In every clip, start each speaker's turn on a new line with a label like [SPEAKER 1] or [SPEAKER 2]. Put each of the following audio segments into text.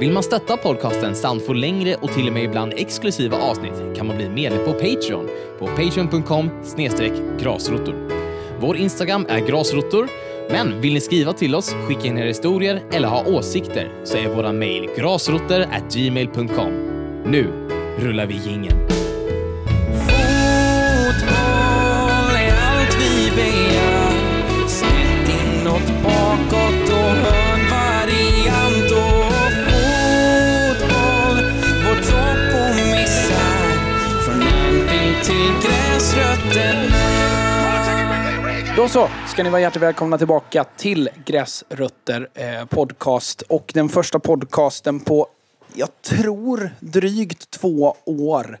[SPEAKER 1] Vill man stötta podcasten samt få längre och till och med ibland exklusiva avsnitt kan man bli medlem på Patreon på patreon.com grasrotor. Vår Instagram är grasrotor, men vill ni skriva till oss, skicka in era historier eller ha åsikter så är våra mejl grasrotor@gmail.com. Nu rullar vi jingeln.
[SPEAKER 2] Fotboll är allt vi begär Snett inåt, bakåt och hörnvariant Och fotboll, vår topp och misär Från Anfield till gräsrötterna
[SPEAKER 3] Då så, ska ni vara hjärtligt välkomna tillbaka till Gräsrötter eh, podcast. Och den första podcasten på, jag tror, drygt två år.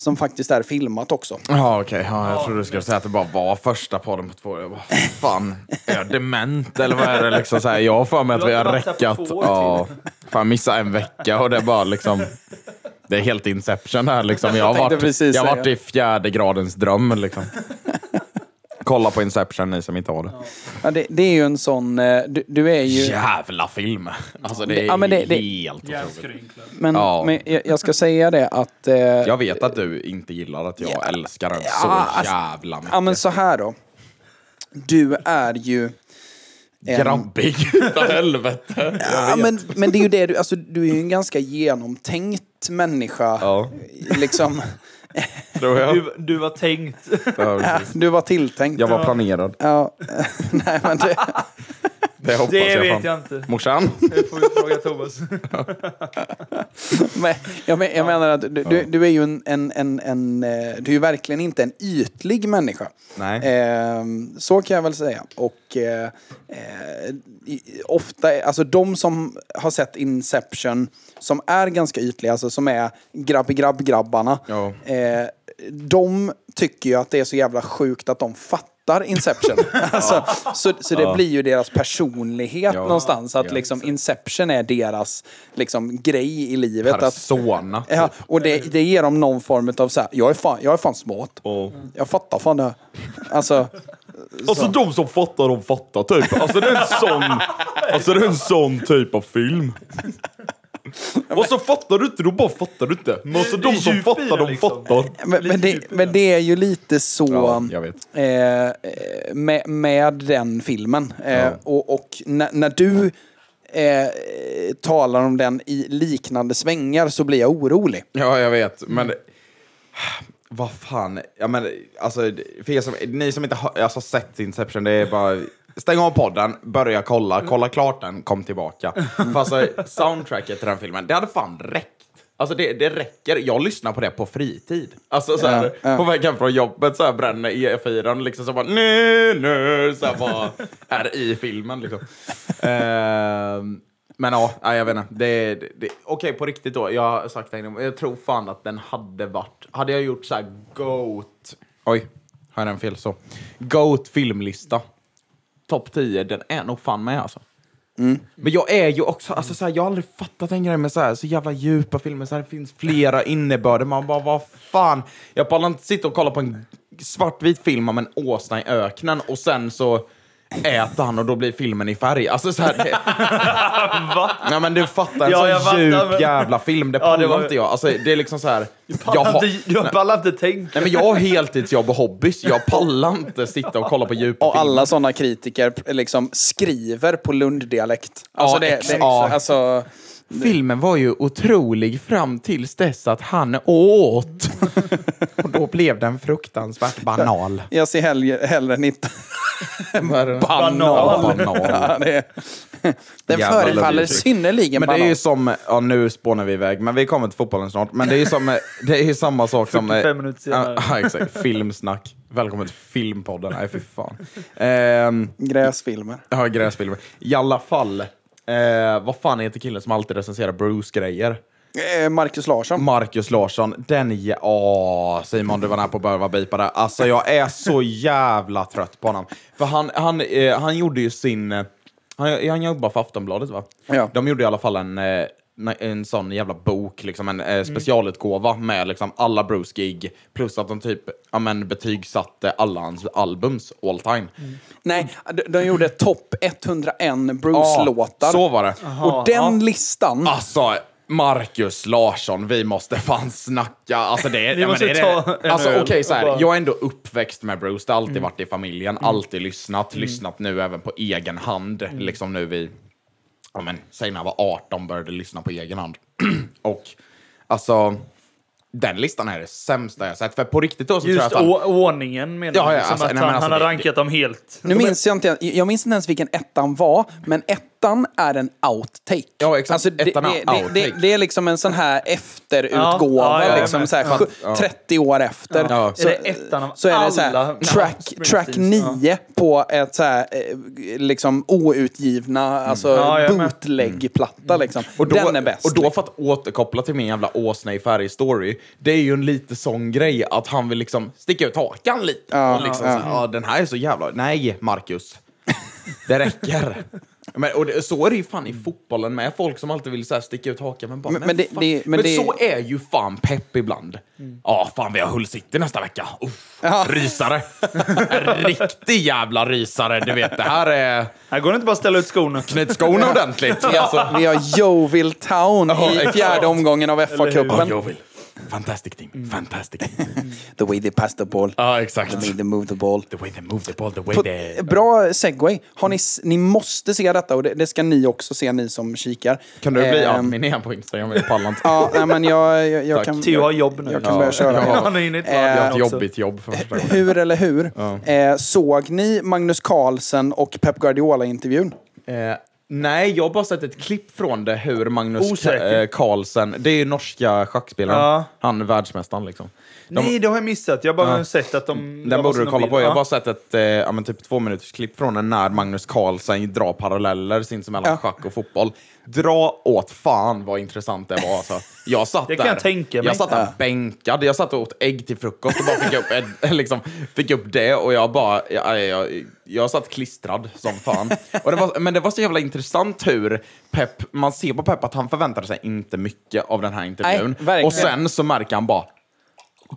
[SPEAKER 3] Som faktiskt är filmat också.
[SPEAKER 4] Ja, okej. Ja, jag trodde du skulle säga att det bara var första podden på två år. Jag bara, fan, är jag dement eller vad är det? Liksom så här, jag har för mig att vi har räckat. Ja, fan, missa en vecka och det är bara liksom... Det är helt inception här liksom. Jag har
[SPEAKER 3] tänkte
[SPEAKER 4] varit,
[SPEAKER 3] precis
[SPEAKER 4] jag har
[SPEAKER 3] säga.
[SPEAKER 4] varit i fjärde gradens dröm liksom. Kolla på Inception ni som inte har det.
[SPEAKER 3] Ja, det, det är ju en sån, eh, du, du är ju...
[SPEAKER 4] Jävla film! Alltså det är
[SPEAKER 3] Ja, men det- det-
[SPEAKER 4] helt otroligt.
[SPEAKER 3] Men,
[SPEAKER 4] Ja.
[SPEAKER 3] men jag, jag ska säga det att... Eh,
[SPEAKER 4] Jag vet att du inte gillar att jag älskar den
[SPEAKER 3] Ja,
[SPEAKER 4] så
[SPEAKER 3] alltså-
[SPEAKER 4] jävla mycket.
[SPEAKER 3] ja men så här då. Du är ju... en-
[SPEAKER 4] Grabbig utav helvete.
[SPEAKER 3] Ja, men, men det är ju det du, alltså, du är ju en ganska genomtänkt människa.
[SPEAKER 4] Ja,
[SPEAKER 3] Liksom,
[SPEAKER 4] tror jag.
[SPEAKER 5] Du, du var tänkt.
[SPEAKER 4] Ja,
[SPEAKER 3] du var tilltänkt.
[SPEAKER 4] Jag var planerad.
[SPEAKER 3] Ja, nej men det,
[SPEAKER 4] Det hoppas
[SPEAKER 5] Det
[SPEAKER 4] jag,
[SPEAKER 5] vet
[SPEAKER 4] fan.
[SPEAKER 5] jag inte.
[SPEAKER 4] Morsan?
[SPEAKER 5] Det får vi fråga Thomas.
[SPEAKER 3] men, jag, men, jag menar att du, du, du är ju en, en, en, en eh, du är ju verkligen inte en ytlig människa.
[SPEAKER 4] Nej.
[SPEAKER 3] Ehm, så kan jag väl säga. Och eh, eh, i- ofta, alltså de som har sett Inception, som är ganska ytliga, alltså som är grabb-grabb-grabbarna.
[SPEAKER 4] Ja.
[SPEAKER 3] Eh, de tycker ju att det är så jävla sjukt att de fattar Inception. alltså, så, så det blir ju deras personlighet
[SPEAKER 4] Ja.
[SPEAKER 3] någonstans. Att
[SPEAKER 4] Ja,
[SPEAKER 3] liksom Inception är deras liksom, grej i livet. Att,
[SPEAKER 4] Persona.
[SPEAKER 3] ja, och det, det ger dem någon form av så här, jag är fan, jag är fan smart.
[SPEAKER 4] Och...
[SPEAKER 3] Jag fattar fan det. här." Alltså,
[SPEAKER 4] Alltså de som fattar, de fattar typ. Alltså det är en sån, alltså, det är en sån typ av film. Och så fattar du inte, då bara fattar du inte. Men alltså de som fattar, de fattar.
[SPEAKER 3] men, men, det, men det är ju lite så
[SPEAKER 4] Ja, jag vet.
[SPEAKER 3] eh, eh, med, med den filmen. Eh, Och, och när, när du eh, talar om den i liknande svängar så blir jag orolig.
[SPEAKER 4] Ja, jag vet.
[SPEAKER 3] Mm.
[SPEAKER 4] Men... Vad fan. Ja, men, alltså, för er som, ni som inte har alltså, sett Inception, det är bara... Stäng av podden, börja kolla, kolla klart den, kom tillbaka. För alltså, soundtracket till den filmen, det hade fan räckt. Alltså det, det räcker. Jag lyssnar på det på fritid. Alltså så här,
[SPEAKER 3] Ja, ja.
[SPEAKER 4] på vägen från jobbet så här bränner E4 liksom så bara nu, nu, så här bara här i filmen liksom. Ehm, men ja, nej, jag vet inte. Det, det, det, Okej, på riktigt då. Jag har sagt det en gång. Jag tror fan att den hade varit... Hade jag gjort så här GOAT... Oj, har jag den fel så? GOAT filmlista. Topp 10, den är nog fan med alltså. Men jag är ju också, alltså så här, jag har aldrig fattat en grej med så här, så jävla djupa filmer, så här, det finns flera innebörder, man bara vad fan. Jag pallar inte sitta och kolla på en svartvit film om en åsna i öknen och sen så äter han och då blir filmen i färg. Alltså så här, det, Ah,
[SPEAKER 5] Va?
[SPEAKER 4] nej men du fattar, en
[SPEAKER 5] Ja, jag
[SPEAKER 4] sån
[SPEAKER 5] fattar,
[SPEAKER 4] djup
[SPEAKER 5] men-
[SPEAKER 4] jävla film, det
[SPEAKER 5] Ja,
[SPEAKER 4] pallar
[SPEAKER 5] det var-
[SPEAKER 4] inte jag. Alltså det är liksom så här, jag
[SPEAKER 5] Jag
[SPEAKER 4] har,
[SPEAKER 5] inte, jag pallar inte tänka.
[SPEAKER 4] nej men jag har heltidsjobb och hobbys, jag pallar inte sitta och kolla på djupa
[SPEAKER 3] Och
[SPEAKER 4] filmer.
[SPEAKER 3] alla sådana kritiker eh, liksom skriver på lunddialekt. Alltså,
[SPEAKER 4] Ja,
[SPEAKER 3] det, det,
[SPEAKER 4] exakt. Ja.
[SPEAKER 3] alltså,
[SPEAKER 4] Filmen var ju otrolig fram tills dess att han åt. Och då blev den fruktansvärt banal.
[SPEAKER 3] jag ser hellre, hellre än inte.
[SPEAKER 4] Ja,
[SPEAKER 5] Banal.
[SPEAKER 4] banal.
[SPEAKER 3] Ja, det, den
[SPEAKER 4] Jävla
[SPEAKER 3] förefaller
[SPEAKER 4] uttryck.
[SPEAKER 3] synnerligen
[SPEAKER 4] Men det är ju
[SPEAKER 3] banal.
[SPEAKER 4] som, ja nu spånar vi iväg, men vi kommer till fotbollen snart. Men det är ju som, det är ju samma sak som...
[SPEAKER 5] 45 minuter senare.
[SPEAKER 4] Ja, ja, exakt. Filmsnack. Välkommen till filmpodden. Nej, fy fan. Ehm,
[SPEAKER 3] Gräsfilmer.
[SPEAKER 4] Ja, gräsfilmer. I alla fall. Eh, vad fan heter killen som alltid recenserar Bruce-grejer?
[SPEAKER 3] Eh, Marcus
[SPEAKER 4] Mm.
[SPEAKER 3] Larsson.
[SPEAKER 4] Marcus Larsson, den... jä- Åh, Simon, du var nära på att behöva bipa där. Alltså, jag är så jävla trött på honom. För han, han, eh, han gjorde ju sin... eh, Han, han jobbar för Aftonbladet, va?
[SPEAKER 3] Ja.
[SPEAKER 4] De gjorde i alla fall en, eh, na- en sån jävla bok, liksom en eh, specialutgåva med liksom alla Bruce-gig, plus att de typ ja, men, betygsatte alla hans albums all time.
[SPEAKER 3] Nej, de, de gjorde topp 101 Bruce-låtar.
[SPEAKER 4] Ja, så var det.
[SPEAKER 3] och den listan...
[SPEAKER 4] Alltså, Marcus Larsson, vi måste fan snacka. Alltså, det,
[SPEAKER 5] Vi
[SPEAKER 4] ja,
[SPEAKER 5] måste
[SPEAKER 4] men det, är
[SPEAKER 5] ta
[SPEAKER 4] det.
[SPEAKER 5] en
[SPEAKER 4] Alltså,
[SPEAKER 5] öl
[SPEAKER 4] okej, så här,
[SPEAKER 5] och bara- Mm.
[SPEAKER 4] jag är ändå uppväxt med Bruce, det har alltid varit i familjen, alltid lyssnat, lyssnat nu även på egen hand,
[SPEAKER 5] Mm.
[SPEAKER 4] liksom nu vi, ja men, säg när jag var 18 började lyssna på egen hand. Och alltså, den listan här är sämsta jag sett, för på riktigt då så
[SPEAKER 5] Just
[SPEAKER 4] tror jag att
[SPEAKER 5] å- ordningen menar
[SPEAKER 4] Ja,
[SPEAKER 5] jag.
[SPEAKER 4] ja,
[SPEAKER 5] Som
[SPEAKER 4] alltså,
[SPEAKER 5] att
[SPEAKER 4] nej, men
[SPEAKER 5] han,
[SPEAKER 4] alltså,
[SPEAKER 5] han har
[SPEAKER 4] det-
[SPEAKER 5] rankat dem helt.
[SPEAKER 3] Nu minns jag inte, jag minns inte ens vilken ettan var, men ettan är en outtake. Alltså,
[SPEAKER 4] Ja, exakt.
[SPEAKER 3] det,
[SPEAKER 4] Ettan är
[SPEAKER 3] det, det, det,
[SPEAKER 4] outtake.
[SPEAKER 3] det är liksom en sån här
[SPEAKER 5] Ja,
[SPEAKER 3] efterutgåva,
[SPEAKER 5] ja, jag är
[SPEAKER 3] liksom,
[SPEAKER 5] med.
[SPEAKER 3] så här, sju- 30 år efter.
[SPEAKER 4] Ja.
[SPEAKER 3] Så,
[SPEAKER 5] Är det ettan av
[SPEAKER 3] så är det så
[SPEAKER 5] alla-
[SPEAKER 3] här, track,
[SPEAKER 5] Springsteens,
[SPEAKER 3] track
[SPEAKER 5] ja.
[SPEAKER 3] 9 på ett så här, eh, liksom outgivna,
[SPEAKER 4] Mm.
[SPEAKER 3] alltså
[SPEAKER 5] Ja, jag är med.
[SPEAKER 3] bootleg-platta liksom.
[SPEAKER 4] Och då,
[SPEAKER 3] Den är bäst.
[SPEAKER 4] Och då för att återkoppla till min jävla åsna i färg-story, det är ju en lite sån grej att han vill liksom sticka ut hakan lite.
[SPEAKER 3] Ja,
[SPEAKER 4] och liksom
[SPEAKER 3] ja.
[SPEAKER 4] Så, här, "Ja, den här är så jävla... Nej, Marcus. Det räcker. Men, och det, så är det ju fan i fotbollen med. Folk som alltid vill så här sticka ut hakan. Men, bara,
[SPEAKER 3] Men-
[SPEAKER 4] men,
[SPEAKER 3] men det-
[SPEAKER 4] fan.
[SPEAKER 3] det- men
[SPEAKER 4] men,
[SPEAKER 3] det- Mm.
[SPEAKER 4] så är ju fan pepp ibland. Ja, fan vi har Hull City nästa vecka. Uff, Rysare. en riktig jävla rysare. Du vet, det här är...
[SPEAKER 5] Här går det inte bara att ställa ut skorna.
[SPEAKER 4] Knyt skorna ordentligt. Alltså,
[SPEAKER 3] Vi har Yeovil Town i
[SPEAKER 4] exakt.
[SPEAKER 3] fjärde omgången av
[SPEAKER 4] Ja,
[SPEAKER 3] FA-cupen.
[SPEAKER 4] jag vill. Fantastic team. Fantastic.
[SPEAKER 3] The way they pass the ball,
[SPEAKER 4] Ja, exakt.
[SPEAKER 3] the way they move the ball.
[SPEAKER 4] The way they move the ball, the way
[SPEAKER 3] På,
[SPEAKER 4] they...
[SPEAKER 3] Eh, bra segway. Har ni, s- ni måste se detta och det, det ska ni också se, ni som kikar.
[SPEAKER 4] Kan du bli
[SPEAKER 3] Ehm,
[SPEAKER 4] admin igen på Instagram? Jag pallar inte.
[SPEAKER 3] Ja, nej, men jag, jag, jag
[SPEAKER 4] Tack.
[SPEAKER 3] kan...
[SPEAKER 5] Theo har jobb nu.
[SPEAKER 3] Jag kan börja köra.
[SPEAKER 5] Ja, han har ju nytt
[SPEAKER 3] Eh,
[SPEAKER 4] Jag har
[SPEAKER 5] äh,
[SPEAKER 4] ett jobbigt jobb för första gången.
[SPEAKER 3] Hur eller hur? Eh, såg ni Magnus Carlsen och Pep Guardiola-intervjun?
[SPEAKER 4] Eh, nej, jag har bara sett ett klipp från det, hur Magnus Ka-
[SPEAKER 5] Osäker.
[SPEAKER 4] eh, Carlsen... Det är ju norska schackspelaren.
[SPEAKER 5] Ja.
[SPEAKER 4] Han är världsmästaren liksom. De,
[SPEAKER 5] Nej, det har jag missat. Jag har bara sett att de... jag
[SPEAKER 4] den
[SPEAKER 5] har
[SPEAKER 4] borde du
[SPEAKER 5] sett
[SPEAKER 4] kolla
[SPEAKER 5] någon
[SPEAKER 4] på.
[SPEAKER 5] bild.
[SPEAKER 4] Jag har
[SPEAKER 5] Ja.
[SPEAKER 4] bara sett ett eh, ja, men typ två minuters klipp från den när Magnus Carlsen drar paralleller sinsemellan
[SPEAKER 3] Ja.
[SPEAKER 4] schack och fotboll. Dra åt fan vad intressant det var alltså. Jag satt
[SPEAKER 5] Det kan
[SPEAKER 4] där,
[SPEAKER 5] jag tänka mig.
[SPEAKER 4] Jag satt där bänkad, jag satt och åt ägg till frukost och bara fick upp, en, liksom, fick upp det och jag bara, jag, jag, jag satt klistrad som fan. Och det var, men det var så jävla intressant hur Pep, man ser på Pep att han förväntade sig inte mycket av den här intervjun.
[SPEAKER 3] Nej, verkligen.
[SPEAKER 4] och sen så märker han bara,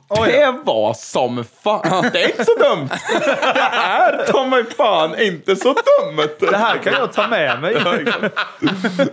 [SPEAKER 5] Oj,
[SPEAKER 4] det var som fan. Det är inte så dumt. Det är ta mig fan inte så dumt.
[SPEAKER 5] Det här kan jag ta med mig.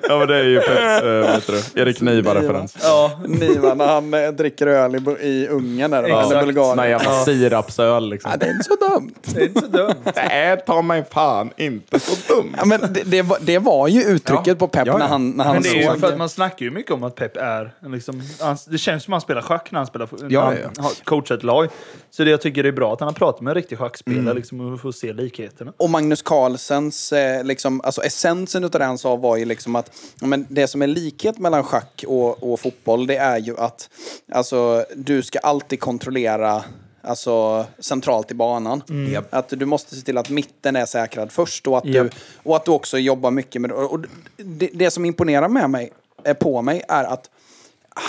[SPEAKER 4] Ja, men det är ju Peps, äh, vet du, Erik Niva-referens.
[SPEAKER 5] Ja.
[SPEAKER 3] Nivarna, han eh, dricker öl i, Bu- i Ungern eller,
[SPEAKER 5] Exakt.
[SPEAKER 3] eller Bulgarien.
[SPEAKER 4] Sån här jävla sirapsöl liksom.
[SPEAKER 3] Ja, det är inte så dumt.
[SPEAKER 5] Det är inte så dumt.
[SPEAKER 4] Det är ta mig fan inte så dumt.
[SPEAKER 3] Ja, men det, det, var, det var ju uttrycket
[SPEAKER 4] Ja.
[SPEAKER 3] på Pep
[SPEAKER 4] Ja, ja.
[SPEAKER 3] när han, när
[SPEAKER 5] Men
[SPEAKER 3] han
[SPEAKER 5] det är ju
[SPEAKER 3] såg
[SPEAKER 5] för att man snackar ju mycket om att Pep är... en Liksom, han, det känns som att han spelar schack när han, spelar, när
[SPEAKER 4] Ja,
[SPEAKER 5] han
[SPEAKER 4] ja, ja.
[SPEAKER 5] har coachat lag. Så det jag tycker är bra att han har pratat med en riktig schackspelare
[SPEAKER 4] Mm.
[SPEAKER 5] liksom, och får se likheterna.
[SPEAKER 3] Och Magnus Carlsens, eh, liksom, alltså essensen utav det han sa var ju liksom att ja, men det som är likhet mellan schack och, och fotboll det är ju att alltså, du ska alltid kontrollera alltså, centralt i banan. Att du måste se till att mitten är säkrad först och att, du,
[SPEAKER 5] Japp.
[SPEAKER 3] och att du också jobbar mycket med och det. Det som imponerar med mig, eh, på mig är att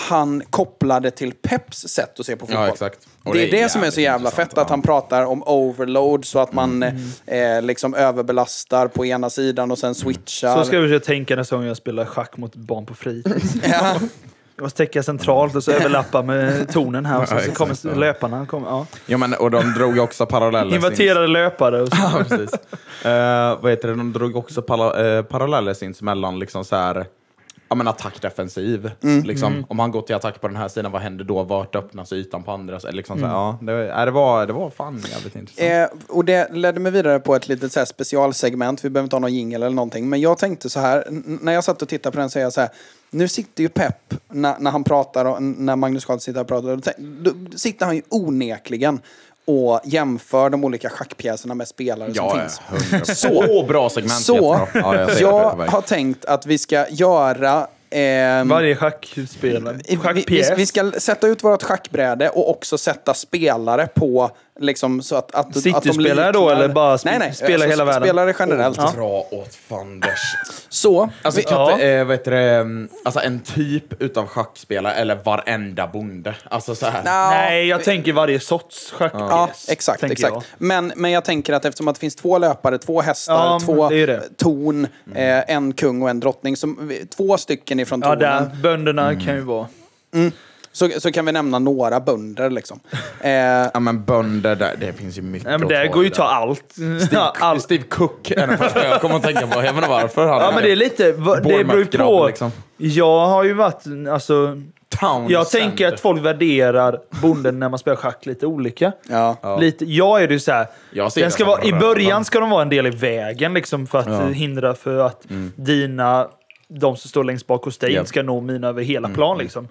[SPEAKER 3] han kopplade till Peps sätt att se på fotboll.
[SPEAKER 4] exakt. Och
[SPEAKER 3] det,
[SPEAKER 4] det
[SPEAKER 3] är
[SPEAKER 4] är
[SPEAKER 3] det som är så
[SPEAKER 4] jävligt
[SPEAKER 3] jävla
[SPEAKER 4] intressant,
[SPEAKER 3] fett, att
[SPEAKER 4] ja. Mm.
[SPEAKER 3] han pratar om overload så att man eh, liksom överbelastar på ena sidan och sen switchar.
[SPEAKER 5] Så ska jag försöka tänka nästa gång jag spelar schack mot barn på fritids.
[SPEAKER 3] ja.
[SPEAKER 5] Jag måste täcka centralt och så överlappa med tonen här. Och så,
[SPEAKER 4] Ja,
[SPEAKER 5] så
[SPEAKER 4] exakt,
[SPEAKER 5] kommer
[SPEAKER 4] ja.
[SPEAKER 5] löparna. Kommer, ja.
[SPEAKER 4] Ja, men, och de drog också paralleller.
[SPEAKER 5] Inverterade löpare. Och så.
[SPEAKER 4] Ja, precis. Eh, vad heter det? De drog också pala- eh, paralleller sinsemellan. Liksom så här, ja, men attack defensiv.
[SPEAKER 3] Mm.
[SPEAKER 4] Liksom, Om han går till attack på den här sidan, vad händer då? Vart öppnas ytan på andra? sidan? Liksom, så här, ja, det, var- ja, det, var, det var fan jävligt intressant.
[SPEAKER 3] Mm. Eh, och det ledde mig vidare på ett litet så här, specialsegment. Vi behöver inte ha någon jingle eller någonting. Men jag tänkte så här, n- när jag satt och tittade på den så är jag så här. Nu sitter ju Pep, när, när han pratar, och, när Magnus Karlsson sitter och pratar, då, tänk- då sitter han ju onekligen och jämför de olika schackpjäserna med spelare som
[SPEAKER 4] ja,
[SPEAKER 3] finns.
[SPEAKER 4] så bra segment.
[SPEAKER 3] Så,
[SPEAKER 4] jättebra. Ja, jag ser att det är på
[SPEAKER 3] jag
[SPEAKER 4] väg.
[SPEAKER 3] har tänkt att vi ska göra... ehm,
[SPEAKER 5] Varje schackspelare.
[SPEAKER 3] vi, vi,
[SPEAKER 5] Schackpjäs.
[SPEAKER 3] vi ska sätta ut vårt schackbräde och också sätta spelare på Liksom, så att, att, att de
[SPEAKER 5] Cityspelare då, eller bara sp-
[SPEAKER 3] nej, nej,
[SPEAKER 5] spela
[SPEAKER 3] alltså,
[SPEAKER 5] hela världen?
[SPEAKER 3] Spelare generellt.
[SPEAKER 5] Ja.
[SPEAKER 4] Dra åt fanders.
[SPEAKER 3] Så,
[SPEAKER 4] Alltså,
[SPEAKER 3] vi,
[SPEAKER 4] kan
[SPEAKER 5] Ja.
[SPEAKER 4] inte, eh, vad heter det, mm, alltså en typ utav schackspelare eller varenda bonde. Alltså så här.
[SPEAKER 3] Nja,
[SPEAKER 5] Nej, jag tänker varje sorts schackpjäs.
[SPEAKER 3] Ja, exakt.
[SPEAKER 5] tänker
[SPEAKER 3] exakt.
[SPEAKER 5] jag.
[SPEAKER 3] Men, men jag tänker att eftersom att det finns två löpare, två hästar,
[SPEAKER 5] Ja, men
[SPEAKER 3] två
[SPEAKER 5] det är ju det.
[SPEAKER 3] torn,
[SPEAKER 4] Mm.
[SPEAKER 3] eh, en kung och en drottning. Som, vi- två stycken ifrån
[SPEAKER 5] Ja,
[SPEAKER 3] tornen.
[SPEAKER 5] där. Bönderna
[SPEAKER 4] Mm.
[SPEAKER 5] kan ju vara...
[SPEAKER 3] så, så kan vi nämna några bönder liksom. Eh,
[SPEAKER 4] Ja men bönder där, det finns ju mycket
[SPEAKER 5] Nej, men
[SPEAKER 4] att
[SPEAKER 5] det
[SPEAKER 4] i
[SPEAKER 5] går ju
[SPEAKER 4] där.
[SPEAKER 5] att ta allt. Ja, allt.
[SPEAKER 4] Steve Cook är den första jag kommer att tänka på. Jag vet inte varför. Han
[SPEAKER 5] Ja, men det är lite... va- Det beror ju
[SPEAKER 4] Bournemouth-grabb,
[SPEAKER 5] på.
[SPEAKER 4] liksom.
[SPEAKER 5] Jag har ju varit... Alltså,
[SPEAKER 4] Townsend.
[SPEAKER 5] jag tänker att folk värderar bonden när man spelar schack lite olika.
[SPEAKER 3] ja.
[SPEAKER 5] Lite, jag är det ju så här,
[SPEAKER 4] Jag ser
[SPEAKER 5] den
[SPEAKER 4] det
[SPEAKER 5] ska
[SPEAKER 4] som
[SPEAKER 5] vara, I
[SPEAKER 4] röven.
[SPEAKER 5] början ska de vara en del i vägen liksom, för att eh, hindra för att dina, de som står längst bak hos dig,
[SPEAKER 4] Japp.
[SPEAKER 5] inte ska nå mina över hela plan. Liksom.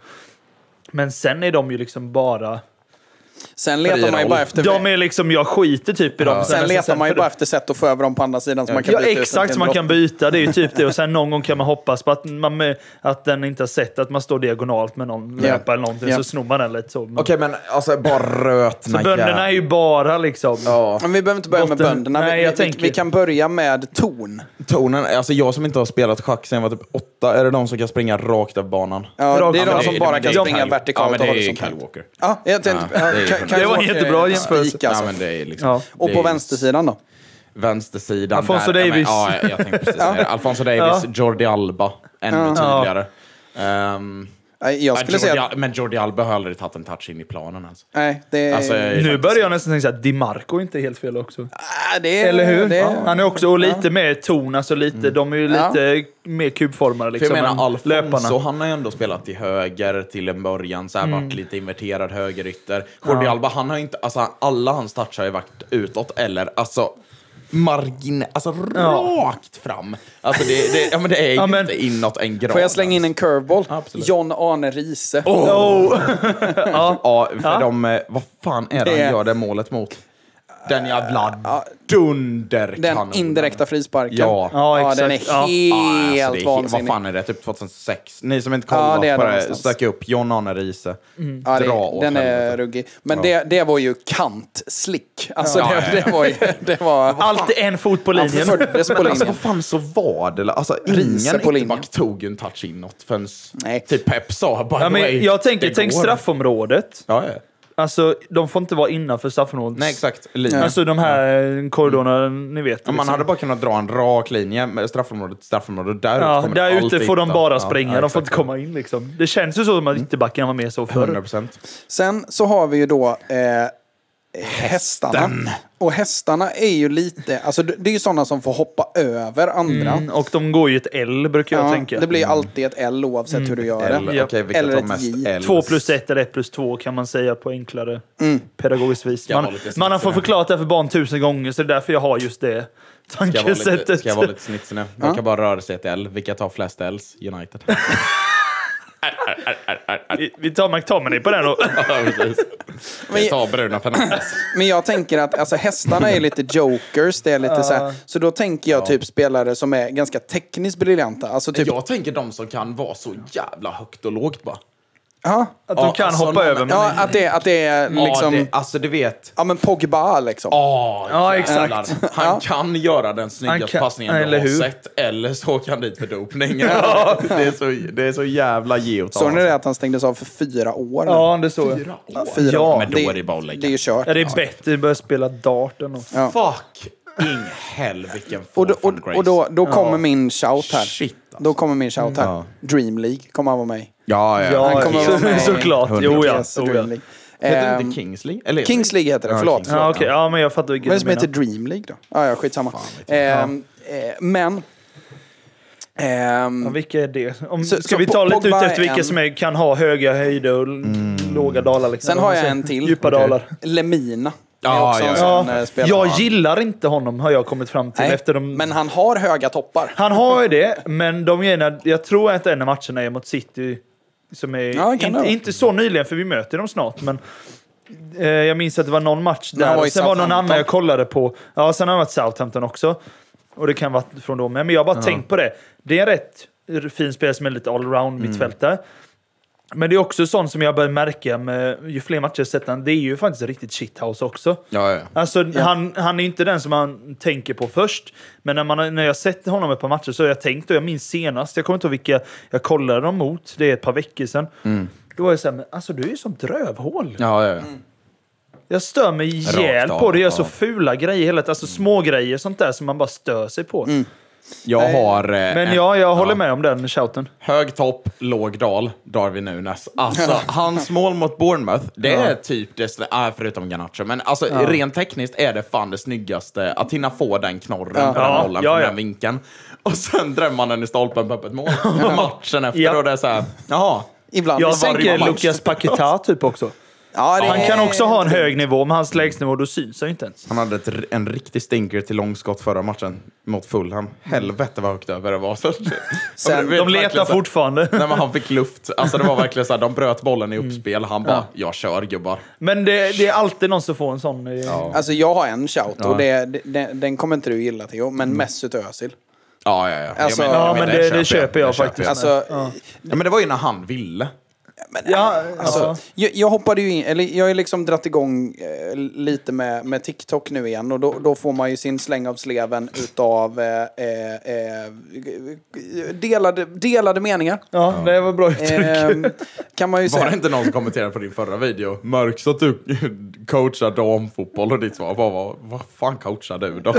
[SPEAKER 5] Men sen är de ju liksom bara...
[SPEAKER 3] Sen letar man ju
[SPEAKER 4] roll.
[SPEAKER 3] bara efter...
[SPEAKER 5] De är liksom, jag skiter typ i dem.
[SPEAKER 3] Sen
[SPEAKER 5] nästan
[SPEAKER 3] letar man ju
[SPEAKER 5] för-
[SPEAKER 3] bara efter sätt att få över dem på andra sidan så man kan
[SPEAKER 5] Ja,
[SPEAKER 3] byta ut dem till
[SPEAKER 5] exakt,
[SPEAKER 3] en
[SPEAKER 5] så man kan
[SPEAKER 3] drottning.
[SPEAKER 5] byta. Det är ju typ det. Och sen någon gång kan man hoppas på att, man, att den inte har sett att man står diagonalt med någon
[SPEAKER 3] Ja.
[SPEAKER 5] löpare eller någonting,
[SPEAKER 3] Ja.
[SPEAKER 5] så snor man den lite så. Men,
[SPEAKER 4] Okej men alltså bara rötna
[SPEAKER 5] så bönderna är ju bara liksom...
[SPEAKER 4] Ja,
[SPEAKER 3] Men vi behöver inte börja med
[SPEAKER 5] Botten-
[SPEAKER 3] bönderna. Vi-
[SPEAKER 5] Nej, jag
[SPEAKER 3] vi, vi,
[SPEAKER 5] tänker-
[SPEAKER 3] vi kan börja med torn.
[SPEAKER 4] tonen. Alltså jag som inte har spelat schack sen jag var typ åtta, är det de som kan springa rakt av banan?
[SPEAKER 3] Ja,
[SPEAKER 5] Rakt
[SPEAKER 3] det är
[SPEAKER 5] fram.
[SPEAKER 3] de
[SPEAKER 5] Ja,
[SPEAKER 3] som
[SPEAKER 5] men
[SPEAKER 3] bara
[SPEAKER 4] men
[SPEAKER 3] kan
[SPEAKER 5] är
[SPEAKER 3] springa
[SPEAKER 5] Kyle-
[SPEAKER 4] Ja
[SPEAKER 3] vertikalt
[SPEAKER 4] men
[SPEAKER 3] och
[SPEAKER 4] det är ju Kyle
[SPEAKER 3] horisontellt.
[SPEAKER 4] Walker.
[SPEAKER 3] Ja, jag tänkte,
[SPEAKER 4] Ja,
[SPEAKER 3] ja,
[SPEAKER 4] det är
[SPEAKER 3] Kyle-
[SPEAKER 4] ju-
[SPEAKER 3] Kyle
[SPEAKER 5] Det var en
[SPEAKER 3] Walker är
[SPEAKER 5] jättebra
[SPEAKER 3] en
[SPEAKER 5] jämförelse.
[SPEAKER 3] spik,
[SPEAKER 4] Ja
[SPEAKER 3] alltså.
[SPEAKER 4] men det är liksom...
[SPEAKER 5] Ja.
[SPEAKER 4] det
[SPEAKER 3] Och
[SPEAKER 4] är
[SPEAKER 3] på
[SPEAKER 4] ju
[SPEAKER 3] vänstersidan då?
[SPEAKER 4] Vänstersidan.
[SPEAKER 5] Alfonso
[SPEAKER 4] där, ja, men-
[SPEAKER 5] Davies.
[SPEAKER 4] Ja, jag, jag tänkte precis säga det. Alfonso Davis,
[SPEAKER 5] Ja.
[SPEAKER 4] Jordi Alba. Ännu tydligare. Ehm,
[SPEAKER 3] Nej, Jag
[SPEAKER 4] ja,
[SPEAKER 3] skulle
[SPEAKER 4] Jordi,
[SPEAKER 3] säga att...
[SPEAKER 4] Al- Men Jordi Alba har aldrig tagit en touch in i planen alltså.
[SPEAKER 3] Nej, det är...
[SPEAKER 4] Alltså, jag är
[SPEAKER 5] Nu
[SPEAKER 4] faktiskt-
[SPEAKER 5] börjar jag nästan tänka att Di Marco är inte helt fel också.
[SPEAKER 3] Ah, det är
[SPEAKER 5] Eller hur?
[SPEAKER 3] Det är,
[SPEAKER 5] Han är också och lite mer ton, alltså lite, de är ju
[SPEAKER 3] Ja.
[SPEAKER 5] lite mer kubformare
[SPEAKER 4] Mm. För
[SPEAKER 5] liksom.
[SPEAKER 4] jag
[SPEAKER 5] än
[SPEAKER 4] menar, Alfonso,
[SPEAKER 5] löparna.
[SPEAKER 4] han har ju ändå spelat till höger till en början, så här,
[SPEAKER 3] Mm.
[SPEAKER 4] varit lite inverterad högerytter. Jordi Alba, han har ju inte, alltså alla hans touchar har ju varit utåt eller alltså margin, alltså rakt fram. Alltså det, det, ja, men det är ju
[SPEAKER 5] Ja, men-
[SPEAKER 4] inte inåt en grad.
[SPEAKER 3] Får jag slänga in en curveball?
[SPEAKER 4] Absolut.
[SPEAKER 3] John Arne Riise.
[SPEAKER 5] Oh.
[SPEAKER 4] Ja, för
[SPEAKER 5] Ja.
[SPEAKER 4] de, eh, vad fan är det
[SPEAKER 3] Det- Eh,
[SPEAKER 4] han gör det målet mot? Den jävla dunderkanonen.
[SPEAKER 3] Den indirekta frisparken.
[SPEAKER 4] Ja.
[SPEAKER 5] Ja,
[SPEAKER 3] den
[SPEAKER 5] exakt.
[SPEAKER 3] är
[SPEAKER 5] Ja.
[SPEAKER 4] Ja,
[SPEAKER 3] helt
[SPEAKER 4] alltså det är-
[SPEAKER 3] vansinnig.
[SPEAKER 4] Vad fan är det? Typ 2006? Ni som inte
[SPEAKER 3] Ja,
[SPEAKER 4] kollat
[SPEAKER 3] det är
[SPEAKER 4] på
[SPEAKER 3] det
[SPEAKER 4] det,
[SPEAKER 3] någonstans. Mm.
[SPEAKER 4] sök upp John-Arne Riise.
[SPEAKER 3] Ja, det,
[SPEAKER 4] Dra åt
[SPEAKER 3] den
[SPEAKER 4] helvete.
[SPEAKER 3] är ruggig. Men det, det var ju kantslick. Alltså det, det var ju... Det var...
[SPEAKER 5] Alltid en fot på
[SPEAKER 3] Han
[SPEAKER 5] linjen.
[SPEAKER 3] föddes på
[SPEAKER 4] Men alltså
[SPEAKER 3] linjen.
[SPEAKER 4] vad fan så var det? Alltså
[SPEAKER 3] Riise
[SPEAKER 4] ingen
[SPEAKER 3] på linjen.
[SPEAKER 4] ytterback tog en touch inåt förrän
[SPEAKER 3] Nej.
[SPEAKER 4] typ Pep sa by
[SPEAKER 5] Ja,
[SPEAKER 4] the way,
[SPEAKER 5] men jag tänker,
[SPEAKER 4] det
[SPEAKER 5] tänk
[SPEAKER 4] går.
[SPEAKER 5] straffområdet.
[SPEAKER 4] Ja, ja.
[SPEAKER 5] Alltså, de får inte vara innanför straffområdet.
[SPEAKER 4] Nej exakt, linjen.
[SPEAKER 5] Alltså de här korridorerna, ni vet.
[SPEAKER 4] Ja, man
[SPEAKER 5] liksom.
[SPEAKER 4] hade bara kunnat dra en rak linje med straffområdet, straffområdet. Där,
[SPEAKER 5] Ja,
[SPEAKER 4] kommer
[SPEAKER 5] där
[SPEAKER 4] allt
[SPEAKER 5] ute får de
[SPEAKER 4] hitta.
[SPEAKER 5] bara
[SPEAKER 4] Ja,
[SPEAKER 5] springa,
[SPEAKER 4] ja,
[SPEAKER 5] de får
[SPEAKER 4] exakt. Mm.
[SPEAKER 5] inte komma in liksom. Det känns ju så som att ytterbacken var med så förr.
[SPEAKER 4] 100%.
[SPEAKER 3] Sen så har vi ju då eh, hästarna. Och hästarna är ju lite... Alltså det det är ju sådana som får hoppa över andra.
[SPEAKER 5] Mm, och de går ju ett L brukar jag
[SPEAKER 3] Ja,
[SPEAKER 5] tänka. Mm.
[SPEAKER 3] det blir alltid ett L oavsett hur du gör
[SPEAKER 4] L,
[SPEAKER 3] det.
[SPEAKER 4] okej, vilket
[SPEAKER 3] Eller
[SPEAKER 4] har
[SPEAKER 3] ett J.
[SPEAKER 4] mest L?
[SPEAKER 5] 2 plus 1 eller 1 plus 2 kan man säga på enklare
[SPEAKER 4] Mm.
[SPEAKER 5] pedagogiskt vis.
[SPEAKER 4] Ska vara
[SPEAKER 5] Man,
[SPEAKER 4] lite snyggt
[SPEAKER 5] man har fått
[SPEAKER 4] sådär.
[SPEAKER 5] förklarat det här för barn tusen gånger, så det är därför jag har just det
[SPEAKER 4] Ska jag vara lite,
[SPEAKER 5] tankesättet.
[SPEAKER 4] ska jag vara lite snitsig nu? Man kan bara röra sig ett L. Vilka tar flest Ls? United.
[SPEAKER 5] Vi- Vi tar McTominay på den då.
[SPEAKER 4] Ja, precis. Vi tar Bruno Fernandes.
[SPEAKER 3] Men jag tänker att alltså, hästarna är lite jokers. Det är lite så, här, så då tänker jag typ spelare som är ganska tekniskt briljanta. Alltså typ...
[SPEAKER 4] Jag tänker de som kan vara så jävla högt och lågt bara.
[SPEAKER 3] Ja,
[SPEAKER 5] Att de
[SPEAKER 4] Ja,
[SPEAKER 5] kan
[SPEAKER 4] alltså,
[SPEAKER 5] hoppa
[SPEAKER 4] någon-
[SPEAKER 5] över. Men...
[SPEAKER 3] ja att, det, att det är liksom...
[SPEAKER 4] Ja, det, alltså du vet.
[SPEAKER 3] Ja men Pogba liksom.
[SPEAKER 4] Oh,
[SPEAKER 5] Ja, exakt.
[SPEAKER 4] Han kan göra den
[SPEAKER 5] Han
[SPEAKER 4] snyggaste
[SPEAKER 5] kan-
[SPEAKER 4] passningen
[SPEAKER 5] eller
[SPEAKER 4] du har
[SPEAKER 5] hur?
[SPEAKER 4] sett, eller så åker han dit för dopning. ja. det, är så, det är så jävla geotalt.
[SPEAKER 3] Såg ni det att han stängdes av för fyra år? nu?
[SPEAKER 5] Ja, det såg jag.
[SPEAKER 4] Fyra år?
[SPEAKER 3] Fyra
[SPEAKER 5] Ja,
[SPEAKER 3] år.
[SPEAKER 4] men då är det bara att lägga.
[SPEAKER 3] Det är ju kört.
[SPEAKER 5] Ja, det är bättre att börja spela dart än något.
[SPEAKER 3] Ja.
[SPEAKER 4] Fuck in hell vilken
[SPEAKER 3] Och, då,
[SPEAKER 4] fall
[SPEAKER 3] och,
[SPEAKER 4] from grace.
[SPEAKER 3] och då, då kommer min shout här.
[SPEAKER 4] Shit, alltså.
[SPEAKER 3] Då kommer min shout här.
[SPEAKER 4] Ja.
[SPEAKER 3] Dream League kommer han vara med i.
[SPEAKER 4] Ja, ja.
[SPEAKER 5] Ja,
[SPEAKER 3] Han kommer vara med i-
[SPEAKER 5] såklart.
[SPEAKER 3] Yes,
[SPEAKER 5] Jo, ja. Jo, ja.
[SPEAKER 3] Alltså, Dream League.
[SPEAKER 4] Heter det
[SPEAKER 3] Ehm,
[SPEAKER 4] inte Kingsley? Eller
[SPEAKER 3] Kings League heter det,
[SPEAKER 4] Ja,
[SPEAKER 3] förlåt.
[SPEAKER 4] Kings League.
[SPEAKER 5] Ja, okej. ja, men jag fattar vilken
[SPEAKER 3] Vad är det som
[SPEAKER 5] du
[SPEAKER 3] heter
[SPEAKER 5] menar.
[SPEAKER 3] Dream League då? Ah, ja, skitsamma. Ehm, eh, men... ehm,
[SPEAKER 5] Ja, vilka är det? Om,
[SPEAKER 3] Så-
[SPEAKER 5] ska
[SPEAKER 3] så
[SPEAKER 5] vi
[SPEAKER 3] Po-
[SPEAKER 5] ta lite ut
[SPEAKER 3] Pogba
[SPEAKER 5] efter
[SPEAKER 3] är
[SPEAKER 5] vilka
[SPEAKER 3] en-
[SPEAKER 5] som är, kan ha höga höjder och l- låga dalar? Liksom.
[SPEAKER 3] Sen har jag en till.
[SPEAKER 5] Djupa
[SPEAKER 3] Okej.
[SPEAKER 5] dalar.
[SPEAKER 3] Lemina. är
[SPEAKER 4] Ja,
[SPEAKER 3] också en
[SPEAKER 4] ja,
[SPEAKER 3] sån,
[SPEAKER 5] Ja,
[SPEAKER 3] eh, spelare.
[SPEAKER 5] jag gillar inte honom har jag kommit fram till.
[SPEAKER 3] Nej,
[SPEAKER 5] Efter de...
[SPEAKER 3] Men han har höga toppar.
[SPEAKER 5] Han har ju det, men de grejerna, jag tror att en av matcherna är mot City. Som är
[SPEAKER 3] Ja, kan det
[SPEAKER 5] inte,
[SPEAKER 3] vara.
[SPEAKER 5] inte så nyligen, för vi möter dem snart. Men, eh, jag minns att det var någon match där.
[SPEAKER 3] han var i
[SPEAKER 5] sen var det någon
[SPEAKER 3] Southampton.
[SPEAKER 5] annan jag kollade på. Ja, sen har han varit Southampton också. Och det kan vara från
[SPEAKER 3] Mm.
[SPEAKER 5] då med. Men jag har bara tänkt på det. Det är en rätt r- fin spelare som är lite allround mittfältare. Men det är också sånt som jag börjar märka med ju fler matcher jag sett han, det är ju faktiskt riktigt shithouse också.
[SPEAKER 4] Ja, ja.
[SPEAKER 5] Alltså, han, han är inte den som man tänker på först. Men när, man, har- när jag sett honom ett par matcher så har jag tänkt, och jag minns senast, jag kommer inte ihåg vilka jag kollade dem mot, det är ett par veckor sedan. Då var jag såhär, men alltså du är ju som drövhål.
[SPEAKER 4] Mm. Ja, ja, ja.
[SPEAKER 3] Mm.
[SPEAKER 5] Jag stör mig ihjäl
[SPEAKER 4] av,
[SPEAKER 5] på det, jag gör
[SPEAKER 4] ja. Mm.
[SPEAKER 5] så fula grejer hela tiden. Alltså små grejer sånt där som man bara stör sig på.
[SPEAKER 4] Jag har... eh,
[SPEAKER 5] Men
[SPEAKER 4] en-
[SPEAKER 5] ja, jag håller med om den shouten.
[SPEAKER 4] Hög topp, låg dal, Darwin Nunes. Alltså, hans mål mot Bournemouth, det är typ det, sn- ah, förutom Garnacho, men alltså rent tekniskt är det fan det snyggaste. Att hinna få den knorren på den
[SPEAKER 5] Ja,
[SPEAKER 4] bollen
[SPEAKER 5] ja,
[SPEAKER 4] från
[SPEAKER 5] ja.
[SPEAKER 4] den vinkeln. Och sen drämmer man den i stolpen på öppet mål matchen efter
[SPEAKER 5] Ja.
[SPEAKER 4] och det är såhär, jaha.
[SPEAKER 3] Ibland.
[SPEAKER 5] Jag
[SPEAKER 3] Vi sänker
[SPEAKER 5] tänker
[SPEAKER 3] match.
[SPEAKER 5] Lucas Paquetá typ också.
[SPEAKER 3] Ja, det
[SPEAKER 5] Han
[SPEAKER 3] är-
[SPEAKER 5] kan också ha en hög nivå, men hans lägstnivå då syns han ju inte ens.
[SPEAKER 4] Han hade ett, r- en riktig stinker till långskott förra matchen mot Fulham. Helvete vad högt över det var. Så,
[SPEAKER 3] Sen-
[SPEAKER 4] Och det-
[SPEAKER 5] De letar
[SPEAKER 4] verkligen så-
[SPEAKER 5] fortfarande.
[SPEAKER 4] Nej, men han fick luft. Alltså det var verkligen så här, de bröt bollen i uppspel. Han bara, jag kör gubbar.
[SPEAKER 5] Men det, det är alltid någon som får en sån. eh,
[SPEAKER 3] Alltså jag har en shout och det, den, den kommer inte du gilla Theo, men
[SPEAKER 4] Mm.
[SPEAKER 3] Mesut Özil.
[SPEAKER 4] Ja, ja, ja. Jag
[SPEAKER 3] Alltså-
[SPEAKER 5] Ja,
[SPEAKER 4] jag
[SPEAKER 5] men det- det köper jag
[SPEAKER 4] Det
[SPEAKER 5] faktiskt.
[SPEAKER 4] jag.
[SPEAKER 3] Alltså,
[SPEAKER 4] Ja, men det var ju när han ville.
[SPEAKER 5] Ja, alltså.
[SPEAKER 3] Alltså, jag, jag hoppade ju in, eller jag har ju liksom dratt igång eh, lite med, med TikTok nu igen och då, då får man ju sin släng av sleven utav eh, eh, eh, delade, delade meningar.
[SPEAKER 5] Ja, det var bra uttryck.
[SPEAKER 3] Eh, kan man ju
[SPEAKER 4] Var
[SPEAKER 3] säga.
[SPEAKER 4] det inte någon som kommenterade på din förra video? Märks att du coachar damfotboll och ditt svar bara var, vad fan coachar du då?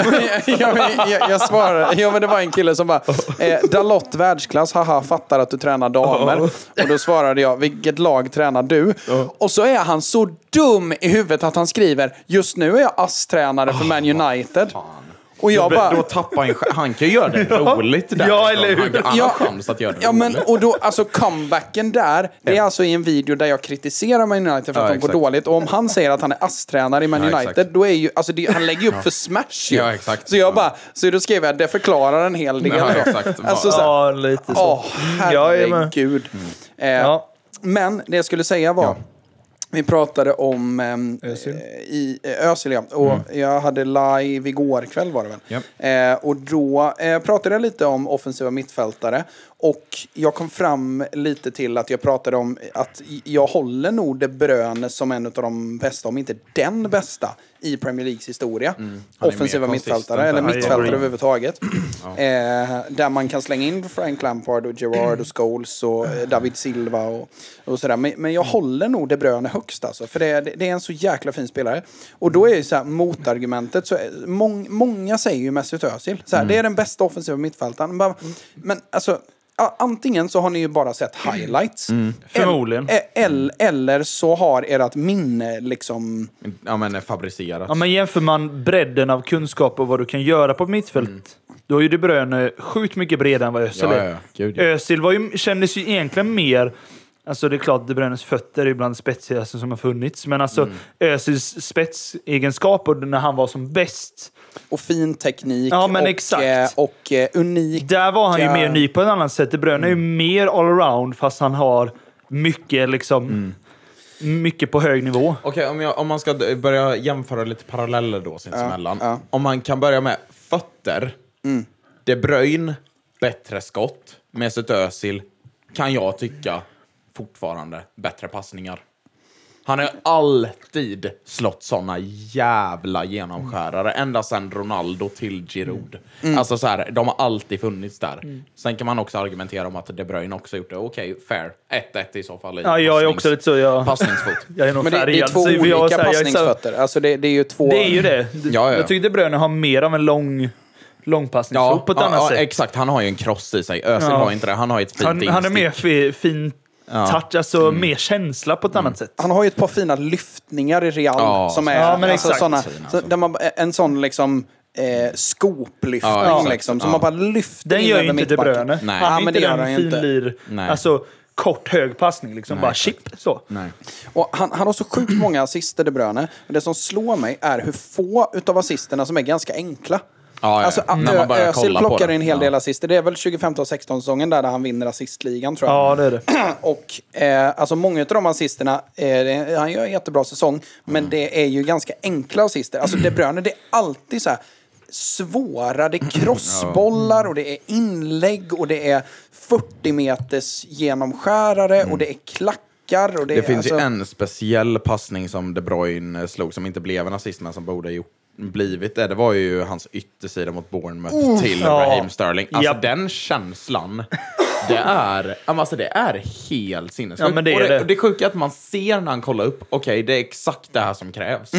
[SPEAKER 3] ja, men, jag, jag svarar. Ja, men det var en kille som bara, eh, Dalot världsklass, haha, fattar att du tränar damer. Och då svarade jag, vilket lag tränar du? Och så är han så dum i huvudet att han skriver, just nu är jag ASS-tränare för Man United. Och jag bara...
[SPEAKER 4] Då tappar han sj- Han kan ju göra det roligt där. liksom.
[SPEAKER 5] Ja, eller hur?
[SPEAKER 4] Han, han
[SPEAKER 3] Ja.
[SPEAKER 4] har chans att göra det
[SPEAKER 3] Ja, men,
[SPEAKER 4] roligt.
[SPEAKER 3] och då, alltså comebacken där, det är alltså i en video där jag kritiserar Man United för att
[SPEAKER 4] Ja,
[SPEAKER 3] de
[SPEAKER 4] exakt.
[SPEAKER 3] går dåligt. Och om han säger att han är ASS-tränare i Man
[SPEAKER 4] Ja, exakt.
[SPEAKER 3] United, då är ju, alltså det, han lägger ju upp för smash ju.
[SPEAKER 4] Ja, exakt.
[SPEAKER 3] Så jag
[SPEAKER 4] Ja.
[SPEAKER 3] bara, så då skrev jag, det förklarar en hel del.
[SPEAKER 4] Ja,
[SPEAKER 3] då.
[SPEAKER 4] exakt.
[SPEAKER 3] Alltså, så här,
[SPEAKER 5] ja, lite så.
[SPEAKER 3] Åh,
[SPEAKER 5] Mm, jag är med.
[SPEAKER 3] herregud.
[SPEAKER 4] Mm.
[SPEAKER 3] Eh,
[SPEAKER 5] Ja.
[SPEAKER 3] Men det jag skulle säga var, vi pratade om ehm,
[SPEAKER 5] Özil.
[SPEAKER 3] eh, i, eh, Özil, ja. Och
[SPEAKER 4] Mm.
[SPEAKER 3] jag hade live igår kväll var det väl. Eh, och då eh, pratade jag lite om offensiva mittfältare. Och jag kom fram lite till att jag pratade om att jag håller nog De Bruyne som en av de bästa, om inte den bästa, i Premier Leagues historia.
[SPEAKER 4] Mm. Han är
[SPEAKER 3] Offensiva
[SPEAKER 4] mer
[SPEAKER 3] mittfältare,
[SPEAKER 4] konsistent
[SPEAKER 3] eller
[SPEAKER 4] än- Ja,
[SPEAKER 5] jag
[SPEAKER 3] mittfältare
[SPEAKER 5] håller med.
[SPEAKER 3] överhuvudtaget. Eh, där man kan slänga in Frank Lampard och Gerard och Scholes och
[SPEAKER 5] Mm.
[SPEAKER 3] eh, David Silva och, och sådär. Men, men jag håller nog De Bruyne högst alltså. För det, är- det är en så jäkla fin spelare. Och då är ju så här, motargumentet, så är, mång, många säger ju Mesut Özil. Så här,
[SPEAKER 5] Mm.
[SPEAKER 3] Det är den bästa offensiva mittfältaren. Men, men alltså, a- antingen så har ni ju bara sett highlights.
[SPEAKER 5] Mm. Förmodligen.
[SPEAKER 3] El- el- eller så har ert minne liksom...
[SPEAKER 4] Ja, men fabricerat.
[SPEAKER 5] Ja, men jämför man bredden av kunskap och vad du kan göra på ett mittfält, då är ju De Bruyne sjukt mycket bredare än vad Özil
[SPEAKER 4] Ja,
[SPEAKER 5] är.
[SPEAKER 4] ja, ja. Gud, ja.
[SPEAKER 5] Özil var ju, kändes ju egentligen mer... Alltså det är klart, De Bruynes fötter är bland det spetsigaste som har funnits, men alltså Özils spetsegenskaper när han var som bäst,
[SPEAKER 3] Och fin teknik
[SPEAKER 5] Ja, men
[SPEAKER 3] och,
[SPEAKER 5] exakt.
[SPEAKER 3] eh, och eh, unik
[SPEAKER 5] där var han
[SPEAKER 3] Ja. Mm.
[SPEAKER 5] ju mer ny på ett annat sätt. De Bruyne är ju mer allround, fast han har mycket liksom...
[SPEAKER 3] Mm.
[SPEAKER 5] Mycket på hög nivå.
[SPEAKER 4] Okej, om, jag- om man ska d- börja jämföra lite paralleller då sinsemellan.
[SPEAKER 3] ja. Mm.
[SPEAKER 4] Om man kan börja med fötter. De Bruyne, bättre skott. Mesut Özil, kan jag tycka, fortfarande bättre passningar. Han har alltid slått såna jävla genomskärare. Ända sedan Ronaldo till Giroud.
[SPEAKER 3] Mm.
[SPEAKER 4] Alltså så här, de har alltid funnits där.
[SPEAKER 5] Mm.
[SPEAKER 4] Sen kan man också argumentera om att De Bruyne också gjort det. Okej, fair. 1-1 i så fall. i
[SPEAKER 5] Ja, jag är också
[SPEAKER 4] passnings-
[SPEAKER 5] lite så. Jag,
[SPEAKER 4] Passningsfot.
[SPEAKER 5] jag är nog
[SPEAKER 3] Men det, det är
[SPEAKER 5] färgad,
[SPEAKER 3] två
[SPEAKER 5] så jag-
[SPEAKER 3] olika
[SPEAKER 5] jag- jag-
[SPEAKER 3] passningsfötter. Alltså det, det är ju två...
[SPEAKER 5] Det är ju det. D-
[SPEAKER 4] Ja, ja.
[SPEAKER 5] Jag tycker De Bruyne har mer av en lång, långpassningsfot på ett
[SPEAKER 4] ja,
[SPEAKER 5] annat
[SPEAKER 4] ja,
[SPEAKER 5] sätt.
[SPEAKER 4] exakt. Han har ju en kross i sig. Özil
[SPEAKER 5] Ja.
[SPEAKER 4] har inte det. Han har ett fint
[SPEAKER 5] Han, han är mer fi, fin touch, alltså mer känsla på ett annat sätt.
[SPEAKER 3] Mm. Han har ju ett par fina lyftningar i Real
[SPEAKER 4] Ja,
[SPEAKER 3] som är
[SPEAKER 5] ja, men
[SPEAKER 3] alltså,
[SPEAKER 5] exakt.
[SPEAKER 3] såna,
[SPEAKER 4] Fin,
[SPEAKER 3] så, där man, en sån liksom eh, skoplyftning
[SPEAKER 4] Ja, exakt.
[SPEAKER 3] liksom. Som
[SPEAKER 4] Ja.
[SPEAKER 3] man bara lyfter
[SPEAKER 5] Den
[SPEAKER 3] in
[SPEAKER 5] gör ju
[SPEAKER 3] över
[SPEAKER 5] inte De
[SPEAKER 3] mittbacken.
[SPEAKER 5] Bruyne.
[SPEAKER 4] Nej.
[SPEAKER 5] Han
[SPEAKER 3] Ja,
[SPEAKER 5] är
[SPEAKER 3] men
[SPEAKER 5] inte
[SPEAKER 3] det gör
[SPEAKER 5] den
[SPEAKER 3] han ju inte.
[SPEAKER 5] finlir,
[SPEAKER 4] Nej.
[SPEAKER 5] alltså kort hög passning liksom. bara
[SPEAKER 4] exakt.
[SPEAKER 5] chip så.
[SPEAKER 4] Nej.
[SPEAKER 3] Och han, han har så sjukt många assister, De Bruyne. Men det som slår mig är hur få utav assisterna som är ganska enkla.
[SPEAKER 4] Ja, ja.
[SPEAKER 3] Alltså,
[SPEAKER 4] Mm. När
[SPEAKER 3] Ö-
[SPEAKER 4] man börjar
[SPEAKER 3] Özil
[SPEAKER 4] kolla på
[SPEAKER 3] plockar
[SPEAKER 4] det.
[SPEAKER 3] en hel del
[SPEAKER 4] Ja.
[SPEAKER 3] assister. Det är väl 2015-16-säsongen där han vinner assistligan, tror jag.
[SPEAKER 5] Ja, det är det.
[SPEAKER 3] Och eh, alltså många av de assisterna, eh, det- han
[SPEAKER 4] Mm.
[SPEAKER 3] gör en jättebra säsong, men det är ju ganska enkla assister. Alltså De Bruyne, det är alltid så här svåra. Det är crossbollar och det är inlägg och det är 40 meters genomskärare och det är klackar. Och det
[SPEAKER 4] Mm. Det
[SPEAKER 3] är,
[SPEAKER 4] finns
[SPEAKER 3] alltså,
[SPEAKER 4] ju en speciell passning som De Bruyne slog som inte blev en assist men som borde ha gjort, blivit det. Det var ju hans yttersida mot Bournemouth till
[SPEAKER 5] Oh, Ja.
[SPEAKER 4] Raheem Sterling. Alltså
[SPEAKER 5] Japp.
[SPEAKER 4] den känslan. Det är, ja, men alltså det är helt sinnessjukt.
[SPEAKER 5] Ja, men det är
[SPEAKER 4] och
[SPEAKER 5] det.
[SPEAKER 4] det, och det sjuka är att man ser när han kollar upp, okej, det är exakt det här som krävs.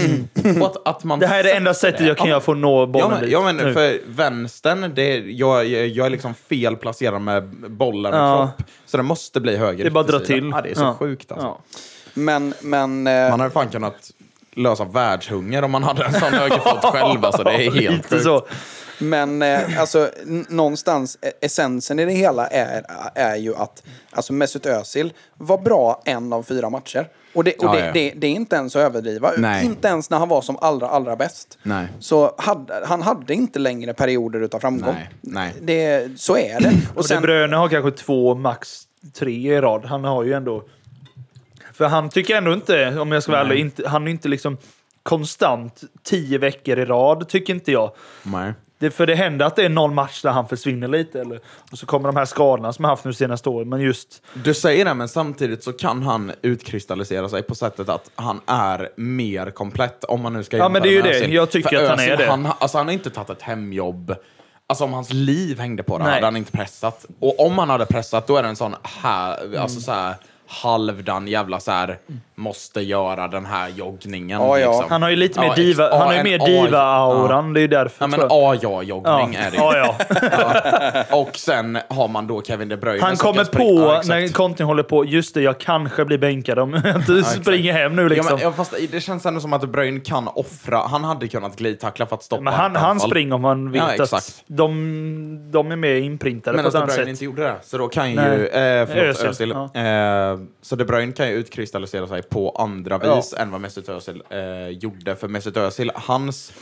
[SPEAKER 4] Och att, att man
[SPEAKER 5] Mm. Det här är det enda sättet jag kan göra för att nå
[SPEAKER 4] Ja
[SPEAKER 5] bollen
[SPEAKER 4] men,
[SPEAKER 5] dit Mm.
[SPEAKER 4] ja, men
[SPEAKER 5] nu.
[SPEAKER 4] för vänstern, det är, jag, jag, jag är liksom fel placerad med bollen och
[SPEAKER 5] Ja.
[SPEAKER 4] kropp. Så det måste bli höger.
[SPEAKER 5] Det är bara att dra
[SPEAKER 4] yttersida.
[SPEAKER 5] till.
[SPEAKER 4] Ja, det är så
[SPEAKER 5] Ja.
[SPEAKER 4] sjukt alltså.
[SPEAKER 5] Ja.
[SPEAKER 3] Men, men... eh,
[SPEAKER 4] Man hade fan kunnat lösa världshunger om man hade en sån högerfot själv. Alltså, det är helt
[SPEAKER 5] Lite
[SPEAKER 4] sjukt.
[SPEAKER 5] så.
[SPEAKER 3] Men eh, alltså, n- någonstans, eh, essensen i det hela är, är ju att alltså Mesut Özil var bra en av fyra matcher. Och det, och
[SPEAKER 4] Ja,
[SPEAKER 3] det,
[SPEAKER 4] ja.
[SPEAKER 3] Det, det är inte ens att överdriva.
[SPEAKER 4] Nej.
[SPEAKER 3] Inte ens när han var som allra, allra bäst.
[SPEAKER 4] Nej.
[SPEAKER 3] Så hade, han hade inte längre perioder utav framgång.
[SPEAKER 4] Nej, nej.
[SPEAKER 3] Det, så är det.
[SPEAKER 5] Och sen, Bröne har kanske två, max tre i rad. Han har ju ändå... För han tycker ändå inte, om jag ska vara ärlig, inte, han är inte liksom konstant tio veckor i rad, tycker inte jag.
[SPEAKER 4] Nej.
[SPEAKER 5] Det, för det händer att det är någon match där han försvinner lite. Eller, och så kommer de här skadorna som han haft nu senaste åren. Men just...
[SPEAKER 4] Du säger det, men samtidigt så kan han utkristallisera sig på sättet att han är mer komplett. Om man nu ska
[SPEAKER 5] Ja, men det är ju
[SPEAKER 4] jämföra med
[SPEAKER 5] det.
[SPEAKER 4] Özil.
[SPEAKER 5] Jag tycker
[SPEAKER 4] För
[SPEAKER 5] att han
[SPEAKER 4] Özil,
[SPEAKER 5] är det.
[SPEAKER 4] Han, alltså, han har inte tagit ett hemjobb. Alltså om hans liv hängde på det
[SPEAKER 5] Nej.
[SPEAKER 4] hade han inte pressat. Och om han hade pressat då är det en sån här,
[SPEAKER 5] Mm.
[SPEAKER 4] alltså så här halvdan jävla så här måste göra den här joggningen. liksom.
[SPEAKER 3] Ja, ja.
[SPEAKER 5] Han har ju lite mer
[SPEAKER 4] Ja, ex-
[SPEAKER 5] diva...
[SPEAKER 4] ja,
[SPEAKER 5] han har ju
[SPEAKER 4] en
[SPEAKER 5] mer
[SPEAKER 4] AI.
[SPEAKER 5] diva-auran. Det är ju därför.
[SPEAKER 4] Ja, men
[SPEAKER 5] tror jag.
[SPEAKER 4] A-ja-joggning är det ju.
[SPEAKER 5] ja, ja.
[SPEAKER 4] Och sen har man då Kevin De Bruyne.
[SPEAKER 5] Han
[SPEAKER 4] som
[SPEAKER 5] kommer
[SPEAKER 4] kan springa-
[SPEAKER 5] på,
[SPEAKER 4] Ja, exakt.
[SPEAKER 5] när Conte håller på, just det, jag kanske blir bänkad om jag inte springer hem nu. Liksom.
[SPEAKER 4] Ja, men, ja, fast det känns ändå som att De Bruyne kan offra. Han hade kunnat glidtackla för att stoppa
[SPEAKER 5] Men han,
[SPEAKER 4] ett
[SPEAKER 5] han
[SPEAKER 4] anfall.
[SPEAKER 5] springer om han vet
[SPEAKER 4] Ja,
[SPEAKER 5] att
[SPEAKER 4] exakt.
[SPEAKER 5] de, de är mer inprintade
[SPEAKER 4] Men
[SPEAKER 5] på ett
[SPEAKER 4] att De
[SPEAKER 5] annat
[SPEAKER 4] Bruyne
[SPEAKER 5] sätt.
[SPEAKER 4] inte gjorde det, så då kan ju...
[SPEAKER 5] Nej.
[SPEAKER 4] Eh, förlåt,
[SPEAKER 5] Özil,
[SPEAKER 4] Özil.
[SPEAKER 5] ja.
[SPEAKER 4] Eh, så De Bruyne kan ju utkristallisera sig på andra vis än vad Mesut Özil eh, gjorde. För Mesut Özil, hans,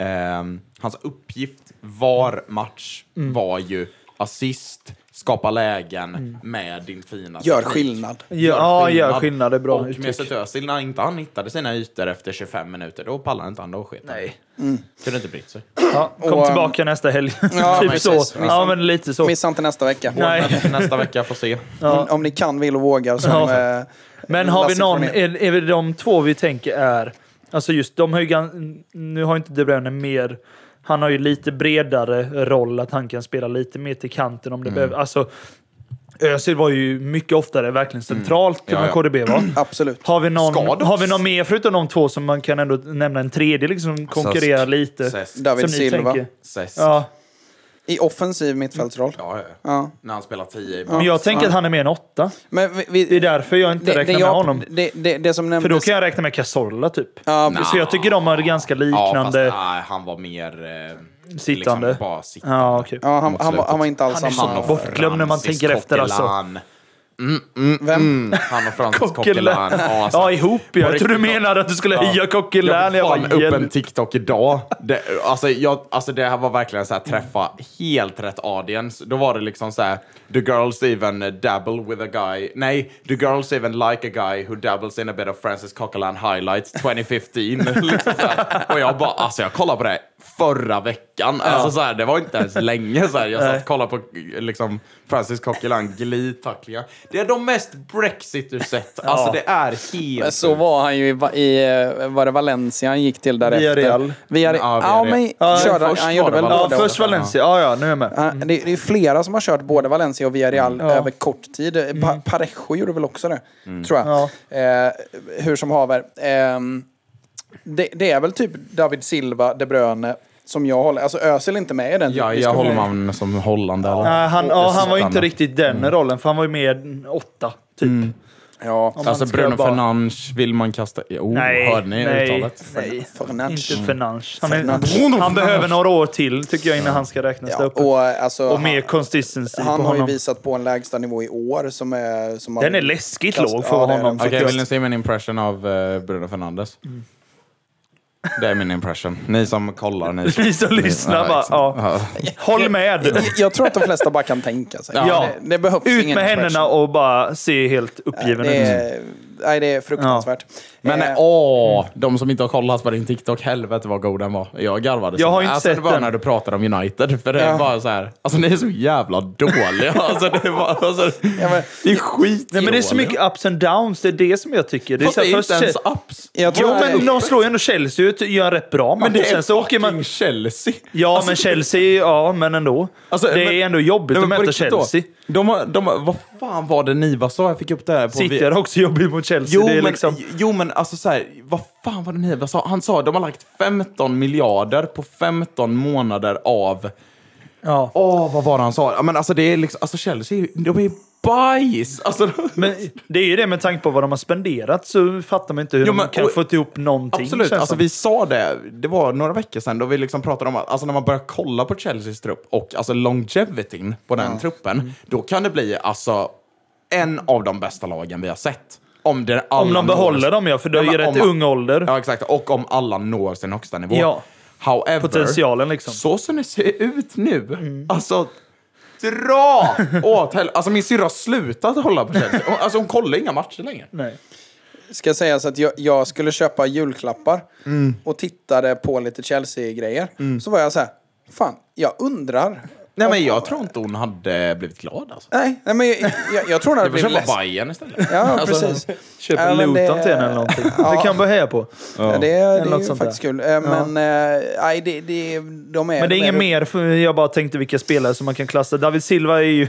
[SPEAKER 4] ehm, hans uppgift var match
[SPEAKER 5] Mm.
[SPEAKER 4] var ju assist, skapa lägen
[SPEAKER 5] Mm.
[SPEAKER 4] med din fina
[SPEAKER 3] Gör
[SPEAKER 4] teknik.
[SPEAKER 3] skillnad.
[SPEAKER 5] Ja, ja, gör skillnad. Det är bra
[SPEAKER 4] Och typ-
[SPEAKER 5] uttryck.
[SPEAKER 4] Mesut Özil, när inte han hittade sina ytor efter 25 minuter, då pallade inte han. Då sket Nej.
[SPEAKER 5] Mm.
[SPEAKER 4] Kunde inte brytt sig.
[SPEAKER 5] Ja, kom
[SPEAKER 3] Och,
[SPEAKER 4] um,
[SPEAKER 5] tillbaka nästa helg.
[SPEAKER 3] Ja,
[SPEAKER 5] typ
[SPEAKER 3] precis.
[SPEAKER 5] så.
[SPEAKER 3] Missa-
[SPEAKER 5] Ja, men lite så.
[SPEAKER 3] Missa inte nästa vecka.
[SPEAKER 5] Nej.
[SPEAKER 4] Nästa vecka får se.
[SPEAKER 3] Om, om ni kan, vill och vågar. Som,
[SPEAKER 5] Ja.
[SPEAKER 3] eh,
[SPEAKER 5] Men har vi
[SPEAKER 3] Lasse
[SPEAKER 5] någon,
[SPEAKER 3] Kronér.
[SPEAKER 5] är, är det de två vi tänker är, alltså just de har ju, gan- nu har inte De Bruyne mer, han har ju lite bredare roll att han kan spela lite mer till kanten om det behöver. Alltså, Özil var ju mycket oftare verkligen centralt
[SPEAKER 4] Ja,
[SPEAKER 5] än
[SPEAKER 4] ja.
[SPEAKER 5] vad KDB var.
[SPEAKER 3] Absolut.
[SPEAKER 5] Har vi, någon,
[SPEAKER 4] Ska dock-
[SPEAKER 5] har vi någon mer förutom de två som man kan ändå nämna en tredje liksom konkurrerar lite?
[SPEAKER 4] Ses.
[SPEAKER 3] David
[SPEAKER 5] som ni
[SPEAKER 3] Silva.
[SPEAKER 5] tänker.
[SPEAKER 4] Ses. Ja.
[SPEAKER 5] Ja,
[SPEAKER 3] I offensiv mittfältsroll.
[SPEAKER 4] Ja,
[SPEAKER 3] Ja.
[SPEAKER 4] När han spelar 10 i
[SPEAKER 5] men
[SPEAKER 4] back.
[SPEAKER 5] jag tänker att han är mer än åtta.
[SPEAKER 3] Men vi, vi,
[SPEAKER 5] Det är därför jag inte räknar med
[SPEAKER 3] jag-
[SPEAKER 5] honom.
[SPEAKER 3] Det, det, det som nämndes...
[SPEAKER 5] För då kan jag räkna med Cazorla typ.
[SPEAKER 3] Ja,
[SPEAKER 4] Mm.
[SPEAKER 5] Så jag tycker de har ganska
[SPEAKER 4] Ja, fast
[SPEAKER 5] liknande.
[SPEAKER 4] nej, han var mer... Eh,
[SPEAKER 5] Sittande.
[SPEAKER 4] Liksom, bara sittande.
[SPEAKER 5] Ja, okej.
[SPEAKER 3] Ja, han, han, var- han var inte alls
[SPEAKER 5] Han är
[SPEAKER 3] samma.
[SPEAKER 5] så
[SPEAKER 4] och
[SPEAKER 5] bortglömd när man
[SPEAKER 4] Francis
[SPEAKER 5] tänker efter, alltså.
[SPEAKER 4] Coquelin.
[SPEAKER 3] Vem?
[SPEAKER 4] Mm, han och Francis
[SPEAKER 5] Coquelin.
[SPEAKER 4] Coquelin. Ja, alltså.
[SPEAKER 5] Ja, ihop ja. Jag
[SPEAKER 4] På
[SPEAKER 5] tror du
[SPEAKER 4] riktigt,
[SPEAKER 5] menade att du skulle höja
[SPEAKER 4] Jag
[SPEAKER 5] Coquelin.
[SPEAKER 4] fick
[SPEAKER 5] Jag
[SPEAKER 4] fan
[SPEAKER 5] bara,
[SPEAKER 4] upp en
[SPEAKER 5] hjälp.
[SPEAKER 4] TikTok idag. Det, alltså, jag, alltså det här var verkligen så här träffa helt rätt audience. Då var det liksom så här, the girls even dabble with a guy. Nej, the girls even like a guy who dabbles in a bit of Francis Coquelin highlights 2015. liksom så här. Och jag bara, alltså jag kollade på det förra veckan. Alltså så här, det var inte ens länge så här. Jag satt och kollade på liksom Francis Coquelin glidtacklingar. Det är de mest Brexit du sett. Alltså det är helt
[SPEAKER 3] Så var han ju i, Va- i eh, var det Valencia han gick till därefter.
[SPEAKER 5] Villarreal.
[SPEAKER 3] Via,
[SPEAKER 4] Ja,
[SPEAKER 3] ja,
[SPEAKER 4] Villarreal.
[SPEAKER 3] men
[SPEAKER 5] Ja,
[SPEAKER 3] körde,
[SPEAKER 4] först
[SPEAKER 3] han
[SPEAKER 4] var
[SPEAKER 3] gjorde
[SPEAKER 4] det
[SPEAKER 3] väl
[SPEAKER 4] Valencia.
[SPEAKER 5] Ja,
[SPEAKER 3] båda.
[SPEAKER 5] först Valencia. Ja, ja, nu är jag med.
[SPEAKER 3] Han- Det, det är flera som har kört både Valencia och Villarreal
[SPEAKER 5] Ja. Mm.
[SPEAKER 3] över kort tid. Pa, Parejo gjorde väl också det,
[SPEAKER 4] Mm.
[SPEAKER 3] tror jag.
[SPEAKER 5] Ja.
[SPEAKER 3] Eh, hur som haver. Ehm, det, det är väl typ David Silva, De Bruyne, som jag håller. Alltså Özil är inte med i den
[SPEAKER 4] Ja, jag
[SPEAKER 3] diskussionen.
[SPEAKER 4] håller man som Holland eller?
[SPEAKER 5] Nej, han, ja, han var ju inte
[SPEAKER 4] Stanna.
[SPEAKER 5] riktigt den
[SPEAKER 4] Mm.
[SPEAKER 5] rollen, för han var ju mer åtta, typ.
[SPEAKER 3] Ja.
[SPEAKER 5] Om man
[SPEAKER 4] Alltså
[SPEAKER 5] ska
[SPEAKER 4] Bruno
[SPEAKER 5] bara-
[SPEAKER 4] Fernandes vill man kasta... Oh,
[SPEAKER 5] Nej,
[SPEAKER 4] hörde ni
[SPEAKER 5] nej.
[SPEAKER 4] uttalet?
[SPEAKER 5] Nej,
[SPEAKER 3] Fernandes.
[SPEAKER 4] Mm.
[SPEAKER 5] inte Fernandes. Han,
[SPEAKER 3] Fernandes.
[SPEAKER 5] är, han behöver några år till, tycker jag, innan han ska räknas
[SPEAKER 3] Ja,
[SPEAKER 5] där uppe.
[SPEAKER 3] och, alltså,
[SPEAKER 5] Och mer consistency
[SPEAKER 3] Han
[SPEAKER 5] på
[SPEAKER 3] har ju
[SPEAKER 5] honom.
[SPEAKER 3] visat på en lägsta nivå i år som är... Som har-
[SPEAKER 5] Den är läskigt
[SPEAKER 3] Kast-
[SPEAKER 5] låg för
[SPEAKER 3] Ja, det är
[SPEAKER 5] honom.
[SPEAKER 3] den faktiskt.
[SPEAKER 4] Okej,
[SPEAKER 5] faktiskt.
[SPEAKER 4] vill ni se min impression av eh, Bruno Fernandes?
[SPEAKER 5] Mm.
[SPEAKER 4] Det är min impression. Ni som kollar, ni som...
[SPEAKER 5] Ni som lyssnar bara,
[SPEAKER 4] exakt.
[SPEAKER 5] ja. Håll med!
[SPEAKER 3] Jag- Jag tror att de flesta bara kan tänka sig.
[SPEAKER 5] Ja.
[SPEAKER 3] Det, det behövs
[SPEAKER 5] Ut
[SPEAKER 3] ingen
[SPEAKER 5] med händerna
[SPEAKER 3] impression.
[SPEAKER 5] och bara se helt uppgiven
[SPEAKER 3] det
[SPEAKER 5] ut.
[SPEAKER 3] är, nej, det är fruktansvärt.
[SPEAKER 4] Men
[SPEAKER 3] Eh,
[SPEAKER 4] åh, de som inte har kollat på din TikTok, helvete vad god den var. Jag garvade. så.
[SPEAKER 5] Jag har inte
[SPEAKER 4] alltså,
[SPEAKER 5] sett
[SPEAKER 4] det var
[SPEAKER 5] den.
[SPEAKER 4] när du pratade om United, för det
[SPEAKER 3] Ja.
[SPEAKER 4] var så här, alltså ni är så jävla dåliga. Alltså, det, var, alltså,
[SPEAKER 3] men-
[SPEAKER 4] det är skit
[SPEAKER 5] Nej, men det är så mycket ups and downs, det är det som jag tycker. Det är
[SPEAKER 4] Fast
[SPEAKER 5] så
[SPEAKER 4] det
[SPEAKER 5] här,
[SPEAKER 4] är
[SPEAKER 5] först
[SPEAKER 4] inte ens
[SPEAKER 5] så-
[SPEAKER 4] ups.
[SPEAKER 3] Jag tror
[SPEAKER 5] Jo,
[SPEAKER 3] det är-
[SPEAKER 5] men de slår ju ändå Chelsea ut, gör en rätt bra match.
[SPEAKER 4] Men det är
[SPEAKER 5] Sen så åker man...
[SPEAKER 4] Chelsea.
[SPEAKER 5] Ja, men Chelsea, ja, men ändå.
[SPEAKER 4] Alltså,
[SPEAKER 5] det
[SPEAKER 4] men-
[SPEAKER 5] är ändå jobbigt
[SPEAKER 4] Nej, men
[SPEAKER 5] att
[SPEAKER 4] på
[SPEAKER 5] möta
[SPEAKER 4] riktigt då.
[SPEAKER 5] Chelsea.
[SPEAKER 4] De har, de har, vad fan var det Niva sa? Jag fick upp det här på...
[SPEAKER 5] City är också jobbigt mot Chelsea.
[SPEAKER 4] Jo
[SPEAKER 5] det är
[SPEAKER 4] men,
[SPEAKER 5] liksom...
[SPEAKER 4] jo men alltså så här, vad fan var det Niva sa? Han sa de har lagt 15 miljarder på 15 månader av...
[SPEAKER 5] Ja.
[SPEAKER 4] Åh, vad var det han sa? Ja, Men alltså det är liksom, alltså Chelsea, är ju- de är ju bajs! Alltså, de-
[SPEAKER 5] Men det är ju det med tanke på vad de har spenderat så fattar man inte hur
[SPEAKER 4] Jo,
[SPEAKER 5] de
[SPEAKER 4] men-
[SPEAKER 5] kan
[SPEAKER 4] och-
[SPEAKER 5] få ihop någonting. känns
[SPEAKER 4] Absolut,
[SPEAKER 5] det
[SPEAKER 4] alltså
[SPEAKER 5] som.
[SPEAKER 4] vi sa det, det var några veckor sedan då vi liksom pratade om att alltså när man börjar kolla på Chelseas trupp och alltså longevityn på den
[SPEAKER 5] Mm.
[SPEAKER 4] truppen, då kan det bli alltså en av de bästa lagen vi har sett. Om, det alla
[SPEAKER 5] Om de
[SPEAKER 4] når-
[SPEAKER 5] behåller dem ja, för det är
[SPEAKER 4] Ja,
[SPEAKER 5] ju
[SPEAKER 4] men
[SPEAKER 5] rätt
[SPEAKER 4] om-
[SPEAKER 5] ung ålder.
[SPEAKER 4] Ja, exakt. Och om alla når sin högsta nivå.
[SPEAKER 5] Ja.
[SPEAKER 4] However,
[SPEAKER 5] Potentialen liksom. Mm.
[SPEAKER 4] så som det ser ut nu, alltså dra åt helvete. Alltså min syrra har slutat hålla på Chelsea. Hon- Alltså hon kollar inga matcher längre.
[SPEAKER 5] Nej.
[SPEAKER 3] ska sägas att jag, jag skulle köpa julklappar
[SPEAKER 5] Mm.
[SPEAKER 3] och tittade på lite Chelsea-grejer. Så var jag så här, fan, jag undrar.
[SPEAKER 4] Nej men
[SPEAKER 3] om-
[SPEAKER 4] jag tror inte hon hade blivit glad alltså.
[SPEAKER 3] Nej, nej men jag, jag, jag tror hon hade
[SPEAKER 4] Jag vill
[SPEAKER 3] blivit
[SPEAKER 4] köpa
[SPEAKER 3] ledsen.
[SPEAKER 4] Bajen istället.
[SPEAKER 3] Ja,
[SPEAKER 4] Alltså,
[SPEAKER 3] precis.
[SPEAKER 5] Köper
[SPEAKER 3] Ja, men
[SPEAKER 5] Luton
[SPEAKER 3] det-
[SPEAKER 5] till henne eller någonting.
[SPEAKER 3] Ja.
[SPEAKER 5] Det kan man heja på.
[SPEAKER 3] Ja, det, det är
[SPEAKER 5] något
[SPEAKER 3] ju
[SPEAKER 5] sånt
[SPEAKER 3] faktiskt
[SPEAKER 5] där.
[SPEAKER 3] kul. Eh, Men eh, nej, det, det, de är...
[SPEAKER 5] Men det är
[SPEAKER 3] de
[SPEAKER 5] inget mer, för jag bara tänkte vilka spelare som man kan klassa. David Silva är ju...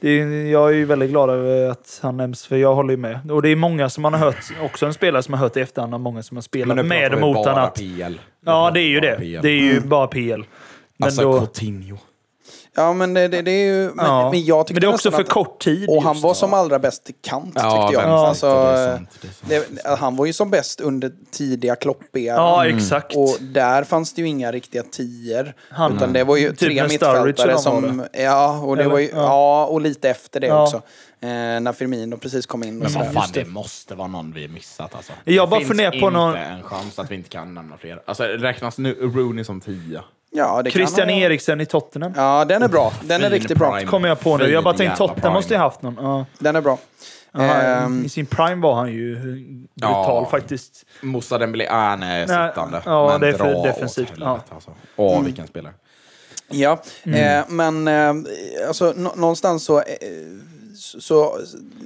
[SPEAKER 5] Det är, jag är ju väldigt glad över att han nämns, för jag håller ju med. Och det är många som man har hört, också en spelare som man har hört i efterhand, av många som har
[SPEAKER 4] Men nu
[SPEAKER 5] spelat
[SPEAKER 4] pratar
[SPEAKER 5] med
[SPEAKER 4] vi
[SPEAKER 5] och mot
[SPEAKER 4] bara
[SPEAKER 5] honom. att-
[SPEAKER 4] PL.
[SPEAKER 5] Ja, det är ju
[SPEAKER 4] Bara
[SPEAKER 5] det.
[SPEAKER 4] PL.
[SPEAKER 5] Det är ju
[SPEAKER 3] Mm.
[SPEAKER 5] bara PL. Men
[SPEAKER 4] Alltså
[SPEAKER 5] då,
[SPEAKER 4] Coutinho.
[SPEAKER 3] Ja, men det, det, det är ju... Men,
[SPEAKER 5] ja.
[SPEAKER 3] men jag tyckte
[SPEAKER 5] men det är också
[SPEAKER 3] nästan
[SPEAKER 5] för
[SPEAKER 3] att-
[SPEAKER 5] kort tid.
[SPEAKER 3] Och han
[SPEAKER 5] just.
[SPEAKER 3] var som allra bäst i kant, tyckte
[SPEAKER 4] Ja,
[SPEAKER 3] jag.
[SPEAKER 4] vänster,
[SPEAKER 3] Alltså,
[SPEAKER 4] det är sant, det är sant.
[SPEAKER 3] det- alltså, han var ju som bäst under tidiga kloppiga.
[SPEAKER 5] Ja, exakt.
[SPEAKER 3] Mm. Och där fanns det ju inga riktiga tior.
[SPEAKER 5] Han-
[SPEAKER 3] utan det var ju
[SPEAKER 5] typ
[SPEAKER 3] tre
[SPEAKER 5] när Sturridge och
[SPEAKER 3] mittfältare
[SPEAKER 5] de
[SPEAKER 3] som...
[SPEAKER 5] var
[SPEAKER 3] Ja och, det
[SPEAKER 5] Eller?
[SPEAKER 3] var ju,
[SPEAKER 5] Ja.
[SPEAKER 3] ja, och lite efter det
[SPEAKER 5] Ja.
[SPEAKER 3] också. Eh, när Firmino precis kom in. Eh, Och
[SPEAKER 4] Men
[SPEAKER 3] sådär.
[SPEAKER 4] vad fan, det måste vara någon vi missat alltså.
[SPEAKER 5] Jag
[SPEAKER 4] det
[SPEAKER 5] bara
[SPEAKER 4] finns
[SPEAKER 5] funderar på
[SPEAKER 4] inte
[SPEAKER 5] någon-
[SPEAKER 4] en chans att vi inte kan nämna fler. Alltså räknas nu Rooney som tia?
[SPEAKER 3] ja, det kan
[SPEAKER 5] Christian
[SPEAKER 3] han-
[SPEAKER 5] Eriksen i Tottenham.
[SPEAKER 3] Ja, den är bra. Den är
[SPEAKER 4] Fin
[SPEAKER 3] riktigt bra.
[SPEAKER 4] prime.
[SPEAKER 5] Kommer jag på nu.
[SPEAKER 4] Fin
[SPEAKER 5] Jag bara
[SPEAKER 4] jävla
[SPEAKER 5] tänkte Tottenham
[SPEAKER 4] prime.
[SPEAKER 5] måste ju haft någon. Ja.
[SPEAKER 3] Den är bra.
[SPEAKER 5] Ja,
[SPEAKER 3] Ehm,
[SPEAKER 5] I sin prime var han ju brutal
[SPEAKER 4] Ja.
[SPEAKER 5] faktiskt.
[SPEAKER 4] Moussa Dembélé, ah, han är
[SPEAKER 5] Nej,
[SPEAKER 4] sittande.
[SPEAKER 5] ja,
[SPEAKER 4] Men
[SPEAKER 5] det är för
[SPEAKER 4] dra åt
[SPEAKER 5] defensivt,
[SPEAKER 4] helvete,
[SPEAKER 5] ja.
[SPEAKER 4] Alltså. Åh, vilken spelare.
[SPEAKER 3] Ja,
[SPEAKER 5] Mm.
[SPEAKER 3] eh, men eh, alltså, nå- någonstans så... Eh, så, så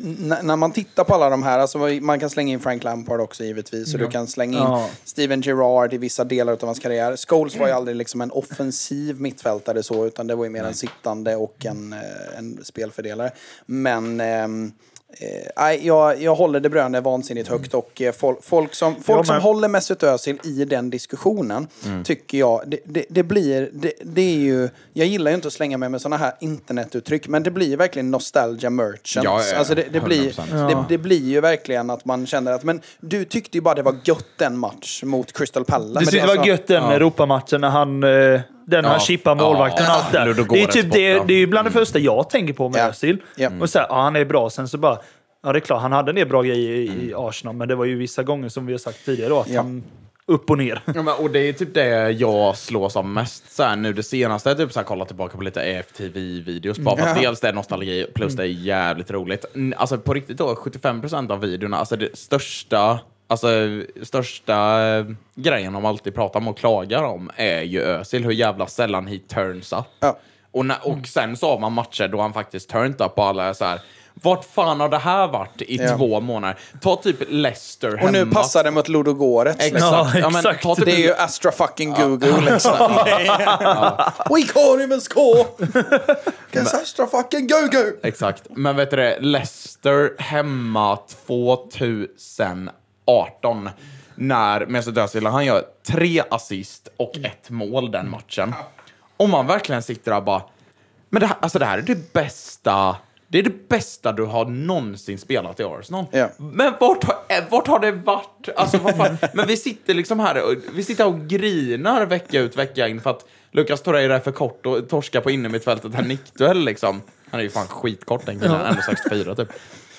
[SPEAKER 3] n- när man tittar på alla de här, alltså man kan slänga in Frank Lampard också givetvis, och du kan slänga in
[SPEAKER 5] Ja. Mm.
[SPEAKER 3] Steven Gerrard i vissa delar av hans karriär. Scholes var ju aldrig liksom en offensiv mittfältare så, utan det var ju mer en sittande och en, eh, en spelfördelare. Men... ehm, Eh, nej, jag, jag håller De Bruyne vansinnigt
[SPEAKER 5] Mm.
[SPEAKER 3] högt och eh, folk, folk som, folk
[SPEAKER 5] Jag
[SPEAKER 3] som
[SPEAKER 5] med.
[SPEAKER 3] håller Mesut Özil i den diskussionen tycker jag, det, det, det blir, det, det är ju, jag gillar ju inte att slänga mig med sådana här internetuttryck, men det blir ju verkligen nostalgia merchants.
[SPEAKER 4] Ja, ja, ja.
[SPEAKER 3] alltså det, det, blir,
[SPEAKER 4] 100%.
[SPEAKER 3] det, det blir ju verkligen att man känner att, men du tyckte ju bara det var gött en match mot Crystal Palace.
[SPEAKER 5] Du
[SPEAKER 3] men alltså,
[SPEAKER 5] tyckte det var gött den Europamatchen när han... eh, Den
[SPEAKER 4] Ja.
[SPEAKER 5] han chippar målvakten
[SPEAKER 4] Ja.
[SPEAKER 5] och allt där. Det är,
[SPEAKER 4] Ludogorets
[SPEAKER 5] typ det,
[SPEAKER 4] borta.
[SPEAKER 5] det är ju bland det första jag tänker på med
[SPEAKER 3] Ja.
[SPEAKER 5] Özil.
[SPEAKER 3] Ja.
[SPEAKER 5] Och så här, ja, han är bra. Sen så bara... Ja, det är klart, han hade en del bra grejer i, i Arsenal, men det var ju vissa gånger som vi har sagt tidigare då, att
[SPEAKER 3] Mm. Ja.
[SPEAKER 5] han... Upp och ner.
[SPEAKER 4] Ja, men, och det är typ det jag slås av mest så här, nu det senaste. Typ så här, kolla tillbaka på lite EFTV-videos. Bara för att dels det är nostalgi plus det är jävligt roligt. Mm, Alltså på riktigt då, 75% av videorna, alltså det största, alltså största eh, grejen de alltid pratar om och klagar om är ju Özil, hur jävla sällan he turns up.
[SPEAKER 3] Ja. Mm.
[SPEAKER 4] Och, när, och sen så har man matcher då han faktiskt turned up och alla är så här. Vart fan har det här varit i
[SPEAKER 3] Ja.
[SPEAKER 4] två månader? Ta typ Leicester hemma.
[SPEAKER 3] och nu passar det mot Ludogorets. liksom.
[SPEAKER 4] Exakt.
[SPEAKER 5] Ja,
[SPEAKER 4] Ja, men,
[SPEAKER 5] exakt.
[SPEAKER 4] ta typ
[SPEAKER 3] Det är ju Astra fucking Google liksom. We call him and score! 'Cause Astra fucking Google!
[SPEAKER 4] Exakt. Men vet du det, Leicester hemma 2018 när Mesut Özil, han gör tre assist och ett mål den matchen. Om man verkligen sitter där och bara, men det här, alltså det här är det bästa, det är det bästa du har någonsin spelat i Arsenal.
[SPEAKER 3] Ja.
[SPEAKER 4] Men vart har, eh, vart har det varit? Alltså, vad fan? Men vi sitter liksom här och, vi sitter och grinar vecka ut vecka in för att Lucas Torreira är för kort och torskar på innermittfältet en nickduell liksom. Han är ju fan skitkort den killen, 1,64 typ.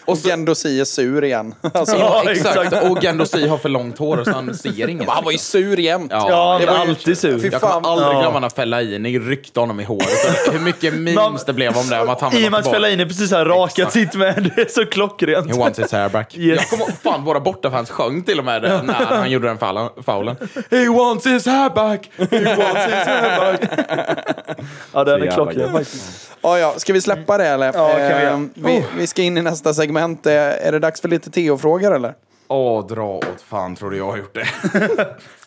[SPEAKER 3] Och Gendosi är sur igen. Alltså,
[SPEAKER 5] Ja,
[SPEAKER 4] Exakt, och Gendosi har för långt hår så han ser inget.
[SPEAKER 3] Han var ju sur jämt.
[SPEAKER 5] Ja,
[SPEAKER 4] det
[SPEAKER 5] han
[SPEAKER 4] var
[SPEAKER 5] är
[SPEAKER 4] ju-
[SPEAKER 5] alltid sur.
[SPEAKER 3] Fy
[SPEAKER 4] Jag kommer
[SPEAKER 3] fan.
[SPEAKER 4] aldrig
[SPEAKER 5] Ja.
[SPEAKER 4] glömma när Fellaini ryckte honom i håret. Hur mycket memes det blev om det. Om att han
[SPEAKER 5] I och med att Fellaini precis har rakat
[SPEAKER 4] Exakt.
[SPEAKER 5] sitt med. Det är så klockrent.
[SPEAKER 4] He wants his hair back.
[SPEAKER 5] Yes.
[SPEAKER 4] Jag kommer ihåg- fan, våra bortafans sjöng till och med det när han gjorde den falla- faulen. He wants his hair back! He wants his hair back!
[SPEAKER 5] Ja, den
[SPEAKER 4] Så
[SPEAKER 5] är
[SPEAKER 4] jävla
[SPEAKER 5] klockren
[SPEAKER 4] gött.
[SPEAKER 5] faktiskt.
[SPEAKER 3] Ja, ja. Ska vi släppa det eller?
[SPEAKER 5] Ja, kan vi
[SPEAKER 3] Eh,
[SPEAKER 5] göra.
[SPEAKER 3] vi, vi ska in i nästa segment. Eh, Är det dags för lite Theo-frågor eller?
[SPEAKER 4] Åh, dra åt fan tror du jag har gjort det.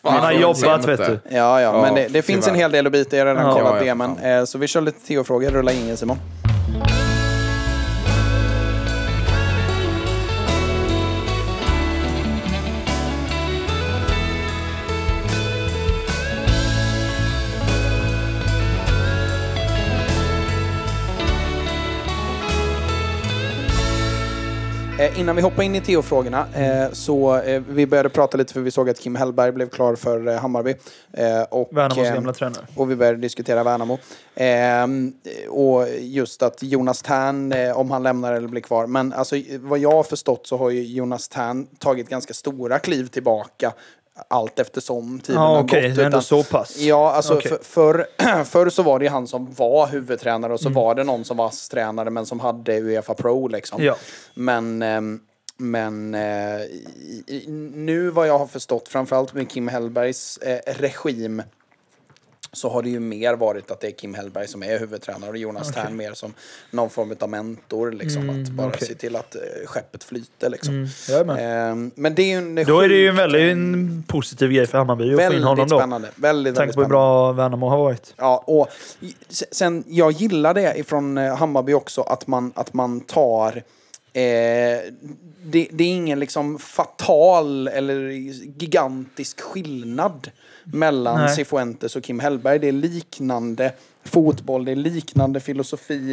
[SPEAKER 5] Han har jobbat, vet
[SPEAKER 4] eh,
[SPEAKER 5] du.
[SPEAKER 3] Ja, ja,
[SPEAKER 4] Ja,
[SPEAKER 3] men det, det finns en
[SPEAKER 4] tyvärr.
[SPEAKER 3] hel del att bita i. Jag har redan
[SPEAKER 5] Ja.
[SPEAKER 3] kollat
[SPEAKER 4] Ja, ja,
[SPEAKER 3] det. Men, eh, så vi kör lite Theo-frågor. Rulla in igen, Simon. Eh, Innan vi hoppar in i Theo-frågorna, eh, så eh, vi började prata lite för vi såg att Kim Hellberg blev klar för eh, Hammarby. Eh, och,
[SPEAKER 5] Värnamos
[SPEAKER 3] eh,
[SPEAKER 5] gamla tränare.
[SPEAKER 3] och vi började diskutera Värnamo. Ehm, och just att Jonas Tern, eh, om han lämnar eller blir kvar. Men alltså, vad jag har förstått så har ju Jonas Tern tagit ganska stora kliv tillbaka allt eftersom tiden
[SPEAKER 5] Ja,
[SPEAKER 3] har
[SPEAKER 5] okej.
[SPEAKER 3] gått.
[SPEAKER 5] Det är ändå
[SPEAKER 3] utan-
[SPEAKER 5] så pass.
[SPEAKER 3] Ja, alltså
[SPEAKER 5] Okej.
[SPEAKER 3] för, förr, förr så var det ju han som var huvudtränare och så
[SPEAKER 5] Mm.
[SPEAKER 3] var det någon som var tränare men som hade Uefa Pro liksom.
[SPEAKER 5] Ja.
[SPEAKER 3] Men, ehm, men eh, i- i- nu vad jag har förstått, framförallt med Kim Hellbergs eh, regim, så har det ju mer varit att det är Kim Hellberg som är huvudtränare och Jonas Tern mer som någon form av mentor. Liksom, att bara
[SPEAKER 5] Mm, okej.
[SPEAKER 3] se till att eh, skeppet flyter. Liksom.
[SPEAKER 5] jag är med.
[SPEAKER 3] Ehm, men det är ju en
[SPEAKER 5] Mm, Då är det ju en
[SPEAKER 3] sjukt-
[SPEAKER 5] väldigt en positiv grej för Hammarby att få in honom
[SPEAKER 3] väldigt
[SPEAKER 5] då.
[SPEAKER 3] spännande. Väldigt,
[SPEAKER 5] Med tanke
[SPEAKER 3] väldigt
[SPEAKER 5] på hur
[SPEAKER 3] spännande.
[SPEAKER 5] bra Värnamo har varit.
[SPEAKER 3] Ja, och s- sen, jag gillar det ifrån eh, Hammarby också, att man, att man tar... Eh, det, det är ingen liksom fatal eller gigantisk skillnad mellan
[SPEAKER 5] Nej.
[SPEAKER 3] Cifuentes och Kim Hellberg. Det är liknande fotboll, det är liknande filosofi,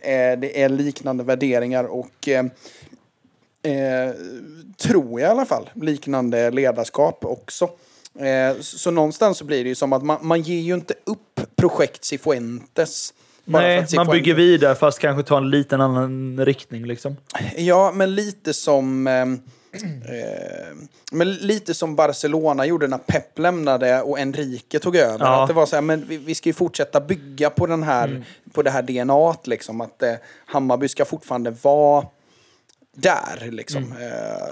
[SPEAKER 3] eh, det är liknande värderingar och eh, eh, tror jag i alla fall, liknande ledarskap också. Eh, så, så någonstans så blir det ju som att man, man ger ju inte upp projekt Cifuentes. bara för
[SPEAKER 5] Nej,
[SPEAKER 3] att
[SPEAKER 5] man
[SPEAKER 3] Cifuentes-
[SPEAKER 5] bygger vidare fast kanske ta en liten annan riktning liksom.
[SPEAKER 3] Ja, men lite som... ehm, Eh, men lite som Barcelona gjorde när Pep lämnade och Enrique tog över.
[SPEAKER 5] Ja. Mm.
[SPEAKER 3] Att det var så här, men vi, vi ska ju fortsätta bygga på, den här, på det här DNAt. Liksom, att eh, Hammarby ska fortfarande vara där liksom.
[SPEAKER 5] Mm.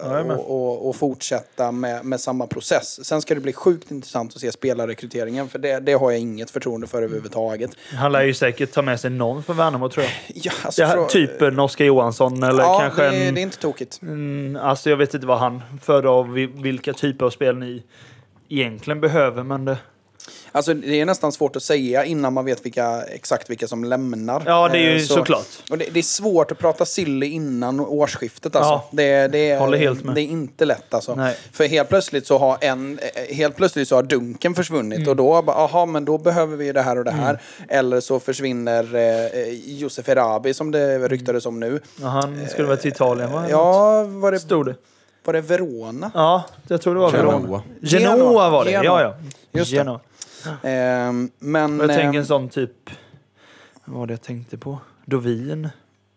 [SPEAKER 5] jag är
[SPEAKER 3] Eh,
[SPEAKER 5] med.
[SPEAKER 3] och, och, och fortsätta med, med samma process. Sen ska det bli sjukt intressant att se spelarrekryteringen. För det, det har jag inget förtroende
[SPEAKER 5] Mm.
[SPEAKER 3] för överhuvudtaget.
[SPEAKER 5] Han lär ju säkert ta med sig någon från Värnamo tror jag.
[SPEAKER 3] Ja, Mm. alltså,
[SPEAKER 5] Det här,
[SPEAKER 3] frå-
[SPEAKER 5] typ en Oskar Johansson eller
[SPEAKER 3] ja,
[SPEAKER 5] kanske
[SPEAKER 3] det,
[SPEAKER 5] en...
[SPEAKER 3] det är inte tokigt.
[SPEAKER 5] Mm, alltså jag vet inte vad han föredrar, vil- vilka typer av spel ni egentligen behöver. Men det,
[SPEAKER 3] Alltså, det är nästan svårt att säga innan man vet vilka, exakt vilka som lämnar.
[SPEAKER 5] ja, det är ju
[SPEAKER 3] Eh, så-
[SPEAKER 5] såklart.
[SPEAKER 3] Och det, det är svårt att prata silly innan årsskiftet. Alltså.
[SPEAKER 5] Ja.
[SPEAKER 3] Det, det, är-
[SPEAKER 5] Håller helt med.
[SPEAKER 3] det är inte lätt. Alltså.
[SPEAKER 5] Nej.
[SPEAKER 3] För helt plötsligt så har, en, eh, helt plötsligt så har dunken försvunnit.
[SPEAKER 5] Mm.
[SPEAKER 3] Och då, bara, aha, men då behöver vi det här och det här. Eller så försvinner eh, eh, Josef Erabi som det ryktades om nu.
[SPEAKER 5] Ja, han skulle vara till Italien va?
[SPEAKER 3] Eh, Ja, var det,
[SPEAKER 5] Stod det.
[SPEAKER 3] var det Verona?
[SPEAKER 5] Ja, jag tror det var Verona.
[SPEAKER 4] Genoa.
[SPEAKER 5] Genoa var det, ja ja.
[SPEAKER 3] Just det.
[SPEAKER 5] Genoa.
[SPEAKER 3] Ehm, men...
[SPEAKER 5] Ah. Jag
[SPEAKER 3] ehm,
[SPEAKER 5] tänker en sån typ... Vad var det jag tänkte på? Dovin.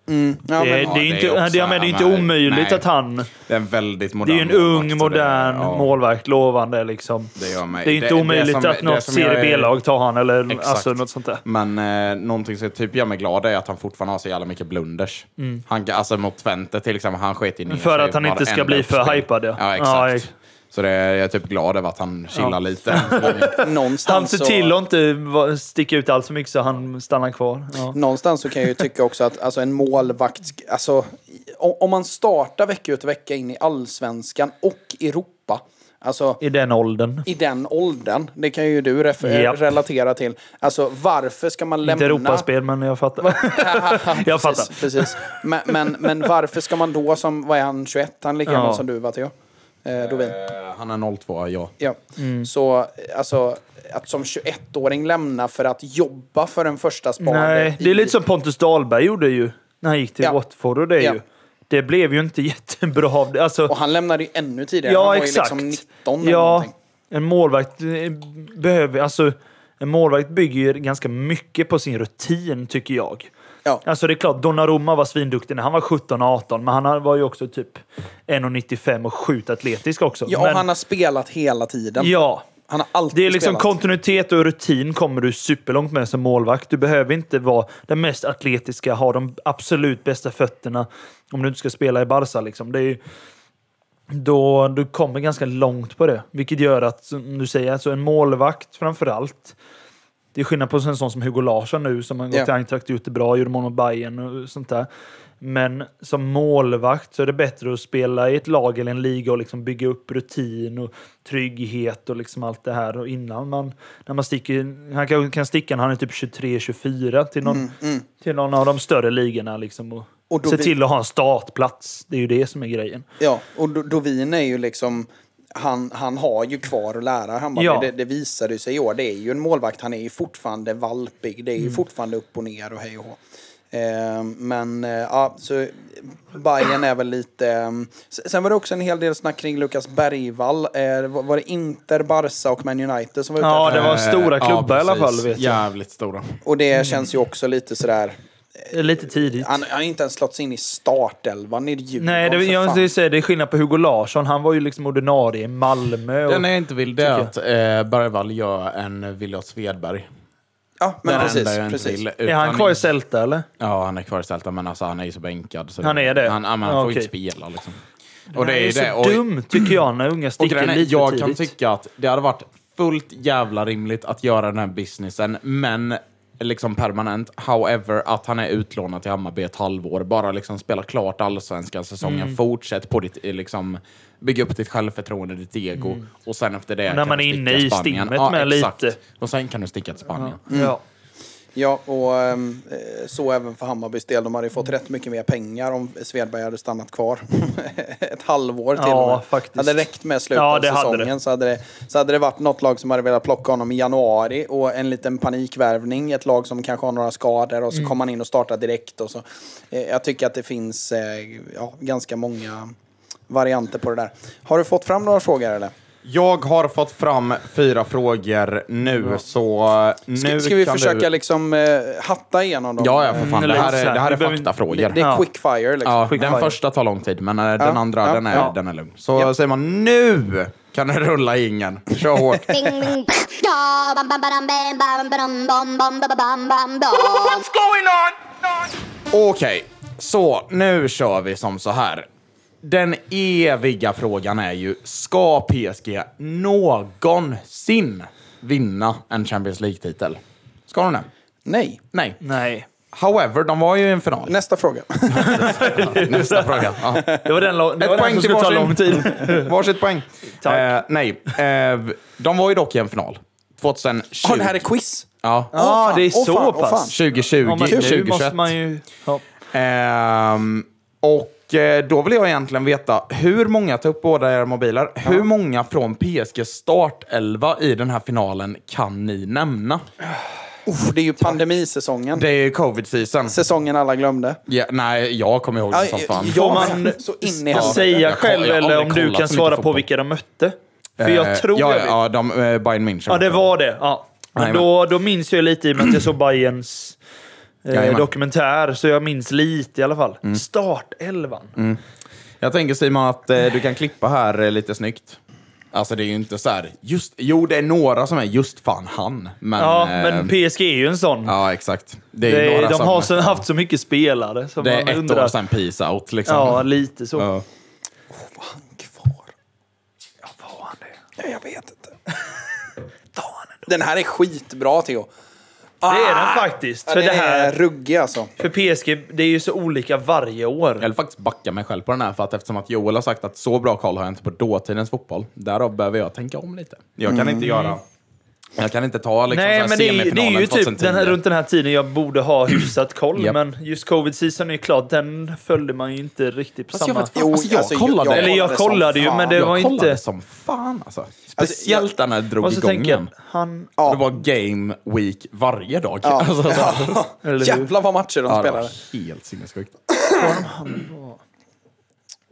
[SPEAKER 3] mm, ja,
[SPEAKER 5] Eh, det,
[SPEAKER 3] men-
[SPEAKER 5] det är ju
[SPEAKER 4] Ja,
[SPEAKER 5] inte,
[SPEAKER 4] det är också-
[SPEAKER 5] det, jag menar, det är inte
[SPEAKER 4] nej,
[SPEAKER 5] omöjligt
[SPEAKER 4] nej.
[SPEAKER 5] att han...
[SPEAKER 4] Det är en väldigt
[SPEAKER 5] Det är
[SPEAKER 4] modern
[SPEAKER 5] ju en ung,
[SPEAKER 4] målvakt, så det-
[SPEAKER 5] modern
[SPEAKER 4] ja,
[SPEAKER 5] målvakt, lovande liksom.
[SPEAKER 4] Det gör mig.
[SPEAKER 5] Det är ju inte omöjligt
[SPEAKER 4] som-
[SPEAKER 5] att
[SPEAKER 4] det
[SPEAKER 5] något
[SPEAKER 4] som jag
[SPEAKER 5] Serie
[SPEAKER 4] är-
[SPEAKER 5] B-lag tar han eller
[SPEAKER 4] Exakt.
[SPEAKER 5] alltså, något sånt där.
[SPEAKER 4] Men eh, någonting som typ gör mig glad är att han fortfarande har så jävla mycket blunders. Han, alltså mot Twente till exempel, han sket ju ner
[SPEAKER 5] Mm. För
[SPEAKER 4] sig
[SPEAKER 5] att han inte ska
[SPEAKER 4] varenda
[SPEAKER 5] bli för
[SPEAKER 4] uppspel.
[SPEAKER 5] hypad, ja.
[SPEAKER 4] Ja,
[SPEAKER 5] Ja,
[SPEAKER 4] exakt.
[SPEAKER 5] ex-
[SPEAKER 4] så det, jag är typ glad över att han chillar
[SPEAKER 5] Ja.
[SPEAKER 4] lite. Eh,
[SPEAKER 3] någonstans
[SPEAKER 5] Han ser
[SPEAKER 3] så-
[SPEAKER 5] till att inte va- sticka ut allt för mycket så han stannar kvar. Ja.
[SPEAKER 3] Någonstans så kan jag ju tycka också att alltså, en målvakt... Alltså, o- om man startar vecka ut och vecka in i allsvenskan och Europa, alltså
[SPEAKER 5] I den åldern.
[SPEAKER 3] i den åldern, det kan ju du ref-
[SPEAKER 5] Japp.
[SPEAKER 3] relatera till. Alltså varför ska man lämna...
[SPEAKER 5] Inte Europaspel, men jag fattar. Jag fattar.
[SPEAKER 3] Precis, precis. Men, men, men varför ska man då som, vad är han, 21? Han är lika gammal
[SPEAKER 5] Ja.
[SPEAKER 3] som du va, Theo? Eh, Dovin.
[SPEAKER 4] Eh, han är 02, ja.
[SPEAKER 3] Ja.
[SPEAKER 5] Mm.
[SPEAKER 3] Så alltså, att som 21-åring lämna för att jobba för en första spade
[SPEAKER 5] Nej, det är
[SPEAKER 3] i-
[SPEAKER 5] lite som Pontus Dahlberg gjorde ju när han gick till
[SPEAKER 3] Ja.
[SPEAKER 5] Watford. Och det,
[SPEAKER 3] Ja.
[SPEAKER 5] ju, det blev ju inte jättebra av det. Alltså,
[SPEAKER 3] Och han lämnade ju ännu tidigare. han
[SPEAKER 5] ja,
[SPEAKER 3] var
[SPEAKER 5] exakt.
[SPEAKER 3] ju liksom 19 eller
[SPEAKER 5] ja,
[SPEAKER 3] någonting.
[SPEAKER 5] en målvakt eh, behöver... Alltså, en målvakt bygger ju ganska mycket på sin rutin, tycker jag.
[SPEAKER 3] Ja.
[SPEAKER 5] Alltså det är klart, Donnarumma var svinduktig när han var 17-18, men han var ju också typ 1,95 och sjukt atletisk också.
[SPEAKER 3] Ja, och
[SPEAKER 5] men,
[SPEAKER 3] han har spelat hela tiden.
[SPEAKER 5] ja.
[SPEAKER 3] Han har alltid
[SPEAKER 5] Det är liksom
[SPEAKER 3] spelat.
[SPEAKER 5] kontinuitet och rutin kommer du superlångt med som målvakt. Du behöver inte vara den mest atletiska, ha de absolut bästa fötterna om du inte ska spela i Barca. Liksom. Det är ju, då, du kommer ganska långt på det, vilket gör att, som du säger, alltså en målvakt framför allt. Det är skillnad på en sån som Hugo Larsson nu, som har gått
[SPEAKER 3] Ja.
[SPEAKER 5] till Eintracht och gjort det bra, gjorde mål mot Bayern och sånt där. Men som målvakt så är det bättre att spela i ett lag eller en liga och liksom bygga upp rutin och trygghet och liksom allt det här. Och innan man, när man sticker, han kan, kan sticka när han är typ 23-24 till, någon- till någon av de större ligorna. Liksom och
[SPEAKER 3] Och Mm, då
[SPEAKER 5] se
[SPEAKER 3] vi-
[SPEAKER 5] till att ha en startplats. Det är ju det som är grejen.
[SPEAKER 3] Ja, och Do- Dovin är ju liksom... Han, han har ju kvar att lära. Han bara,
[SPEAKER 5] Ja.
[SPEAKER 3] det, det visade ju sig i år. Det är ju en målvakt. Han är ju fortfarande valpig. Det
[SPEAKER 5] Mm.
[SPEAKER 3] är ju fortfarande upp och ner och hej och hå. Eh, men eh, ja, så Bayern är väl lite... eh, s- sen var det också en hel del snack kring Lukas Bergvall. Eh, var, var det Inter, Barca och Man United som var ute
[SPEAKER 5] Ja,
[SPEAKER 3] efter
[SPEAKER 5] det var
[SPEAKER 3] honom?
[SPEAKER 4] Eh,
[SPEAKER 5] stora klubbar i alla
[SPEAKER 4] precis.
[SPEAKER 5] fall, vet jag.
[SPEAKER 4] Jävligt stora.
[SPEAKER 3] Och
[SPEAKER 5] Mm.
[SPEAKER 3] det känns ju också lite sådär...
[SPEAKER 5] Lite tidigt.
[SPEAKER 3] Han han har ju inte ens slått sig in i startelvan i Djurgården.
[SPEAKER 5] Nej, det,
[SPEAKER 3] för fan.
[SPEAKER 5] jag måste säga, det är skillnad på Hugo Larsson. Han var ju liksom ordinarie i Malmö. Och,
[SPEAKER 4] Det enda jag inte vill det är att eh, Bergvall gör en Williot Svedberg.
[SPEAKER 3] Ja, men
[SPEAKER 4] Den
[SPEAKER 3] precis.
[SPEAKER 4] enda jag inte
[SPEAKER 3] precis.
[SPEAKER 4] vill,
[SPEAKER 5] är han
[SPEAKER 4] utan-
[SPEAKER 5] kvar i Celta, eller?
[SPEAKER 4] Ja, han är kvar i Celta, men alltså, han är ju så bänkad. Så
[SPEAKER 5] Han är det?
[SPEAKER 4] Han, ja, men han
[SPEAKER 5] Ja,
[SPEAKER 4] får ju
[SPEAKER 5] okej.
[SPEAKER 4] inte spela liksom. Och
[SPEAKER 5] det är
[SPEAKER 4] ju
[SPEAKER 5] så
[SPEAKER 4] Och-
[SPEAKER 5] dumt, tycker jag, när unga
[SPEAKER 4] Och
[SPEAKER 5] sticker
[SPEAKER 4] grejen är,
[SPEAKER 5] lite
[SPEAKER 4] jag kan
[SPEAKER 5] tidigt.
[SPEAKER 4] tycka att det hade varit fullt jävla rimligt att göra den här businessen, men liksom permanent. However, att han är utlånad till Hammarby ett halvår. Bara liksom spela klart allsvenskan säsongen.
[SPEAKER 5] Mm.
[SPEAKER 4] Fortsätt på ditt, eh, liksom, bygga upp ditt självförtroende, ditt ego. Och sen efter det
[SPEAKER 5] Mm. när
[SPEAKER 4] kan
[SPEAKER 5] man
[SPEAKER 4] du
[SPEAKER 5] är inne
[SPEAKER 4] sticka
[SPEAKER 5] i
[SPEAKER 4] Spanien.
[SPEAKER 5] stimmet med lite.
[SPEAKER 4] Och sen kan du sticka till Spanien.
[SPEAKER 5] Mm. Ja.
[SPEAKER 3] Ja, och ehm, eh, så även för Hammarbys del. De hade ju fått rätt mycket mer pengar om Svedberg hade stannat kvar ett halvår till.
[SPEAKER 5] Ja,
[SPEAKER 3] och med.
[SPEAKER 5] faktiskt.
[SPEAKER 3] Hade räckt med slutet
[SPEAKER 5] Ja,
[SPEAKER 3] av
[SPEAKER 5] det hade
[SPEAKER 3] säsongen
[SPEAKER 5] det.
[SPEAKER 3] Så, hade det, så hade det varit något lag som hade velat plocka honom i januari och en liten panikvärvning. Ett lag som kanske har några skador och så
[SPEAKER 5] Mm.
[SPEAKER 3] kom han in och startade direkt. Och så. Eh, jag tycker att det finns eh, ja, ganska många varianter på det där. Har du fått fram några frågor eller?
[SPEAKER 4] Jag har fått fram fyra frågor nu, så nu
[SPEAKER 3] Ska, ska vi
[SPEAKER 4] kan
[SPEAKER 3] försöka
[SPEAKER 4] du...
[SPEAKER 3] liksom eh, hatta igenom dem?
[SPEAKER 4] Ja, ja, för fan.
[SPEAKER 5] Mm,
[SPEAKER 4] Det här
[SPEAKER 5] lite
[SPEAKER 4] är,
[SPEAKER 5] så här.
[SPEAKER 4] det här
[SPEAKER 5] Vi
[SPEAKER 4] är
[SPEAKER 5] behöver-
[SPEAKER 4] faktafrågor.
[SPEAKER 3] Det, det är
[SPEAKER 5] Ja.
[SPEAKER 3] quickfire liksom.
[SPEAKER 4] Ja,
[SPEAKER 5] Quick
[SPEAKER 4] den
[SPEAKER 5] fire.
[SPEAKER 4] första tar lång tid, men eh, den andra
[SPEAKER 3] ja,
[SPEAKER 4] den, är,
[SPEAKER 3] ja.
[SPEAKER 4] den är lugn. Så säger man nu kan du rulla ingen. Kör hårt.
[SPEAKER 6] Bing, bing, da, bam, bam, ba-dam, bam, bam, ba-dam, bom, bom, ba-ba-bam, bam, dom.
[SPEAKER 4] Okej, så nu kör vi som så här. Den eviga frågan är ju, ska PSG någonsin vinna en Champions League-titel? Ska de det?
[SPEAKER 3] Nej.
[SPEAKER 4] Nej.
[SPEAKER 5] Nej.
[SPEAKER 4] However, de var ju i en final.
[SPEAKER 3] Nästa fråga.
[SPEAKER 4] Nästa fråga. Ja.
[SPEAKER 5] Det var den, lo- det var
[SPEAKER 4] Ett
[SPEAKER 5] den
[SPEAKER 4] poäng
[SPEAKER 5] som
[SPEAKER 4] till
[SPEAKER 5] skulle ta
[SPEAKER 4] varsin.
[SPEAKER 5] lång tid.
[SPEAKER 4] Varsitt poäng.
[SPEAKER 5] Tack.
[SPEAKER 4] Eh, nej, eh, de var ju dock i en final. 2020.
[SPEAKER 3] Har det här är quiz?
[SPEAKER 4] Ja.
[SPEAKER 5] Ja, ah,
[SPEAKER 3] fan,
[SPEAKER 5] det är
[SPEAKER 3] åh,
[SPEAKER 5] så
[SPEAKER 3] fan, åh, fan.
[SPEAKER 5] pass.
[SPEAKER 4] 2020,
[SPEAKER 5] Ja, men nu
[SPEAKER 4] 2021.
[SPEAKER 5] måste man ju... Ja.
[SPEAKER 4] Ehm, och eh, då vill jag egentligen veta hur många, ta upp båda era mobiler, hur många från PSG startelva i den här finalen kan ni nämna?
[SPEAKER 3] Uff, det är ju pandemisäsongen.
[SPEAKER 4] Det är ju covid-season.
[SPEAKER 3] Säsongen alla glömde.
[SPEAKER 4] Ja, nej, jag kommer ihåg det som fan.
[SPEAKER 3] Ja,
[SPEAKER 5] Får man
[SPEAKER 3] så in i
[SPEAKER 5] Jag
[SPEAKER 3] helvete.
[SPEAKER 5] säga
[SPEAKER 4] Jag koll-
[SPEAKER 5] själv
[SPEAKER 4] jag har
[SPEAKER 5] eller
[SPEAKER 4] aldrig
[SPEAKER 5] om du
[SPEAKER 4] kollat
[SPEAKER 5] kan
[SPEAKER 4] så mycket
[SPEAKER 5] svara på
[SPEAKER 4] fotboll.
[SPEAKER 5] vilka de mötte? För jag
[SPEAKER 4] Eh,
[SPEAKER 5] tror
[SPEAKER 4] ja,
[SPEAKER 5] jag
[SPEAKER 4] ja,
[SPEAKER 5] vet.
[SPEAKER 4] ja, de, eh, Bayern München.
[SPEAKER 5] Ja, det var det. Ja. Men
[SPEAKER 4] Jajamän.
[SPEAKER 5] då, då minns jag lite i och med att jag såg Bayerns eh,
[SPEAKER 4] Jajamän. Mm.
[SPEAKER 5] dokumentär, så jag minns lite i alla fall. Startelvan.
[SPEAKER 4] Jag tänker Simon att eh, du kan klippa här eh, lite snyggt. Alltså det är ju inte så här, just, jo det är några som är just fan han. Men,
[SPEAKER 5] Ja,
[SPEAKER 4] eh,
[SPEAKER 5] men PSG är ju en sån.
[SPEAKER 4] Ja, exakt. Det är ju
[SPEAKER 5] det,
[SPEAKER 4] några
[SPEAKER 5] de
[SPEAKER 4] som...
[SPEAKER 5] har så, haft så mycket spelare. Som
[SPEAKER 4] det är
[SPEAKER 5] man
[SPEAKER 4] ett
[SPEAKER 5] undrar.
[SPEAKER 4] år sedan peace out liksom.
[SPEAKER 5] Ja, lite så.
[SPEAKER 4] Ja.
[SPEAKER 3] Kvar.
[SPEAKER 5] Var han
[SPEAKER 3] Ja,
[SPEAKER 5] det?
[SPEAKER 3] jag vet inte. Den här är skitbra, Theo. Ah,
[SPEAKER 5] Det är den faktiskt. För,
[SPEAKER 3] den
[SPEAKER 5] det
[SPEAKER 3] är
[SPEAKER 5] här,
[SPEAKER 3] ruggig alltså.
[SPEAKER 5] för PSG, det är ju så olika varje år.
[SPEAKER 4] Jag vill faktiskt backa mig själv på den här, för att eftersom att Joel har sagt att så bra koll har jag inte på dåtidens fotboll, därav behöver jag tänka om lite. Jag kan inte göra... Mm. Jag kan inte ta liksom
[SPEAKER 5] Nej,
[SPEAKER 4] så här
[SPEAKER 5] men det är, det
[SPEAKER 4] semifinalen
[SPEAKER 5] är ju typ
[SPEAKER 4] 2010.
[SPEAKER 5] den här, runt den här tiden jag borde ha hyfsat koll,
[SPEAKER 4] Japp.
[SPEAKER 5] men just covid-season är ju klart, den följde man ju inte riktigt på
[SPEAKER 4] Fast jag
[SPEAKER 5] samma...
[SPEAKER 4] vet fan, alltså, jag kollade.
[SPEAKER 5] Eller jag
[SPEAKER 3] som
[SPEAKER 5] kollade ju,
[SPEAKER 3] fan.
[SPEAKER 5] men det-
[SPEAKER 4] jag
[SPEAKER 5] var inte-
[SPEAKER 4] kollade som fan alltså. Speciellt när det drog
[SPEAKER 5] Och så
[SPEAKER 4] igång
[SPEAKER 5] tänker jag,
[SPEAKER 4] igen.
[SPEAKER 5] han...
[SPEAKER 3] Ja.
[SPEAKER 4] Det var game week varje dag.
[SPEAKER 3] Ja.
[SPEAKER 4] Alltså, så här.
[SPEAKER 5] Eller hur?
[SPEAKER 3] Jävlar vad matcher de
[SPEAKER 4] Ja, det
[SPEAKER 3] spelade.
[SPEAKER 4] var helt sinnessjukt.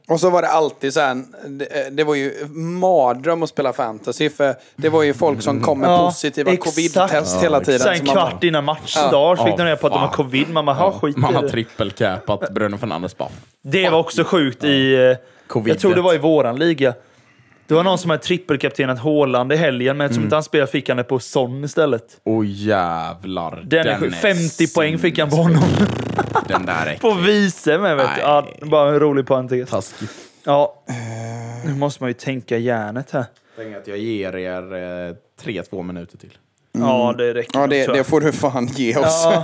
[SPEAKER 3] Och så var det alltid så här, det, eh, det var ju mardröm att spela fantasy för det var ju folk som kom med
[SPEAKER 5] Ja,
[SPEAKER 3] positiva
[SPEAKER 5] exakt.
[SPEAKER 3] covid-test hela tiden.
[SPEAKER 5] Sen
[SPEAKER 3] så
[SPEAKER 5] en
[SPEAKER 3] man bara-
[SPEAKER 5] kvart innan matchdag fick de reda på att de
[SPEAKER 4] fan.
[SPEAKER 5] har covid. Man bara, ja, skit i
[SPEAKER 4] Man har
[SPEAKER 5] det.
[SPEAKER 4] trippelcapat Bruno Fernandes bara.
[SPEAKER 5] Det var också sjukt i... eh,
[SPEAKER 4] Covid.
[SPEAKER 5] Jag tror det var i våran liga. Det var någon som hade trippelkaptenat Haaland i helgen, men eftersom
[SPEAKER 4] Mm.
[SPEAKER 5] inte han spelade fick han det på Son istället.
[SPEAKER 4] Åh oh, jävlar.
[SPEAKER 5] Den är sjuk. 50 poäng fick han på honom.
[SPEAKER 4] Den där är
[SPEAKER 5] På vice med vet du. Ja,
[SPEAKER 4] Nej.
[SPEAKER 5] bara en rolig parentes.
[SPEAKER 4] taskigt.
[SPEAKER 5] Ja. Nu måste man ju tänka hjärnet här.
[SPEAKER 4] Tänk att jag ger er eh, tre, två minuter till.
[SPEAKER 5] Ja, det räcker.
[SPEAKER 3] Ja, det,
[SPEAKER 5] tror
[SPEAKER 3] det
[SPEAKER 5] jag.
[SPEAKER 3] får du fan ge oss.
[SPEAKER 5] Ja,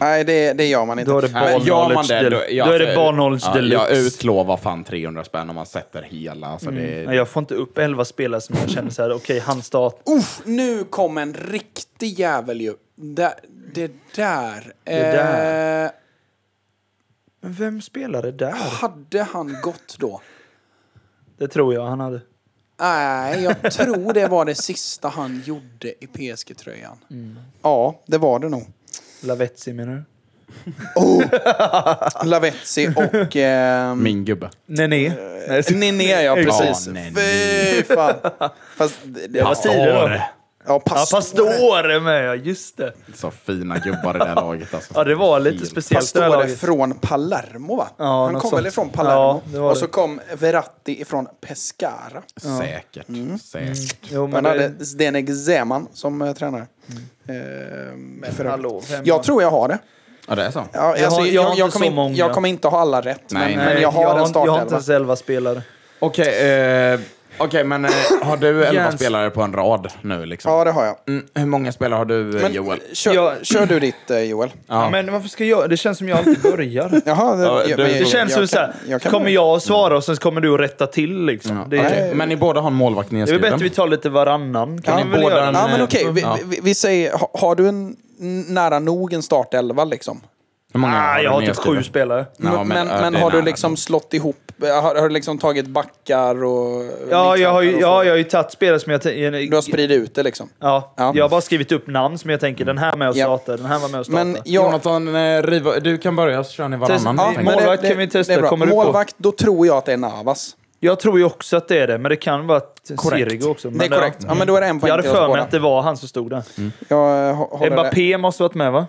[SPEAKER 3] Nej, det, det gör man inte.
[SPEAKER 5] då är det
[SPEAKER 4] Nej, men
[SPEAKER 5] barn
[SPEAKER 4] gör man
[SPEAKER 5] knowledge
[SPEAKER 4] det,
[SPEAKER 5] del- Då är det barn knowledge
[SPEAKER 4] ja,
[SPEAKER 5] deluxe.
[SPEAKER 4] Jag utlovar fan 300 spänn om man sätter hela. Alltså det,
[SPEAKER 5] Nej, Jag får inte upp elva spelare som jag känner så här, okej, han start.
[SPEAKER 3] Uff, nu kom en riktig jävel ju. Det, det där.
[SPEAKER 5] där.
[SPEAKER 3] Eh,
[SPEAKER 5] Men vem spelade där?
[SPEAKER 3] hade han gått då?
[SPEAKER 5] Det tror jag han hade.
[SPEAKER 3] Nej, jag tror det var det sista han gjorde i PSG-tröjan.
[SPEAKER 5] Mm.
[SPEAKER 3] Ja, det var det nog.
[SPEAKER 5] Lavetzi menar du?
[SPEAKER 3] Lavetzi och...
[SPEAKER 5] Mm.
[SPEAKER 3] ehm,
[SPEAKER 4] Min gubbe.
[SPEAKER 5] Nej,
[SPEAKER 3] Eh,
[SPEAKER 5] nej. nej.
[SPEAKER 3] Ninné, ja precis.
[SPEAKER 4] Ja, Ninné.
[SPEAKER 3] Fy fan. Fast, det, det,
[SPEAKER 5] Det var tidigare då.
[SPEAKER 3] ja,
[SPEAKER 5] Ja,
[SPEAKER 3] pastor.
[SPEAKER 5] Pastore med ja, just det.
[SPEAKER 4] Så fina gubbar i det här laget. Alltså.
[SPEAKER 5] Ja, det var lite
[SPEAKER 4] Helt-
[SPEAKER 5] speciellt det här
[SPEAKER 3] Pastore
[SPEAKER 5] laget.
[SPEAKER 3] från Palermo va?
[SPEAKER 5] Ja,
[SPEAKER 3] han
[SPEAKER 5] något
[SPEAKER 3] kom
[SPEAKER 5] sånt.
[SPEAKER 3] väl ifrån Palermo?
[SPEAKER 5] Ja, det var
[SPEAKER 3] och så
[SPEAKER 5] det.
[SPEAKER 3] kom Verratti ifrån Pescara.
[SPEAKER 4] Säkert. Säkert.
[SPEAKER 5] Jo, men
[SPEAKER 3] Han hade
[SPEAKER 5] det,
[SPEAKER 3] Zdenek Zeman som eh, tränare. Ehm, för övrigt.
[SPEAKER 5] hallå, vem
[SPEAKER 3] jag
[SPEAKER 5] var-
[SPEAKER 3] tror jag har det.
[SPEAKER 4] Ja, det är så.
[SPEAKER 3] Ja, alltså,
[SPEAKER 5] Jag
[SPEAKER 3] jag,
[SPEAKER 5] har- jag har
[SPEAKER 3] jag,
[SPEAKER 5] inte så
[SPEAKER 3] kommer in,
[SPEAKER 5] många.
[SPEAKER 3] jag kommer inte ha alla rätt,
[SPEAKER 4] Nej,
[SPEAKER 3] men,
[SPEAKER 4] nej.
[SPEAKER 3] men jag har en
[SPEAKER 5] jag har
[SPEAKER 3] startelva.
[SPEAKER 5] inte ens elva spelare.
[SPEAKER 4] Okej, eh, okej, men eh, har du elva
[SPEAKER 5] Jens.
[SPEAKER 4] spelare på en rad nu? Liksom?
[SPEAKER 3] Ja, det har jag.
[SPEAKER 4] Mm, hur många spelare har du, eh,
[SPEAKER 3] Men,
[SPEAKER 4] Joel?
[SPEAKER 3] Kör,
[SPEAKER 5] Jag-
[SPEAKER 3] kör du ditt, eh, Joel.
[SPEAKER 5] Ja. men varför ska jag? Det känns som jag alltid börjar.
[SPEAKER 3] Jaha, det,
[SPEAKER 4] Ja,
[SPEAKER 3] jag-
[SPEAKER 4] du-
[SPEAKER 3] men
[SPEAKER 4] Det
[SPEAKER 5] Det
[SPEAKER 3] jag-
[SPEAKER 5] känns som
[SPEAKER 3] jag
[SPEAKER 5] så
[SPEAKER 3] kan-
[SPEAKER 5] här,
[SPEAKER 3] jag kan-
[SPEAKER 5] kommer jag att svara och sen kommer du att rätta till liksom. Det, är,
[SPEAKER 4] Okej, Men ni båda har en målvakt
[SPEAKER 5] det är väl
[SPEAKER 4] nedskriven?
[SPEAKER 5] bättre vi tar lite varannan. Kan
[SPEAKER 4] Ja,
[SPEAKER 5] ni väl
[SPEAKER 4] båda
[SPEAKER 5] göra
[SPEAKER 4] en-
[SPEAKER 5] det?
[SPEAKER 3] Ja, men okej. Vi,
[SPEAKER 4] Ja.
[SPEAKER 3] vi, vi säger, ha- har du en n- nära nog en startelva liksom?
[SPEAKER 4] Hur många
[SPEAKER 5] Ah, jag har typ
[SPEAKER 4] nedskriven?
[SPEAKER 5] sju spelare.
[SPEAKER 4] Ja,
[SPEAKER 3] men men,
[SPEAKER 4] ja, det är
[SPEAKER 3] har du
[SPEAKER 4] nära.
[SPEAKER 3] liksom slått ihop, har, har du liksom tagit backar och...
[SPEAKER 5] Ja, jag har ju,
[SPEAKER 3] mittfältare och
[SPEAKER 5] ja,
[SPEAKER 3] så?
[SPEAKER 5] jag har ju tagit spelare som jag... tänk-
[SPEAKER 3] Du har spridit ut det liksom.
[SPEAKER 5] Ja,
[SPEAKER 3] Ja. Mm.
[SPEAKER 5] jag har bara skrivit upp namn som jag tänker, den här med och
[SPEAKER 3] Ja.
[SPEAKER 5] starta, den här var med och starta.
[SPEAKER 3] Men jag...
[SPEAKER 4] Jonathan, eh, riva, du kan börja så kör ni varannan.
[SPEAKER 5] Test-
[SPEAKER 4] tänker
[SPEAKER 5] mål-
[SPEAKER 4] jag.
[SPEAKER 5] Målvakt kan vi testa,
[SPEAKER 3] det är bra.
[SPEAKER 5] kommer du på?
[SPEAKER 3] Målvakt, då tror jag att det är Navas.
[SPEAKER 5] Jag tror ju också att det är det, men det kan vara att Sirigu också. Men
[SPEAKER 3] det är korrekt. Ja, men då är det en
[SPEAKER 5] Jag
[SPEAKER 3] poäng
[SPEAKER 5] hade
[SPEAKER 3] till oss
[SPEAKER 5] för mig
[SPEAKER 3] båda.
[SPEAKER 5] att det var han som stod där.
[SPEAKER 3] Jag eh, hå- håller det.
[SPEAKER 5] Mbappé måste varit med va?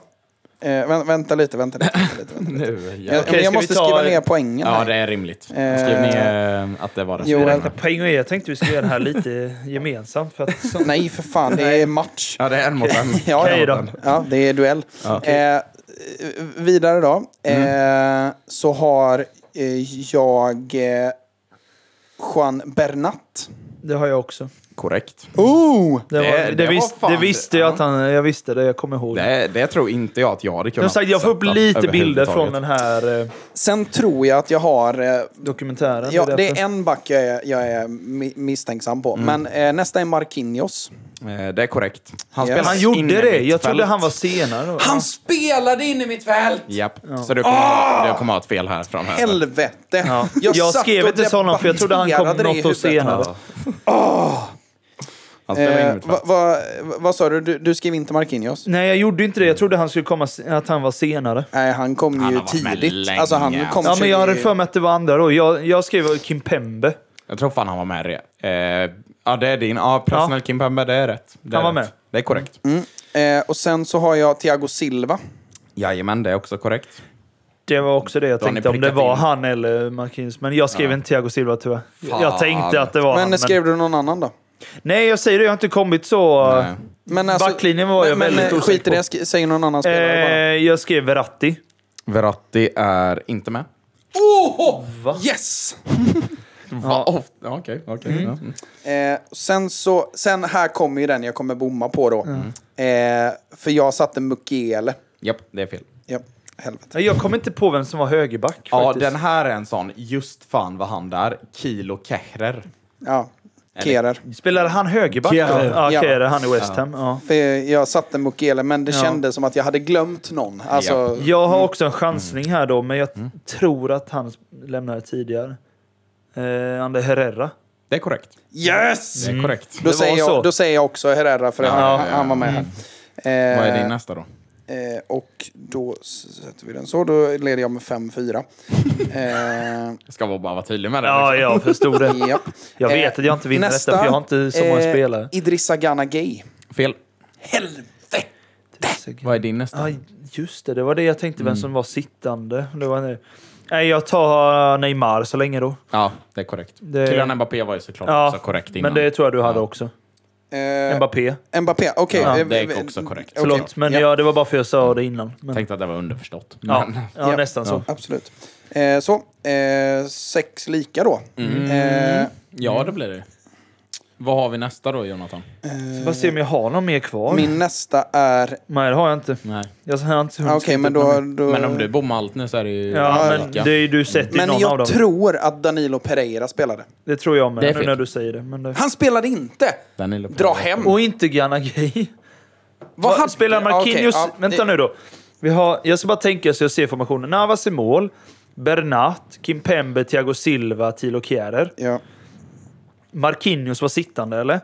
[SPEAKER 3] Eh, vä- vänta lite, vänta lite. Vänta lite, vänta lite.
[SPEAKER 4] Nu,
[SPEAKER 3] Jag,
[SPEAKER 4] ja.
[SPEAKER 3] men
[SPEAKER 5] ska
[SPEAKER 3] jag
[SPEAKER 5] vi
[SPEAKER 3] måste
[SPEAKER 5] ta-
[SPEAKER 3] skriva ner poängen
[SPEAKER 4] ja,
[SPEAKER 3] här.
[SPEAKER 4] det är rimligt. Skriv ner eh, att det var det.
[SPEAKER 3] Joel.
[SPEAKER 4] som
[SPEAKER 5] Vänta,
[SPEAKER 4] var.
[SPEAKER 5] poäng och E. Jag tänkte vi skulle göra det här lite gemensamt. För att, så,
[SPEAKER 3] Nej, för fan. Det är match.
[SPEAKER 4] Ja, det är en mot en.
[SPEAKER 3] Ja,
[SPEAKER 5] Okej
[SPEAKER 3] ja.
[SPEAKER 5] då.
[SPEAKER 3] ja, det är duell. Eh, vidare då. Eh, så har eh, jag eh, Juan Bernat.
[SPEAKER 5] det har jag också.
[SPEAKER 4] Korrekt.
[SPEAKER 3] Oh!
[SPEAKER 5] Det, var,
[SPEAKER 4] Det-
[SPEAKER 5] det,
[SPEAKER 4] det var
[SPEAKER 5] visst,
[SPEAKER 4] fan
[SPEAKER 5] det
[SPEAKER 4] det-
[SPEAKER 5] visste jag
[SPEAKER 4] ja.
[SPEAKER 5] att han... Jag visste det, jag kommer ihåg. Det.
[SPEAKER 4] Det, det tror inte jag att jag hade
[SPEAKER 5] Jag, har
[SPEAKER 4] kunnat.
[SPEAKER 5] sagt, jag får upp
[SPEAKER 4] sätta
[SPEAKER 5] lite bilder
[SPEAKER 4] överhuvudtaget.
[SPEAKER 5] från den här eh,
[SPEAKER 3] Sen tror jag att jag har... Eh,
[SPEAKER 5] dokumentären.
[SPEAKER 3] ja, det
[SPEAKER 5] därför.
[SPEAKER 3] är en back jag är, jag är mi- misstänksam på.
[SPEAKER 5] Mm.
[SPEAKER 3] Men eh, nästa är Marquinhos.
[SPEAKER 4] Eh, Det är korrekt. Han,
[SPEAKER 3] Ja.
[SPEAKER 4] spelar
[SPEAKER 5] Han gjorde det! Jag
[SPEAKER 4] innermittfält.
[SPEAKER 5] trodde han var senare. då.
[SPEAKER 3] Han spelade in i mitt fält!
[SPEAKER 4] Japp, så du kommer, ha, du kommer ha ett fel här framöver.
[SPEAKER 3] Helvete!
[SPEAKER 5] Ja. Jag,
[SPEAKER 3] satt
[SPEAKER 5] skrev
[SPEAKER 3] och
[SPEAKER 5] inte till honom för jag trodde han kom
[SPEAKER 3] debatterade det i
[SPEAKER 5] något år
[SPEAKER 3] huvudet.
[SPEAKER 5] senare.
[SPEAKER 4] Han spelar
[SPEAKER 3] Eh,
[SPEAKER 4] innermittfält.
[SPEAKER 3] vad va, vad sa du? du? Du skrev inte Marquinhos?
[SPEAKER 4] Mm.
[SPEAKER 5] Nej, jag gjorde inte det. Jag trodde han skulle komma, se- att han var senare.
[SPEAKER 3] Nej, han kom
[SPEAKER 4] Han
[SPEAKER 3] ju
[SPEAKER 4] har varit med
[SPEAKER 3] tidigt.
[SPEAKER 4] länge,
[SPEAKER 3] Alltså han
[SPEAKER 4] alltså.
[SPEAKER 3] kom
[SPEAKER 5] Ja, men jag hade
[SPEAKER 3] 20
[SPEAKER 5] för mig att det var andra då. Jag, jag skrev Kimpembe.
[SPEAKER 4] Jag tror fan han var med i det. Eh, ja, det är din. Ja, personal
[SPEAKER 5] Ja.
[SPEAKER 4] Kim Pembe, det är rätt. Det är
[SPEAKER 5] Han var
[SPEAKER 4] rätt.
[SPEAKER 5] med.
[SPEAKER 4] Det är korrekt.
[SPEAKER 3] Eh, och sen så har jag Thiago Silva.
[SPEAKER 4] Jajamän, det är också korrekt.
[SPEAKER 5] Det var också det jag
[SPEAKER 4] Då har ni
[SPEAKER 5] tänkte, om det
[SPEAKER 4] prickat
[SPEAKER 5] var
[SPEAKER 4] in.
[SPEAKER 5] han eller Marquinhos. Men jag skrev inte Thiago Silva tyvärr. Jag tänkte att det var han.
[SPEAKER 3] men skrev du någon annan då?
[SPEAKER 5] Nej, jag säger det. Jag har inte kommit så... eh,
[SPEAKER 4] Nej.
[SPEAKER 3] Men alltså-
[SPEAKER 5] Backlinjen var jag
[SPEAKER 3] men,
[SPEAKER 5] väldigt
[SPEAKER 3] men, Skit i
[SPEAKER 5] osäker
[SPEAKER 3] det, sk- säg någon annan
[SPEAKER 5] Eh,
[SPEAKER 3] spelare
[SPEAKER 5] jag skrev Verratti.
[SPEAKER 4] Verratti är inte med.
[SPEAKER 3] bara. Yes!
[SPEAKER 4] Va? Ofta? Ja, Okej, okej. ja. Mm.
[SPEAKER 3] Eh, sen så, sen här kommer ju den jag kommer bomma på då.
[SPEAKER 4] Mm.
[SPEAKER 3] Eh, för jag satte Mukiele.
[SPEAKER 4] Japp, det är fel.
[SPEAKER 3] Ja, helvete.
[SPEAKER 5] Nej, Jag kom inte på vem som var högerback
[SPEAKER 4] Ja,
[SPEAKER 5] faktiskt.
[SPEAKER 4] den här är en sån. Just fan vad han där. Kilo Kehrer.
[SPEAKER 3] Ja, Kerer.
[SPEAKER 5] Spelade han högerback?
[SPEAKER 4] Kehrer.
[SPEAKER 5] Ja,
[SPEAKER 3] Ja.
[SPEAKER 5] ja. Kehrer, han i West Ham. Ja.
[SPEAKER 3] För jag satte Mukiele, men det
[SPEAKER 5] Ja.
[SPEAKER 3] kändes som att jag hade glömt någon. Alltså,
[SPEAKER 5] Jag har också en chansning här då, men jag
[SPEAKER 3] Mm.
[SPEAKER 5] tror att han lämnade tidigare. Eh, Ander Herrera.
[SPEAKER 4] Det är korrekt.
[SPEAKER 3] Yes!
[SPEAKER 5] Mm.
[SPEAKER 4] Det är korrekt.
[SPEAKER 3] Då
[SPEAKER 5] Det var
[SPEAKER 3] säger,
[SPEAKER 5] så.
[SPEAKER 3] jag, då säger jag också Herrera, för han,
[SPEAKER 4] ja, ja.
[SPEAKER 3] han var med här. Eh,
[SPEAKER 4] Mm. Vad är din nästa då?
[SPEAKER 3] Eh, och då s- sätter vi den så. Då leder jag med 5-4. eh,
[SPEAKER 4] Jag ska bara vara tydlig med det.
[SPEAKER 5] Ja,
[SPEAKER 4] liksom.
[SPEAKER 5] jag förstod det.
[SPEAKER 3] japp.
[SPEAKER 5] Jag
[SPEAKER 3] Eh,
[SPEAKER 5] vet att jag inte vinner
[SPEAKER 3] nästa,
[SPEAKER 5] detta, för jag har inte så många
[SPEAKER 3] eh,
[SPEAKER 5] spelare.
[SPEAKER 3] Idrissa Gana Gay.
[SPEAKER 4] Fel.
[SPEAKER 5] Vad
[SPEAKER 4] Vad är din nästa?
[SPEAKER 5] Ja, just det. Det var det jag tänkte, vem som var sittande. Det var nu. Nej, jag tar eh, Neymar så länge då.
[SPEAKER 4] Ja, det är korrekt.
[SPEAKER 5] Det-
[SPEAKER 4] Kylian Mbappé var ju såklart
[SPEAKER 5] Ja,
[SPEAKER 4] också korrekt innan.
[SPEAKER 5] Men det tror jag du hade
[SPEAKER 4] Ja.
[SPEAKER 5] också.
[SPEAKER 3] Eh,
[SPEAKER 5] Mbappé.
[SPEAKER 3] Mbappé, okej.
[SPEAKER 4] Ja,
[SPEAKER 3] eh,
[SPEAKER 4] det är
[SPEAKER 3] eh,
[SPEAKER 4] också korrekt.
[SPEAKER 3] okej,
[SPEAKER 5] Förlåt, men
[SPEAKER 3] ja,
[SPEAKER 5] ja, det var bara för jag sa det innan. Men,
[SPEAKER 4] Tänkte att det var underförstått.
[SPEAKER 5] ja,
[SPEAKER 4] Men,
[SPEAKER 5] ja,
[SPEAKER 3] Ja.
[SPEAKER 5] nästan så.
[SPEAKER 3] Absolut. Eh, så, eh, sex lika då.
[SPEAKER 4] Mm.
[SPEAKER 3] Eh,
[SPEAKER 4] ja, det blir det. Vad har vi nästa då, Jonathan?
[SPEAKER 5] Så Bara se om jag har någon mer kvar.
[SPEAKER 3] min nästa är...
[SPEAKER 5] Nej, det har jag inte.
[SPEAKER 4] Nej.
[SPEAKER 5] Jag har inte
[SPEAKER 3] Ah,
[SPEAKER 5] hunnit
[SPEAKER 3] Okej,
[SPEAKER 5] skriva
[SPEAKER 3] men
[SPEAKER 5] upp någon
[SPEAKER 3] då...
[SPEAKER 5] mer.
[SPEAKER 3] då
[SPEAKER 4] Men om du bommar allt nu så är det ju
[SPEAKER 5] Ja,
[SPEAKER 4] alla
[SPEAKER 5] men
[SPEAKER 4] lika.
[SPEAKER 5] det är ju du sett i
[SPEAKER 3] men
[SPEAKER 5] någon av dem.
[SPEAKER 3] jag tror att Danilo Pereira spelade.
[SPEAKER 5] det tror jag med,
[SPEAKER 4] Det är
[SPEAKER 5] nu
[SPEAKER 4] fel.
[SPEAKER 5] när du säger det. Men det...
[SPEAKER 3] Han spelade inte!
[SPEAKER 4] Den är lite-
[SPEAKER 3] Dra hem!
[SPEAKER 5] Och inte Ganagay.
[SPEAKER 3] Vad hade-
[SPEAKER 5] Spelar
[SPEAKER 3] Ja, okej,
[SPEAKER 5] Marquinhos...
[SPEAKER 3] ja,
[SPEAKER 5] Vänta
[SPEAKER 3] det-
[SPEAKER 5] nu då. Vi har, jag ska bara tänka så jag ser formationen. Navas i mål. Bernat, Kimpembe, Thiago Silva, Thilo Kjärer.
[SPEAKER 3] Ja.
[SPEAKER 5] Marquinhos var sittande, eller?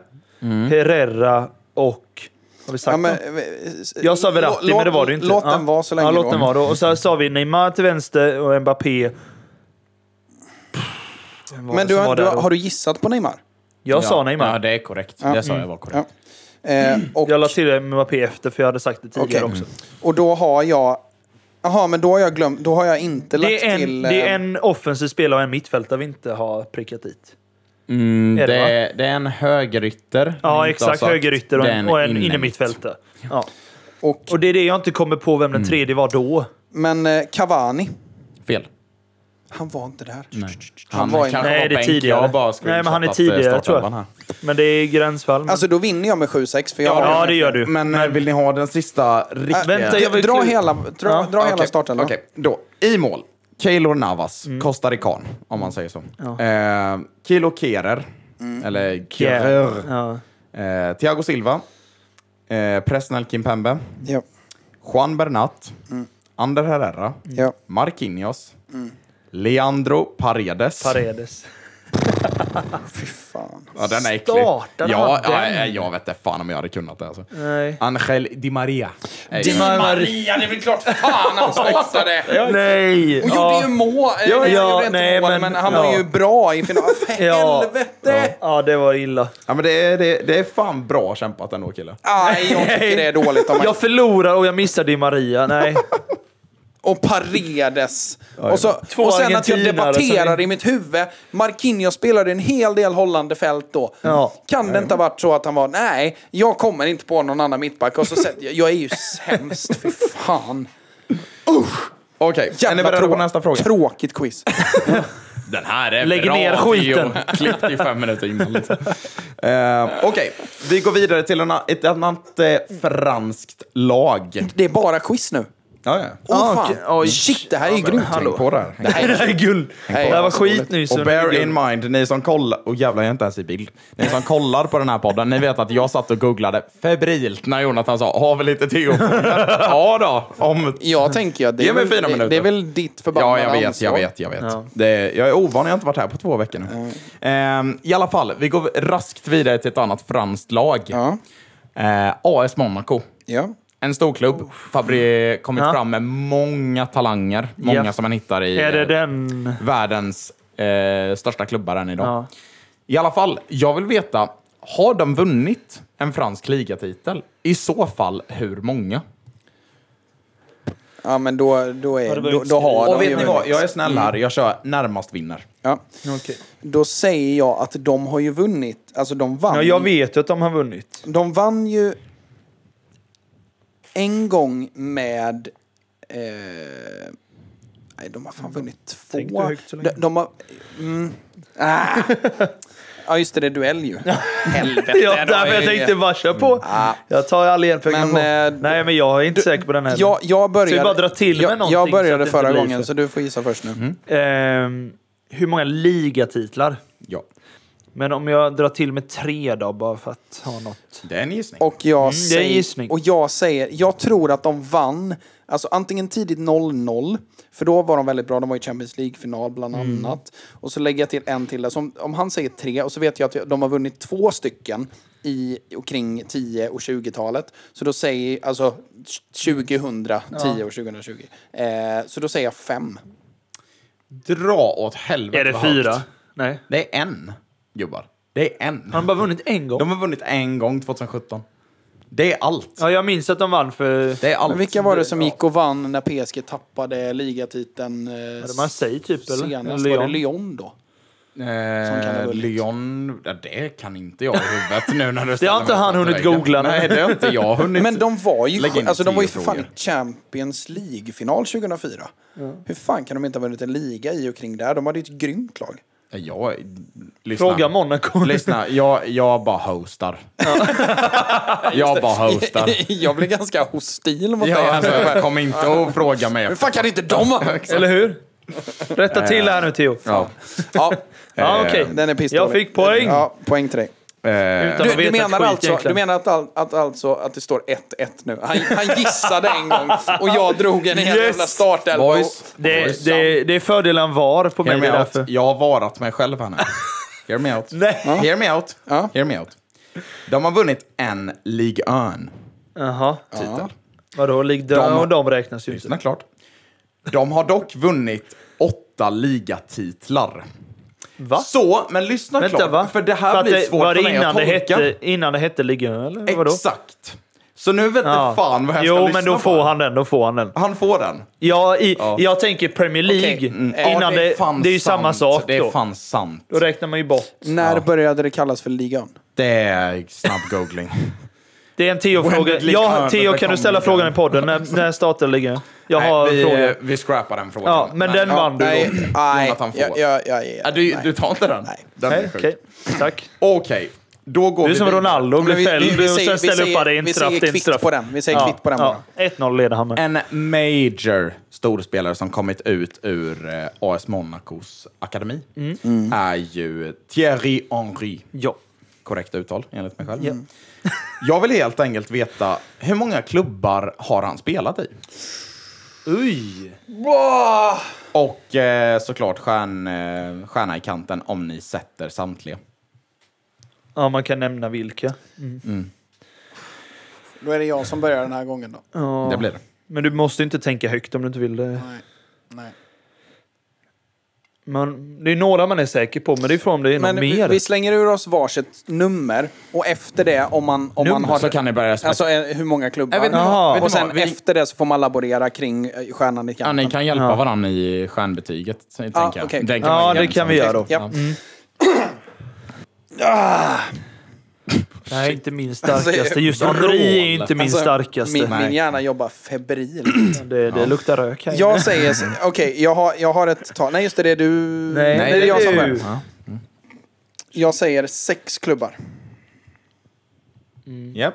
[SPEAKER 5] Herrera och... Har vi sagt
[SPEAKER 3] Mm. Ja, men,
[SPEAKER 5] något? Jag sa Verratti,
[SPEAKER 3] låt-
[SPEAKER 5] men det var det ju inte.
[SPEAKER 3] Låt
[SPEAKER 5] Ja.
[SPEAKER 3] den vara så länge
[SPEAKER 5] ja,
[SPEAKER 3] då.
[SPEAKER 5] låt den vara då. Och så sa vi Neymar till vänster och Mbappé. Vem var
[SPEAKER 3] Men
[SPEAKER 5] det
[SPEAKER 3] du,
[SPEAKER 5] som
[SPEAKER 3] har-
[SPEAKER 5] var
[SPEAKER 3] du,
[SPEAKER 5] där
[SPEAKER 3] har
[SPEAKER 5] då?
[SPEAKER 3] har du gissat på Neymar?
[SPEAKER 5] Jag
[SPEAKER 4] ja.
[SPEAKER 5] sa Neymar.
[SPEAKER 4] Ja, Mm. det är korrekt. Det sa jag var
[SPEAKER 3] Ja.
[SPEAKER 4] korrekt.
[SPEAKER 3] Eh, och,
[SPEAKER 5] Mm. Jag la till det med Mbappé efter, för jag hade sagt det tidigare
[SPEAKER 3] Okej.
[SPEAKER 5] också.
[SPEAKER 3] och då har jag... Jaha, men då har jag glömt. Då har jag inte lagt
[SPEAKER 5] Det är, en,
[SPEAKER 3] till...
[SPEAKER 5] det
[SPEAKER 3] eh,
[SPEAKER 5] är en offensiv spelare och en mittfältare vi inte har prickat dit.
[SPEAKER 4] Mm,
[SPEAKER 5] Är
[SPEAKER 4] det,
[SPEAKER 5] det,
[SPEAKER 4] är, det är en högerytter.
[SPEAKER 5] Ja,
[SPEAKER 4] Inte
[SPEAKER 5] exakt.
[SPEAKER 4] avsatt.
[SPEAKER 5] Högerytter och
[SPEAKER 4] Det är
[SPEAKER 5] en, och en
[SPEAKER 4] innermitt.
[SPEAKER 5] innermittfältare. Ja.
[SPEAKER 3] Och,
[SPEAKER 5] Och det är det jag inte kommer på vem den tredje var då.
[SPEAKER 3] men eh, Cavani,
[SPEAKER 4] Fel.
[SPEAKER 3] han var inte där.
[SPEAKER 4] Han,
[SPEAKER 3] var
[SPEAKER 4] var kanske
[SPEAKER 3] inte-
[SPEAKER 5] Nej,
[SPEAKER 4] var
[SPEAKER 5] det är
[SPEAKER 4] bänk.
[SPEAKER 5] tidigare.
[SPEAKER 4] Jag bara
[SPEAKER 5] Nej, men han är
[SPEAKER 4] screenshotat, eh,
[SPEAKER 5] tidigare, tror jag.
[SPEAKER 4] startelvan här.
[SPEAKER 5] Men det är gränsfall. Men...
[SPEAKER 3] Alltså, då vinner jag med 7-6. För jag har-
[SPEAKER 5] ja, det gör du.
[SPEAKER 4] Men eh, vill ni ha den sista
[SPEAKER 3] Äh,
[SPEAKER 4] riktiga?
[SPEAKER 5] Vänta, jag vill
[SPEAKER 3] dra
[SPEAKER 5] klu-
[SPEAKER 3] hela, dra,
[SPEAKER 5] Ja,
[SPEAKER 3] dra hela
[SPEAKER 4] Okej,
[SPEAKER 3] starten. då.
[SPEAKER 4] Okej, då. I mål. Keylor Navas, costarican, om man säger så.
[SPEAKER 5] Mm. Ja. Mm.
[SPEAKER 4] Eh, Kilo Kerer, eller Kerer.
[SPEAKER 5] Ja.
[SPEAKER 4] Eh, Thiago Silva, eh, Presnel Kimpembe,
[SPEAKER 3] Ja,
[SPEAKER 4] Juan Bernat,
[SPEAKER 5] Mm.
[SPEAKER 4] Ander Herrera,
[SPEAKER 3] ja.
[SPEAKER 4] Marquinhos, Leandro Paredes.
[SPEAKER 5] Paredes.
[SPEAKER 3] Fy fan.
[SPEAKER 4] ja, den är äcklig.
[SPEAKER 5] Startade
[SPEAKER 4] ja,
[SPEAKER 5] han
[SPEAKER 4] ja,
[SPEAKER 5] den?
[SPEAKER 4] ja, Jag vet inte fan om jag hade kunnat det. Alltså.
[SPEAKER 5] Nej.
[SPEAKER 4] Angel Di Maria. är ju-
[SPEAKER 3] Maria, det är väl klart fan han startade!
[SPEAKER 5] Nej!
[SPEAKER 3] Och
[SPEAKER 5] Ja.
[SPEAKER 3] gjorde ju mål! eh,
[SPEAKER 5] Ja,
[SPEAKER 3] han
[SPEAKER 5] ja,
[SPEAKER 3] gjorde inte
[SPEAKER 5] nej,
[SPEAKER 3] mål, men,
[SPEAKER 5] men-
[SPEAKER 3] han
[SPEAKER 5] ja.
[SPEAKER 3] var ju bra i finalen. För
[SPEAKER 5] Ja.
[SPEAKER 3] helvete!
[SPEAKER 5] Ja, det var illa.
[SPEAKER 4] Ja, men det, är, det, är- det är fan bra kämpat ändå killar.
[SPEAKER 3] Nej, jag tycker det är dåligt av mig.
[SPEAKER 5] Jag förlorar och jag missar Di Maria. Nej.
[SPEAKER 3] och Paredes. Och, så,
[SPEAKER 5] Två
[SPEAKER 3] och sen att jag
[SPEAKER 5] argentinare alltså. som
[SPEAKER 3] debatterar
[SPEAKER 5] vi-
[SPEAKER 3] i mitt huvud. Marquinhos spelade en hel del hållande fält då.
[SPEAKER 5] Ja.
[SPEAKER 3] Kan det inte ha varit så att han var, nej, jag kommer inte på någon annan mittback. Och så sätter jag, jag är ju sämst, fy fan.
[SPEAKER 4] Okej, är ni beredda på
[SPEAKER 3] trå-
[SPEAKER 4] nästa fråga?
[SPEAKER 3] Tråkigt quiz.
[SPEAKER 4] Den här är
[SPEAKER 5] Lägg
[SPEAKER 4] bra,
[SPEAKER 5] ner skiten.
[SPEAKER 4] Theo. Klippt i fem minuter innan. Liksom. Eh, Okej, vi går vidare till en, a- ett annat eh, franskt lag.
[SPEAKER 3] Det är bara quiz nu.
[SPEAKER 4] Ja, ja.
[SPEAKER 3] Åh
[SPEAKER 5] Ah,
[SPEAKER 3] fan,
[SPEAKER 5] okej. Oj.
[SPEAKER 3] shit, det här är ju
[SPEAKER 4] men
[SPEAKER 3] grymt.
[SPEAKER 4] Häng på där.
[SPEAKER 3] Det här
[SPEAKER 5] Det
[SPEAKER 3] är
[SPEAKER 5] här är guld.
[SPEAKER 3] Nej,
[SPEAKER 5] Det här var
[SPEAKER 3] alltså,
[SPEAKER 5] skit nu. så
[SPEAKER 4] Och
[SPEAKER 5] nu är det
[SPEAKER 4] bear
[SPEAKER 5] guld.
[SPEAKER 4] in mind, ni som kollar... Och jävlar, jag är inte ens i bild. Ni som kollar på den här podden, ni vet att jag satt och googlade febrilt när Jonathan sa “Har vi lite Theo?” Ja då, om...
[SPEAKER 3] jag tänker att det
[SPEAKER 4] Mm. Ge
[SPEAKER 3] är, väl,
[SPEAKER 4] mig
[SPEAKER 3] det,
[SPEAKER 4] fyra minuter.
[SPEAKER 3] det är väl ditt
[SPEAKER 4] Ja,
[SPEAKER 3] förbannade
[SPEAKER 4] jag vet,
[SPEAKER 3] ansvar.
[SPEAKER 4] jag vet, jag vet.
[SPEAKER 5] Ja.
[SPEAKER 4] Det är, jag är ovan, jag har inte varit här på två veckor nu. Ehm, I alla fall, vi går raskt vidare till ett annat franskt lag.
[SPEAKER 3] Ja,
[SPEAKER 4] Eh, AS Monaco.
[SPEAKER 3] ja.
[SPEAKER 4] En stor klubb. Fabri kommit
[SPEAKER 5] Ja.
[SPEAKER 4] fram med många talanger. Många
[SPEAKER 5] Ja.
[SPEAKER 4] som man hittar i
[SPEAKER 5] Är det
[SPEAKER 4] eh,
[SPEAKER 5] den?
[SPEAKER 4] världens eh, största klubbar än idag.
[SPEAKER 5] Ja.
[SPEAKER 4] I alla fall, jag vill veta, har de vunnit en fransk ligatitel? I så fall, hur många?
[SPEAKER 3] ja men då, då, är,
[SPEAKER 5] det
[SPEAKER 3] då,
[SPEAKER 5] börjat
[SPEAKER 3] då har
[SPEAKER 4] Och
[SPEAKER 3] de ju
[SPEAKER 4] vet ni vad,
[SPEAKER 3] vunnit.
[SPEAKER 4] jag är snäll här. Jag kör närmast vinner.
[SPEAKER 3] Ja. Då säger jag att de har ju vunnit. Alltså de vann.
[SPEAKER 5] Ja, jag vet ju att de har vunnit.
[SPEAKER 3] De vann ju en gång med... Eh, nej, de har fan vunnit två.
[SPEAKER 5] Tänkte högt så länge.
[SPEAKER 3] De, de har... Mm, ah. Ja, just det. Det är duell ju. Helvete.
[SPEAKER 5] Ja,
[SPEAKER 3] då
[SPEAKER 5] därför
[SPEAKER 3] är
[SPEAKER 5] jag
[SPEAKER 3] det-
[SPEAKER 5] tänkte bara kör på. Jag tar all hjälp jag kan få.
[SPEAKER 3] Mm, Men, eh,
[SPEAKER 5] Nej, men jag är inte säker på den heller.
[SPEAKER 3] Jag, jag började,
[SPEAKER 5] Ska vi bara dra till med
[SPEAKER 3] jag,
[SPEAKER 5] någonting
[SPEAKER 3] jag
[SPEAKER 5] så att det
[SPEAKER 3] började
[SPEAKER 5] inte
[SPEAKER 3] förra
[SPEAKER 5] blir
[SPEAKER 3] gången,
[SPEAKER 5] för-
[SPEAKER 4] Mm.
[SPEAKER 3] så du får gissa först nu.
[SPEAKER 5] Ehm, hur många ligatitlar?
[SPEAKER 4] Ja.
[SPEAKER 5] Men om jag drar till med tre då, bara för att ha något.
[SPEAKER 4] Det är en gissning.
[SPEAKER 3] Och jag,
[SPEAKER 5] Mm, det är en
[SPEAKER 3] säger,
[SPEAKER 5] gissning.
[SPEAKER 3] och jag säger, jag tror att de vann, alltså antingen tidigt 0-0, för då var de väldigt bra, de var i Champions League-final bland
[SPEAKER 5] Mm.
[SPEAKER 3] annat. Och så lägger jag till en till där, så om, om han säger tre, och så vet jag att de har vunnit två stycken i och kring 10 och 20-talet. Så då säger, alltså 2010 och 2020. Eh, så då säger jag fem.
[SPEAKER 4] Dra åt helvete
[SPEAKER 5] Är det
[SPEAKER 4] vad
[SPEAKER 5] fyra?
[SPEAKER 4] högt.
[SPEAKER 5] Nej.
[SPEAKER 4] Det är en, gubbar. Det är en.
[SPEAKER 5] Har de bara vunnit en gång?
[SPEAKER 4] De har vunnit en gång 2017. Det är allt.
[SPEAKER 5] Ja, jag minns att de vann för...
[SPEAKER 4] Det är allt.
[SPEAKER 3] Men vilka var det som gick och vann när PSG tappade ligatiteln? Eh,
[SPEAKER 5] Hade man sig typ, eller?
[SPEAKER 3] Senast
[SPEAKER 5] Eller
[SPEAKER 3] var det
[SPEAKER 5] Lyon?
[SPEAKER 3] Lyon då. Som kan ha
[SPEAKER 4] Eh,
[SPEAKER 3] vunnit.
[SPEAKER 4] Lyon, ja, det kan inte jag i huvudet nu när du
[SPEAKER 5] Det har inte han hunnit googla.
[SPEAKER 4] Nej, det har inte jag hunnit.
[SPEAKER 3] Men de var ju,
[SPEAKER 4] Lägg in
[SPEAKER 3] alltså, de var ju för
[SPEAKER 4] tio
[SPEAKER 3] fan i
[SPEAKER 4] frågor.
[SPEAKER 3] Champions League-final 2004. Hur fan kan de inte ha vunnit en liga i och kring där? De hade ju ett grymt lag.
[SPEAKER 4] Jag, lyssna.
[SPEAKER 5] Fråga Monaco.
[SPEAKER 4] Lyssna, jag, jag bara hostar. jag bara hostar.
[SPEAKER 3] jag blev ganska hostil mot
[SPEAKER 4] Ja,
[SPEAKER 3] dig.
[SPEAKER 4] alltså, kom inte och fråga mig.
[SPEAKER 3] Hur fan kan inte de ha...
[SPEAKER 5] Eller hur? Rätta till här nu, Theo.
[SPEAKER 4] Ja.
[SPEAKER 3] Eh, ja, Eh,
[SPEAKER 5] Ja, okej.
[SPEAKER 3] den är pissdålig.
[SPEAKER 5] Jag fick poäng!
[SPEAKER 3] Ja, poäng till dig.
[SPEAKER 4] Eh,
[SPEAKER 5] Utan
[SPEAKER 3] Du,
[SPEAKER 5] att veta
[SPEAKER 3] du, menar,
[SPEAKER 5] skit
[SPEAKER 3] alltså, du
[SPEAKER 5] egentligen.
[SPEAKER 3] menar att, all, att, alltså, att det står 1-1 nu? Han, han gissade en gång och jag drog en hel
[SPEAKER 5] Yes.
[SPEAKER 3] jävla startelva. och-
[SPEAKER 4] boys,
[SPEAKER 5] Det,
[SPEAKER 4] boys.
[SPEAKER 5] det, det är fördelen var på mig.
[SPEAKER 4] Hear
[SPEAKER 5] Det är
[SPEAKER 4] me out.
[SPEAKER 5] därför.
[SPEAKER 4] Jag har varat mig själv här nu. Hear me out.
[SPEAKER 5] Nej.
[SPEAKER 4] Hear me out.
[SPEAKER 3] Ja.
[SPEAKER 4] Hear me out. De har vunnit en League Earn-titel.
[SPEAKER 5] Jaha. Vadå, League de,
[SPEAKER 4] De-
[SPEAKER 5] och de räknas ju inte.
[SPEAKER 4] Lyssna klart. De har dock vunnit åtta ligatitlar.
[SPEAKER 5] Va?
[SPEAKER 4] Så, men lyssna
[SPEAKER 5] Vänta,
[SPEAKER 4] klart.
[SPEAKER 5] va?
[SPEAKER 4] För det här
[SPEAKER 5] att
[SPEAKER 4] blir
[SPEAKER 5] det-
[SPEAKER 4] svårt
[SPEAKER 5] var det
[SPEAKER 4] för mig att
[SPEAKER 5] innan det
[SPEAKER 4] tolka.
[SPEAKER 5] hette, innan det hette Ligue 1, eller Eh, vadå?
[SPEAKER 4] Exakt. Så nu vet
[SPEAKER 5] Ja.
[SPEAKER 4] jag fan vad jag ska
[SPEAKER 5] Jo,
[SPEAKER 4] lyssna
[SPEAKER 5] men då
[SPEAKER 4] på.
[SPEAKER 5] får han den. Då får han den.
[SPEAKER 4] Han får den.
[SPEAKER 5] Ja, i,
[SPEAKER 4] Ja. Mm,
[SPEAKER 5] Jag tänker Premier League.
[SPEAKER 3] Okej,
[SPEAKER 5] Innan
[SPEAKER 4] Ja,
[SPEAKER 5] det, det,
[SPEAKER 4] fan
[SPEAKER 5] är ju samma
[SPEAKER 4] sant.
[SPEAKER 5] sak
[SPEAKER 4] Det är
[SPEAKER 5] då.
[SPEAKER 4] fan sant.
[SPEAKER 5] Då räknar man ju bort.
[SPEAKER 3] När började det kallas för ligan?
[SPEAKER 4] Det är snabb googling.
[SPEAKER 5] Det är en Theo-fråga.
[SPEAKER 4] When did League
[SPEAKER 5] Ja,
[SPEAKER 4] Earn
[SPEAKER 5] Theo, kan du
[SPEAKER 4] become
[SPEAKER 5] ställa
[SPEAKER 4] League
[SPEAKER 5] frågan i
[SPEAKER 4] Earn?
[SPEAKER 5] podden? När, när startar Ligue 1? Jag har
[SPEAKER 4] Nej,
[SPEAKER 5] frågan.
[SPEAKER 4] vi, vi scrappar den frågan.
[SPEAKER 5] Ja, men
[SPEAKER 4] Nej.
[SPEAKER 5] den vann du
[SPEAKER 3] Nej,
[SPEAKER 5] då.
[SPEAKER 3] nej,
[SPEAKER 4] Jonathan får.
[SPEAKER 3] jag, jag, jag,
[SPEAKER 4] Ja, du, du tar inte den?
[SPEAKER 3] Nej.
[SPEAKER 4] Den
[SPEAKER 5] Nej,
[SPEAKER 4] är sjuk.
[SPEAKER 5] Okej, tack.
[SPEAKER 4] Okej, då går
[SPEAKER 5] Du är
[SPEAKER 4] vi
[SPEAKER 5] som
[SPEAKER 4] vidare.
[SPEAKER 5] Ronaldo,
[SPEAKER 3] Men
[SPEAKER 5] blir fälld och sen
[SPEAKER 3] vi,
[SPEAKER 5] ställer upp att det är en
[SPEAKER 3] vi
[SPEAKER 5] straff, det är
[SPEAKER 3] säger
[SPEAKER 5] en
[SPEAKER 3] kvitt
[SPEAKER 5] straff.
[SPEAKER 3] på den. Vi säger kvitt på den bara.
[SPEAKER 5] ja, 1-0 leder han med.
[SPEAKER 4] En major storspelare som kommit ut ur eh, AS Monacos akademi
[SPEAKER 5] Mm.
[SPEAKER 4] är ju Thierry Henry.
[SPEAKER 5] Ja.
[SPEAKER 4] Korrekt uttal, enligt mig själv.
[SPEAKER 5] Mm.
[SPEAKER 4] Jag vill helt enkelt veta, hur många klubbar har han spelat i?
[SPEAKER 5] Uj!
[SPEAKER 4] Och eh, såklart stjärn, eh, stjärna i kanten om ni sätter samtliga.
[SPEAKER 5] Ja, man kan nämna vilka.
[SPEAKER 3] Då är det jag som börjar den här gången då.
[SPEAKER 5] Ja.
[SPEAKER 4] Det blir det.
[SPEAKER 5] Men du måste inte tänka högt om du inte vill det.
[SPEAKER 3] Nej. Nej.
[SPEAKER 5] Man, det är några man är säker på, men det är från om det är någon
[SPEAKER 3] Men vi,
[SPEAKER 5] mer.
[SPEAKER 3] vi slänger ur oss varsitt nummer och efter det om man, om man
[SPEAKER 4] Nummer,
[SPEAKER 3] har...
[SPEAKER 4] så kan ni börja spela.
[SPEAKER 3] Alltså eh, hur många klubbar.
[SPEAKER 4] Jag vet inte
[SPEAKER 5] vad- Jaha. vet
[SPEAKER 3] och
[SPEAKER 4] inte
[SPEAKER 3] sen
[SPEAKER 4] vad, vi-
[SPEAKER 3] efter det så får man laborera kring eh, stjärnan i
[SPEAKER 4] Ja,
[SPEAKER 3] kanten.
[SPEAKER 4] ni kan hjälpa
[SPEAKER 5] Ja.
[SPEAKER 4] varandra i stjärnbetyget, tänker jag.
[SPEAKER 3] okej.
[SPEAKER 4] Den
[SPEAKER 5] Ja,
[SPEAKER 4] man
[SPEAKER 5] det
[SPEAKER 4] jämföra.
[SPEAKER 5] kan vi göra då.
[SPEAKER 3] Ja.
[SPEAKER 5] Nej, inte min
[SPEAKER 3] Alltså,
[SPEAKER 5] starkaste. Just Henri är inte min
[SPEAKER 3] Alltså,
[SPEAKER 5] starkaste.
[SPEAKER 3] Min, min
[SPEAKER 4] Nej.
[SPEAKER 3] hjärna jobbar febrilt.
[SPEAKER 5] Det, det luktar rök här.
[SPEAKER 3] Jag säger... så- Okej, jag, har, jag har ett tal. Nej, just det, det är du...
[SPEAKER 5] Nej,
[SPEAKER 3] det är jag som
[SPEAKER 5] du.
[SPEAKER 3] börjar. Jag säger sex klubbar.
[SPEAKER 4] Japp.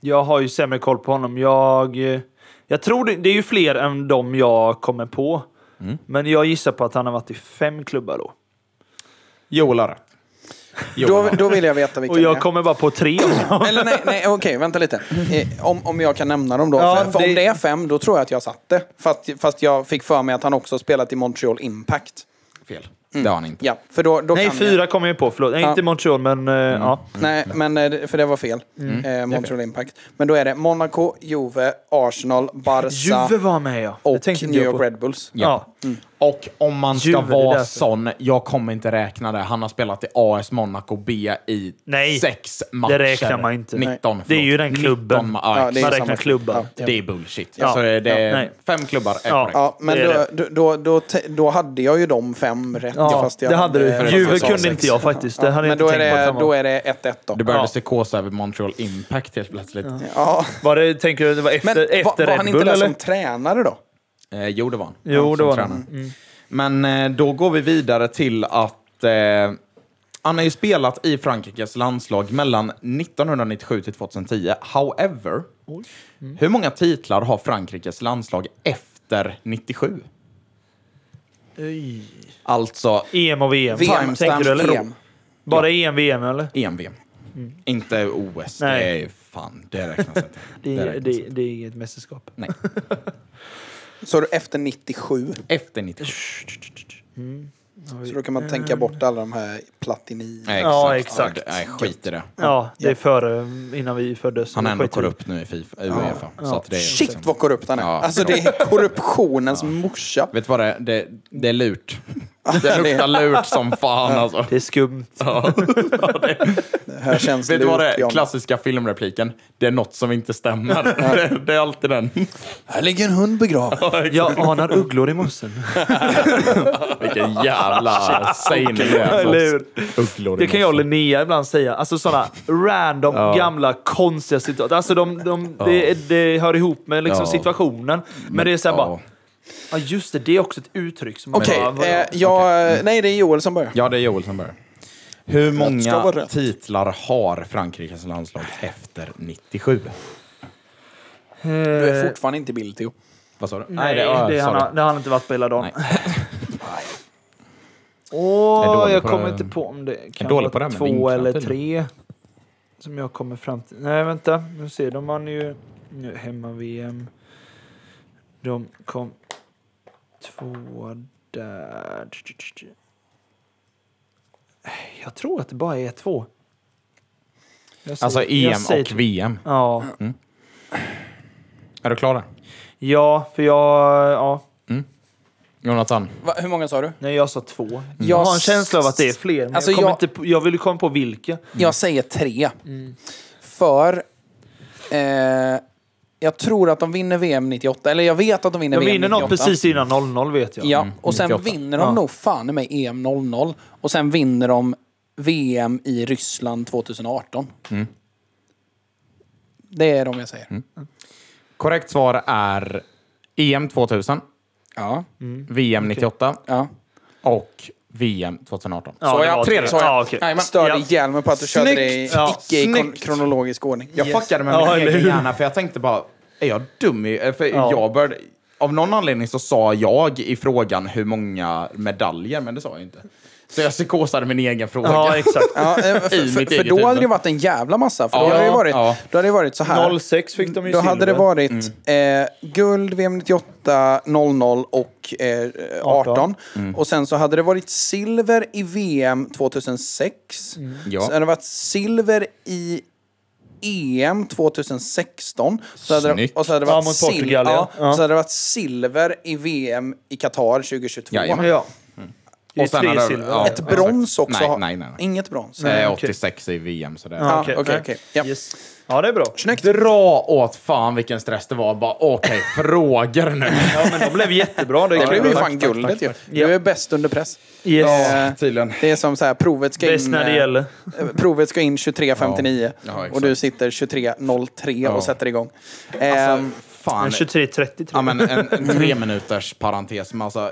[SPEAKER 5] Jag har ju sämre koll på honom. Jag, eh, jag tror det, det är ju fler än de jag kommer på.
[SPEAKER 3] Mm.
[SPEAKER 5] Men jag gissar på att han har varit i fem klubbar då.
[SPEAKER 4] Joel har rätt.
[SPEAKER 3] Då, då vill jag veta vilka
[SPEAKER 5] Och
[SPEAKER 3] det
[SPEAKER 5] jag
[SPEAKER 3] är.
[SPEAKER 5] kommer bara på tre av dem.
[SPEAKER 3] Eller nej, nej okej, vänta lite. Eh, Om, om jag kan nämna dem då.
[SPEAKER 5] Ja,
[SPEAKER 3] för, för om
[SPEAKER 5] det-
[SPEAKER 3] det är fem, då tror jag att jag satte. Fast, fast jag fick för mig att han också spelat i Montreal Impact.
[SPEAKER 4] Fel. Det har han inte.
[SPEAKER 3] Ja, för då, då
[SPEAKER 5] Nej,
[SPEAKER 3] kan
[SPEAKER 5] fyra kommer jag på. Förlåt. Nej,
[SPEAKER 3] Ja. Mm.
[SPEAKER 5] inte Montreal, men eh, ja.
[SPEAKER 3] Jag. Nej, men eh, för det var fel.
[SPEAKER 5] Mm.
[SPEAKER 3] Eh, Montreal Impact. Men då är det Monaco, Juve, Arsenal, Barca
[SPEAKER 5] Juve var med ja. Det
[SPEAKER 3] och
[SPEAKER 5] tänkte inte
[SPEAKER 3] New
[SPEAKER 5] jag
[SPEAKER 3] York
[SPEAKER 5] på.
[SPEAKER 3] Red Bulls.
[SPEAKER 5] Ja.
[SPEAKER 4] Och om man ska
[SPEAKER 5] Juve, det är
[SPEAKER 4] vara
[SPEAKER 5] därför.
[SPEAKER 4] sån, jag kommer inte räkna det. Han har spelat i AS Monaco B i
[SPEAKER 5] Nej,
[SPEAKER 4] sex matcher.
[SPEAKER 5] räknar man inte.
[SPEAKER 4] 19, förlåt.
[SPEAKER 5] Det är ju den klubben.
[SPEAKER 4] 19, ja,
[SPEAKER 3] Ja, det är
[SPEAKER 5] Man
[SPEAKER 4] exakt.
[SPEAKER 5] räknar
[SPEAKER 3] samma-
[SPEAKER 5] klubbar.
[SPEAKER 3] ja.
[SPEAKER 4] det, är bullshit.
[SPEAKER 5] Ja.
[SPEAKER 4] Alltså, det är
[SPEAKER 5] Ja, nej.
[SPEAKER 4] fem klubbar är
[SPEAKER 5] Ja.
[SPEAKER 4] korrekt.
[SPEAKER 3] Ja, men
[SPEAKER 5] Det
[SPEAKER 3] då,
[SPEAKER 5] är
[SPEAKER 3] då, då, då, te- då hade jag ju de fem rätt.
[SPEAKER 5] Ja,
[SPEAKER 3] fast jag
[SPEAKER 5] det hade du.
[SPEAKER 3] fast
[SPEAKER 5] Juve
[SPEAKER 3] jag sa
[SPEAKER 5] kunde
[SPEAKER 3] sex.
[SPEAKER 5] inte jag faktiskt. Det hade jag
[SPEAKER 3] Men
[SPEAKER 5] inte
[SPEAKER 3] då är,
[SPEAKER 5] tänkt på. att
[SPEAKER 3] det,
[SPEAKER 5] han
[SPEAKER 3] då
[SPEAKER 5] var.
[SPEAKER 3] är det 1-1 då.
[SPEAKER 4] Det började
[SPEAKER 5] Ja.
[SPEAKER 4] psykosa över Montreal Impact helt plötsligt.
[SPEAKER 3] Ja.
[SPEAKER 5] Var det, tänker du det var efter,
[SPEAKER 3] Men var,
[SPEAKER 5] efter
[SPEAKER 3] var han
[SPEAKER 5] Red
[SPEAKER 3] inte
[SPEAKER 5] Bull
[SPEAKER 3] där
[SPEAKER 5] eller?
[SPEAKER 3] som tränare då?
[SPEAKER 4] Eh, jo, det var han.
[SPEAKER 5] Jo,
[SPEAKER 4] Han
[SPEAKER 5] det
[SPEAKER 4] som
[SPEAKER 5] var han. Mm.
[SPEAKER 4] tränare. Men eh, då går vi vidare till att eh, han har ju spelat i Frankrikes landslag mellan 1997 till 2010. However,
[SPEAKER 5] Mm.
[SPEAKER 4] hur många titlar har Frankrikes landslag efter 97? Alltså,
[SPEAKER 5] EM och VM.
[SPEAKER 3] VM
[SPEAKER 5] tänker du eller?
[SPEAKER 3] VM.
[SPEAKER 5] Bara EM, VM eller?
[SPEAKER 4] EM-VM. E Inte OS.
[SPEAKER 5] Mm. Nej.
[SPEAKER 4] Det är fan, det räknas inte.
[SPEAKER 5] Det,
[SPEAKER 4] Det
[SPEAKER 5] är-
[SPEAKER 4] räknas
[SPEAKER 5] det,
[SPEAKER 4] inte.
[SPEAKER 5] det är inget mästerskap.
[SPEAKER 4] Nej.
[SPEAKER 3] Så du efter 97.
[SPEAKER 4] Efter 97.
[SPEAKER 3] Så då kan man tänka bort alla de här Platini.
[SPEAKER 4] Nej,
[SPEAKER 5] Ja, exakt.
[SPEAKER 4] Nej, skit i det.
[SPEAKER 5] Ja, det är före, innan vi föddes.
[SPEAKER 4] Han är ändå
[SPEAKER 5] Skit i-
[SPEAKER 4] korrupt nu i FIFA, Uefa. Så att det är liksom-
[SPEAKER 3] Shit vad korrupt han är.
[SPEAKER 4] Ja,
[SPEAKER 3] alltså det är korruptionens morsa.
[SPEAKER 4] Vet du vad det är? Det, det är lurt. Det luktar lurt som fan alltså.
[SPEAKER 5] Det är skumt.
[SPEAKER 4] Ja. Ja, det-
[SPEAKER 3] Det här känns
[SPEAKER 4] Vet du vad det är?
[SPEAKER 3] John.
[SPEAKER 4] Klassiska filmrepliken. Det är något som inte stämmer. Det, det är alltid den.
[SPEAKER 3] Här ligger en hund begravd.
[SPEAKER 5] Jag anar ugglor i mossen.
[SPEAKER 4] Vilken jävla sane du
[SPEAKER 5] Eller hur?
[SPEAKER 4] Ugglor i
[SPEAKER 5] Det kan jag och
[SPEAKER 4] mossen.
[SPEAKER 5] Linnea ibland säga. Alltså sådana random gamla konstiga situationer. Alltså de, de, det, det hör ihop med liksom
[SPEAKER 4] Ja.
[SPEAKER 5] situationen. Men det är såhär bara...
[SPEAKER 4] Ja.
[SPEAKER 5] Ja just det, det är också ett uttryck som... man
[SPEAKER 3] Okej,
[SPEAKER 5] bara, vadå?
[SPEAKER 3] eh, jag... Nej, det är Joel som börjar.
[SPEAKER 4] Ja, det är Joel som börjar. Hur
[SPEAKER 3] ska vara
[SPEAKER 4] många
[SPEAKER 3] rätt.
[SPEAKER 4] titlar har Frankrikes landslag efter 97?
[SPEAKER 3] Du
[SPEAKER 4] Eh,
[SPEAKER 3] är fortfarande inte i bild, Theo.
[SPEAKER 4] Vad sa du?
[SPEAKER 5] Nej, det,
[SPEAKER 4] ja,
[SPEAKER 5] har,
[SPEAKER 4] ah, sorry.
[SPEAKER 5] han- det har han inte varit på hela dagen.
[SPEAKER 4] Nej. Jag är
[SPEAKER 5] Åh,
[SPEAKER 4] dålig
[SPEAKER 5] jag
[SPEAKER 4] på
[SPEAKER 5] kommer
[SPEAKER 4] det.
[SPEAKER 5] inte på om det kan
[SPEAKER 4] dålig
[SPEAKER 5] vara
[SPEAKER 4] på det här med
[SPEAKER 5] två
[SPEAKER 4] vinklar
[SPEAKER 5] eller
[SPEAKER 4] tydligen.
[SPEAKER 5] tre. Som jag kommer fram till. Nej, vänta. Nu ser de vann ju nu hemma-VM. De kom två där. Jag tror att det bara är två. Jag säger-
[SPEAKER 4] Alltså
[SPEAKER 5] jag
[SPEAKER 4] EM
[SPEAKER 5] säger-
[SPEAKER 4] och VM.
[SPEAKER 5] Ja.
[SPEAKER 4] Är du klar där?
[SPEAKER 5] ja, för jag... Ja.
[SPEAKER 4] Jonathan?
[SPEAKER 3] Va, hur många sa du?
[SPEAKER 5] Nej, jag sa två. Jag,
[SPEAKER 3] Jag
[SPEAKER 5] har en
[SPEAKER 3] s-
[SPEAKER 5] känsla av att det är fler. Men
[SPEAKER 3] Alltså,
[SPEAKER 5] jag, kommer
[SPEAKER 3] jag-
[SPEAKER 5] Inte på, jag vill komma på vilka.
[SPEAKER 3] Jag säger tre. För... Eh, jag tror att de vinner VM 98. Eller jag vet att de vinner
[SPEAKER 5] Jag
[SPEAKER 3] VM
[SPEAKER 5] vinner
[SPEAKER 3] 98.
[SPEAKER 5] något precis innan 00 vet jag. Mm.
[SPEAKER 3] Ja, och sen
[SPEAKER 4] 98.
[SPEAKER 3] vinner de
[SPEAKER 5] Ja.
[SPEAKER 3] nog fan i mig EM 00. Och sen vinner de VM i Ryssland 2018. Det är de jag säger.
[SPEAKER 4] Korrekt svar är E EM 2000,
[SPEAKER 3] Ja.
[SPEAKER 5] Mm.
[SPEAKER 4] VM 98
[SPEAKER 3] ja.
[SPEAKER 4] och VM 2018.
[SPEAKER 5] Ja,
[SPEAKER 4] Så
[SPEAKER 5] det
[SPEAKER 4] ja,
[SPEAKER 5] var-
[SPEAKER 4] tredje
[SPEAKER 5] så
[SPEAKER 4] svar.
[SPEAKER 5] ja, okej.
[SPEAKER 4] Jajamän.
[SPEAKER 3] Störde
[SPEAKER 5] Ja.
[SPEAKER 3] ihjäl mig på att du körde det i
[SPEAKER 4] Snyggt! Ja.
[SPEAKER 3] icke i kon-
[SPEAKER 4] Snyggt!
[SPEAKER 3] kronologisk ordning.
[SPEAKER 4] Jag
[SPEAKER 5] Yes.
[SPEAKER 4] fuckade med
[SPEAKER 5] Ja,
[SPEAKER 4] min
[SPEAKER 5] eller
[SPEAKER 4] egen
[SPEAKER 5] hur?
[SPEAKER 4] hjärna för jag tänkte bara, är jag dum? i- eh, För
[SPEAKER 5] Ja.
[SPEAKER 4] jag började, av någon anledning så sa jag i frågan hur många medaljer, men det sa jag inte. Så jag psykosade min egen fråga.
[SPEAKER 5] Ja, exakt.
[SPEAKER 3] Ja, eh, för,
[SPEAKER 4] I
[SPEAKER 3] för,
[SPEAKER 4] mitt
[SPEAKER 3] för
[SPEAKER 4] eget
[SPEAKER 3] då hade
[SPEAKER 4] huvud.
[SPEAKER 3] det varit en jävla massa. För då,
[SPEAKER 4] Ja,
[SPEAKER 3] hade det varit,
[SPEAKER 4] ja.
[SPEAKER 3] då hade det varit så här.
[SPEAKER 5] 06 fick de ju
[SPEAKER 3] Då hade det
[SPEAKER 5] silver.
[SPEAKER 3] varit
[SPEAKER 4] Mm.
[SPEAKER 3] eh, guld, VM 98, 00 och eh, 18.
[SPEAKER 4] Mm.
[SPEAKER 3] Och sen så hade det varit silver i VM 2006.
[SPEAKER 5] Mm.
[SPEAKER 4] Ja.
[SPEAKER 3] Sen hade det varit silver i EM 2016. Så hade det,
[SPEAKER 4] Snyggt.
[SPEAKER 3] och så hade det varit
[SPEAKER 5] Ja, mot
[SPEAKER 3] sil-
[SPEAKER 5] Portugal, ja. Ja.
[SPEAKER 3] Så hade det varit silver i VM i Qatar 2022.
[SPEAKER 4] Jajamän.
[SPEAKER 5] Ja. Det är
[SPEAKER 4] Och sen
[SPEAKER 5] tre
[SPEAKER 4] hade jag-
[SPEAKER 5] silver.
[SPEAKER 4] ja.
[SPEAKER 3] Ett brons också.
[SPEAKER 4] Nej,
[SPEAKER 3] har-
[SPEAKER 4] nej, nej, nej.
[SPEAKER 3] Inget brons.
[SPEAKER 4] Eh,
[SPEAKER 5] okej.
[SPEAKER 4] 86 i VM, så det
[SPEAKER 5] Ja,
[SPEAKER 3] okej, okej, okej. Ja.
[SPEAKER 5] Yes. ja, det är bra.
[SPEAKER 3] Snyggt.
[SPEAKER 4] Dra åt fan vilken stress det var. Bara okej, frågor nu.
[SPEAKER 5] Ja, men de blev jättebra. Det,
[SPEAKER 3] Det blev ju
[SPEAKER 5] Tack,
[SPEAKER 3] fan
[SPEAKER 5] tack,
[SPEAKER 3] guldet
[SPEAKER 5] tack.
[SPEAKER 3] ju. Du är bäst under press.
[SPEAKER 5] Yes.
[SPEAKER 3] Eh,
[SPEAKER 4] tydligen.
[SPEAKER 3] Det är som så här, provet ska
[SPEAKER 5] Bäst
[SPEAKER 3] in...
[SPEAKER 5] när det
[SPEAKER 3] eh,
[SPEAKER 5] gäller.
[SPEAKER 3] eh, Provet ska in 23.59
[SPEAKER 4] Ja, exakt.
[SPEAKER 3] och du sitter 23.03 och sätter igång.
[SPEAKER 5] Alltså,
[SPEAKER 3] Ehm,
[SPEAKER 4] Fan.
[SPEAKER 5] 23.30
[SPEAKER 4] Ja,
[SPEAKER 5] tror jag.
[SPEAKER 4] men en, en
[SPEAKER 3] Mm.
[SPEAKER 4] tre minuters parentes. Men alltså,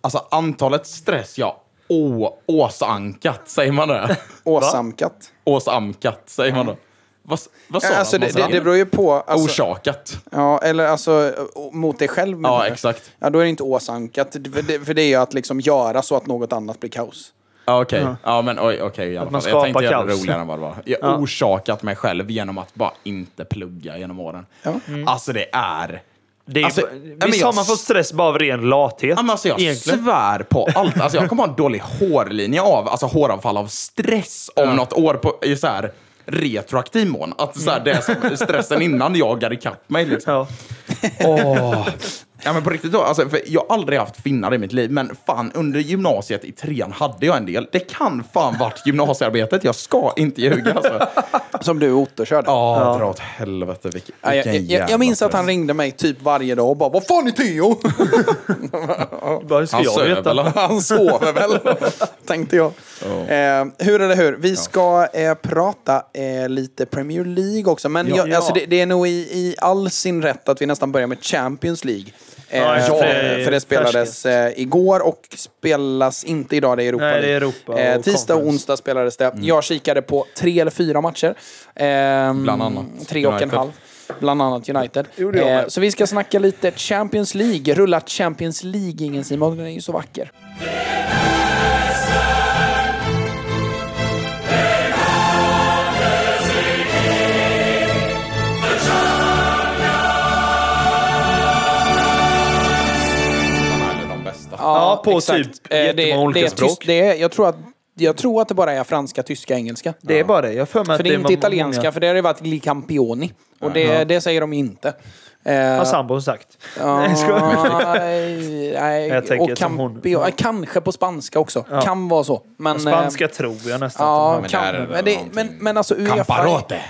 [SPEAKER 4] alltså antalet stress jag å, åsankat, säger man det?
[SPEAKER 3] åsamkat.
[SPEAKER 4] Åsamkat, säger man då. Vad, s- vad sa
[SPEAKER 3] Ja, alltså,
[SPEAKER 4] han?
[SPEAKER 3] det,
[SPEAKER 4] Vad sa
[SPEAKER 3] det,
[SPEAKER 4] han?
[SPEAKER 3] det beror ju på... Alltså,
[SPEAKER 4] Orsakat.
[SPEAKER 3] Ja, eller alltså eh, mot dig själv. menar
[SPEAKER 4] Ja,
[SPEAKER 3] du?
[SPEAKER 4] exakt.
[SPEAKER 3] Ja, då är det inte åsankat. Det- För det, för det är ju att liksom göra så att något annat blir kaos.
[SPEAKER 4] Ja, okej. Ja, men oj, okej i alla
[SPEAKER 5] Att man
[SPEAKER 4] fall. Jag tänkte
[SPEAKER 5] skapar
[SPEAKER 4] göra det
[SPEAKER 5] kaos.
[SPEAKER 4] roligare än vad det var. Jag
[SPEAKER 5] Ja.
[SPEAKER 4] orsakat mig själv genom att bara inte plugga genom åren.
[SPEAKER 3] Ja.
[SPEAKER 4] Alltså det är...
[SPEAKER 5] Det är,
[SPEAKER 4] Alltså,
[SPEAKER 5] alltså,
[SPEAKER 4] ja,
[SPEAKER 5] visst
[SPEAKER 4] men jag-
[SPEAKER 5] har man fått stress bara av ren lathet?
[SPEAKER 4] Ja, men alltså jag
[SPEAKER 5] egentligen.
[SPEAKER 4] svär på allt. Alltså jag kommer ha en dålig hårlinje av, alltså håravfall av stress om något år på, i så här retroaktiv mån. Att så här, det är som stressen innan jagar ikapp mig liksom.
[SPEAKER 5] Ja.
[SPEAKER 4] Åh. Ja men på riktigt då, alltså, för jag har aldrig haft finnar i mitt liv, men fan under gymnasiet i trean hade jag en del. Det kan fan varit gymnasiearbetet, jag ska inte ljuga alltså.
[SPEAKER 3] Som du Otto körde.
[SPEAKER 4] Ja, dra åt helvete vilken,
[SPEAKER 3] Ja, jag,
[SPEAKER 4] vilken
[SPEAKER 3] jag, jag,
[SPEAKER 4] jävla
[SPEAKER 3] jag minns att
[SPEAKER 4] stress.
[SPEAKER 3] han ringde mig typ varje dag och bara Vad fan är Theo?
[SPEAKER 5] Bara, hur ska
[SPEAKER 4] Han
[SPEAKER 5] jag
[SPEAKER 4] söver
[SPEAKER 5] veta?
[SPEAKER 4] väl, han?
[SPEAKER 3] Han sover väl, tänkte jag. Eh, hur eller hur? Vi ska eh, prata eh, lite Premier League också. Men jag,
[SPEAKER 5] Ja.
[SPEAKER 3] Alltså, det, det är nog i, i all sin rätt att vi nästan börjar med Champions League. Eh,
[SPEAKER 5] Ja,
[SPEAKER 3] för,
[SPEAKER 5] ja.
[SPEAKER 3] för det spelades eh, igår och spelas inte idag. Det är Europa
[SPEAKER 5] Nej, det är
[SPEAKER 3] League.
[SPEAKER 5] Europa och
[SPEAKER 3] eh, Tisdag och
[SPEAKER 5] conference.
[SPEAKER 3] onsdag spelades det. Jag kikade på tre eller fyra matcher. Eh,
[SPEAKER 4] Bland annat
[SPEAKER 3] Tre och en
[SPEAKER 4] United.
[SPEAKER 3] halv. Bland annat United. Eh,
[SPEAKER 5] Gjorde jag med.
[SPEAKER 3] så vi ska snacka lite Champions League. Rulla Champions League, ingen Simon. Den är ju så vacker.
[SPEAKER 5] på
[SPEAKER 3] exakt.
[SPEAKER 5] typ
[SPEAKER 3] Eh, det,
[SPEAKER 5] jättemånga olika
[SPEAKER 3] det är
[SPEAKER 5] språk.
[SPEAKER 3] Tyst, det är, jag, tror att, jag tror att det bara är franska, tyska, engelska.
[SPEAKER 5] Det är bara det. Jag för mig att
[SPEAKER 3] För det är
[SPEAKER 5] var
[SPEAKER 3] inte italienska,
[SPEAKER 5] många-
[SPEAKER 3] för det har det varit Li Campioni. Och det, det säger de inte. Eh,
[SPEAKER 5] Har sambon sagt. Nej, jag skojar.
[SPEAKER 3] ja, nej, nej.
[SPEAKER 5] Jag tänker
[SPEAKER 3] och
[SPEAKER 5] som hon.
[SPEAKER 3] Campio, kanske på spanska också. Kan vara så. Men, eh,
[SPEAKER 5] Spanska tror jag nästan.
[SPEAKER 3] Ja,
[SPEAKER 4] Men
[SPEAKER 3] men,
[SPEAKER 4] där är det
[SPEAKER 3] kan,
[SPEAKER 4] väl
[SPEAKER 3] men, det,
[SPEAKER 4] någonting.
[SPEAKER 3] men, men alltså Uefa...
[SPEAKER 4] Camparote!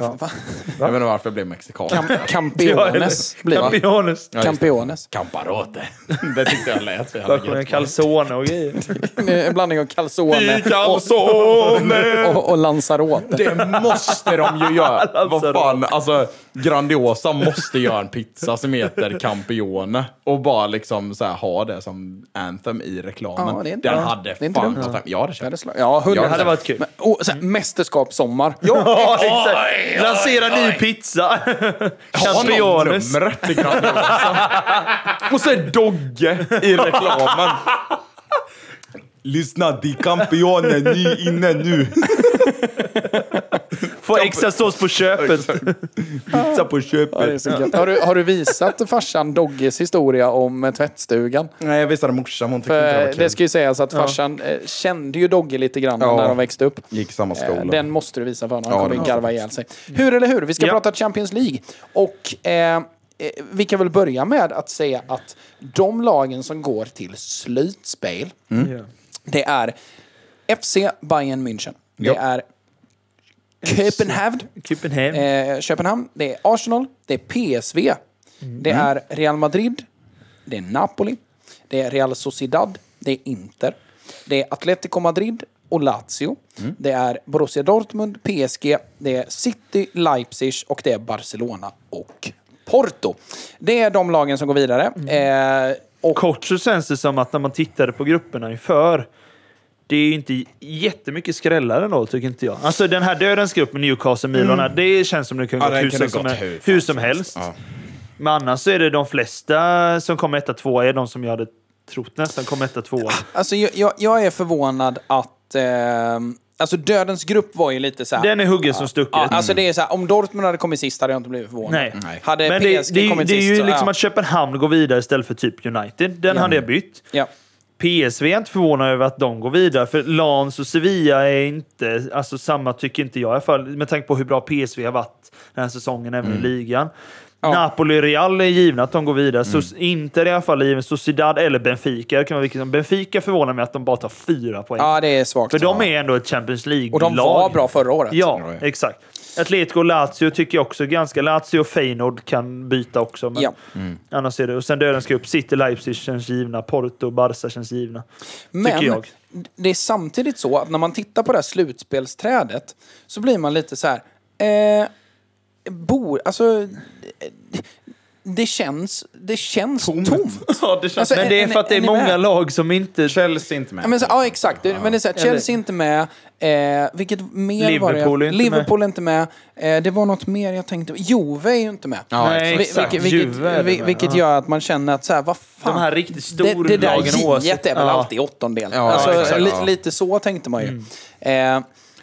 [SPEAKER 3] Ja, va?
[SPEAKER 4] Jag vet inte varför jag blev mexikan.
[SPEAKER 3] Cam- Campiones blir det.
[SPEAKER 5] Campiones.
[SPEAKER 4] just det.
[SPEAKER 3] Campiones.
[SPEAKER 4] Camparote. det tyckte jag lät så jävla
[SPEAKER 5] Jag sjunger
[SPEAKER 4] gött.
[SPEAKER 5] calzone och grejer.
[SPEAKER 3] En blandning av calzone
[SPEAKER 4] Calzone!
[SPEAKER 3] och, och Lanzarote.
[SPEAKER 4] Det måste de ju göra. Vad fan, alltså Grandiosa måste göra en pizza som heter Campione och bara liksom så här, ha det som anthem i reklamen.
[SPEAKER 3] Ja, det är inte
[SPEAKER 4] Den
[SPEAKER 3] bra.
[SPEAKER 4] hade
[SPEAKER 3] Det är inte
[SPEAKER 4] fan
[SPEAKER 3] dumt.
[SPEAKER 4] gått hem. Jag hade köpt.
[SPEAKER 3] Det hade sla- Ja, hundra
[SPEAKER 4] Ja,
[SPEAKER 5] Det hade varit kul.
[SPEAKER 3] Men, och, så här, mästerskapssommar.
[SPEAKER 5] Ja,
[SPEAKER 4] Oj, oj,
[SPEAKER 5] exakt. Lansera ny
[SPEAKER 4] oj.
[SPEAKER 5] pizza.
[SPEAKER 4] Har någon
[SPEAKER 5] Campiones.
[SPEAKER 4] numret till Grandiosa? Och så är Dogge i reklamen. Lyssna, de Campione, ni inne nu.
[SPEAKER 5] Få extra sås på köpet.
[SPEAKER 4] Pizza på
[SPEAKER 3] Ja, det är
[SPEAKER 4] köpet.
[SPEAKER 3] så gött. har, du, har du visat farsan Dogges historia om eh, tvättstugan?
[SPEAKER 4] Nej, jag visade morsan. Hon tyckte inte det var
[SPEAKER 3] För det
[SPEAKER 4] kul.
[SPEAKER 3] ska ju sägas att farsan eh, kände ju Dogge lite grann
[SPEAKER 4] Ja.
[SPEAKER 3] när de växte upp.
[SPEAKER 4] Gick i samma
[SPEAKER 3] Eh,
[SPEAKER 4] skola.
[SPEAKER 3] Den måste du visa för honom. Han
[SPEAKER 4] Ja,
[SPEAKER 3] kommer
[SPEAKER 4] den
[SPEAKER 3] garva ihjäl sig. Hur eller hur? Vi ska
[SPEAKER 5] Ja.
[SPEAKER 3] prata Champions League. Och eh, eh, vi kan väl börja med att säga att de lagen som går till slutspel,
[SPEAKER 5] Ja.
[SPEAKER 3] det är FC Bayern München. Det
[SPEAKER 4] Ja.
[SPEAKER 3] är Köpenhamn.
[SPEAKER 5] Köpenhamn.
[SPEAKER 3] Eh, Köpenhamn. Det är Arsenal. Det är PSV. Det är Real Madrid. Det är Napoli. Det är Real Sociedad. Det är Inter. Det är Atletico Madrid och Lazio. Det är Borussia Dortmund, PSG. Det är City, Leipzig och det är Barcelona och Porto. Det är de lagen som går vidare. Eh, och
[SPEAKER 5] Kort så känns det som att när man tittade på grupperna inför, det är ju inte jättemycket skrällar ändå, tycker inte jag. Alltså den här dödens gruppen, Newcastle, Milan, här, det känns som det kunde
[SPEAKER 4] Ja,
[SPEAKER 5] gått
[SPEAKER 4] den
[SPEAKER 5] hur,
[SPEAKER 4] kunde
[SPEAKER 5] som,
[SPEAKER 4] gått hur
[SPEAKER 5] hur,
[SPEAKER 4] fan
[SPEAKER 5] som
[SPEAKER 4] som
[SPEAKER 5] helst.
[SPEAKER 4] Ja.
[SPEAKER 5] Men annars så är det de flesta som kommer etta, tvåa, är de som jag hade trott nästan kom etta, tvåa.
[SPEAKER 3] Alltså, jag, jag, jag är förvånad att... ehm, alltså, Dödens grupp var ju lite så här...
[SPEAKER 5] Den är huggen som stucket.
[SPEAKER 3] Ja, alltså det är så här, om Dortmund hade kommit sist hade jag inte blivit förvånad.
[SPEAKER 5] Mm. Nej.
[SPEAKER 4] Nej.
[SPEAKER 3] Hade
[SPEAKER 5] Men det,
[SPEAKER 3] PSG
[SPEAKER 5] det, det,
[SPEAKER 3] kommit
[SPEAKER 5] är
[SPEAKER 3] sist
[SPEAKER 5] ju
[SPEAKER 3] så,
[SPEAKER 5] liksom
[SPEAKER 3] ja.
[SPEAKER 5] att Köpenhamn går vidare istället för typ United. Den hade jag bytt.
[SPEAKER 3] Ja.
[SPEAKER 5] PSV är inte förvånad över att de går vidare, för Lans och Sevilla är inte... Alltså samma tycker inte jag i alla fall, med tanke på hur bra PSV har varit den här säsongen, även i ligan. Napoli och Real är givna att de går vidare. Så Inter i alla fall är given. Sociedad eller Benfica. Det kan vara vilket som. Benfica förvånar mig att de bara tar fyra poäng.
[SPEAKER 3] ja, det är svagt.
[SPEAKER 5] för de är ändå ett Champions League-lag.
[SPEAKER 3] Och de var bra förra året.
[SPEAKER 5] Ja,
[SPEAKER 4] Ja, ja.
[SPEAKER 5] exakt. Atletico och Lazio tycker jag också ganska... Lazio och Feyenoord kan byta också. Men Mm.
[SPEAKER 3] Ja.
[SPEAKER 5] Annars är det... Och sen dödens grupp. City, Leipzig känns givna. Porto och Barca känns givna.
[SPEAKER 3] Men
[SPEAKER 5] tycker jag.
[SPEAKER 3] det är samtidigt så att när man tittar på det här slutspelsträdet så blir man lite så här... Eh, bor, alltså, eh, det känns, det känns tomt.
[SPEAKER 4] Ja, det känns...
[SPEAKER 3] Alltså,
[SPEAKER 5] Men det är
[SPEAKER 3] en-
[SPEAKER 5] för att det är
[SPEAKER 3] en- en
[SPEAKER 5] många
[SPEAKER 3] med.
[SPEAKER 5] lag som inte...
[SPEAKER 4] Chelsea inte med.
[SPEAKER 3] Ja, men så, ja exakt. Det- Men det är så här, Chelsea är inte med. Eh, vilket mer var
[SPEAKER 5] Liverpool
[SPEAKER 3] det?
[SPEAKER 5] är inte
[SPEAKER 3] Liverpool är inte med. Eh, det var något mer jag tänkte. Juve är ju inte med.
[SPEAKER 4] Ja,
[SPEAKER 5] Nej,
[SPEAKER 4] exakt.
[SPEAKER 3] Vilket,
[SPEAKER 5] exakt.
[SPEAKER 3] vilket,
[SPEAKER 5] Juve är det
[SPEAKER 3] vi-
[SPEAKER 5] med,
[SPEAKER 3] vilket
[SPEAKER 5] ja.
[SPEAKER 3] gör att man känner att så här, vad fan.
[SPEAKER 5] De här riktigt
[SPEAKER 3] det, det där
[SPEAKER 5] storlagen
[SPEAKER 3] giet
[SPEAKER 5] oavsett-
[SPEAKER 3] är väl
[SPEAKER 5] Ja. Mm.
[SPEAKER 3] alltid åttondel.
[SPEAKER 4] Ja,
[SPEAKER 3] alltså,
[SPEAKER 4] exakt,
[SPEAKER 3] li,
[SPEAKER 4] ja.
[SPEAKER 3] Lite så tänkte man ju. Eh,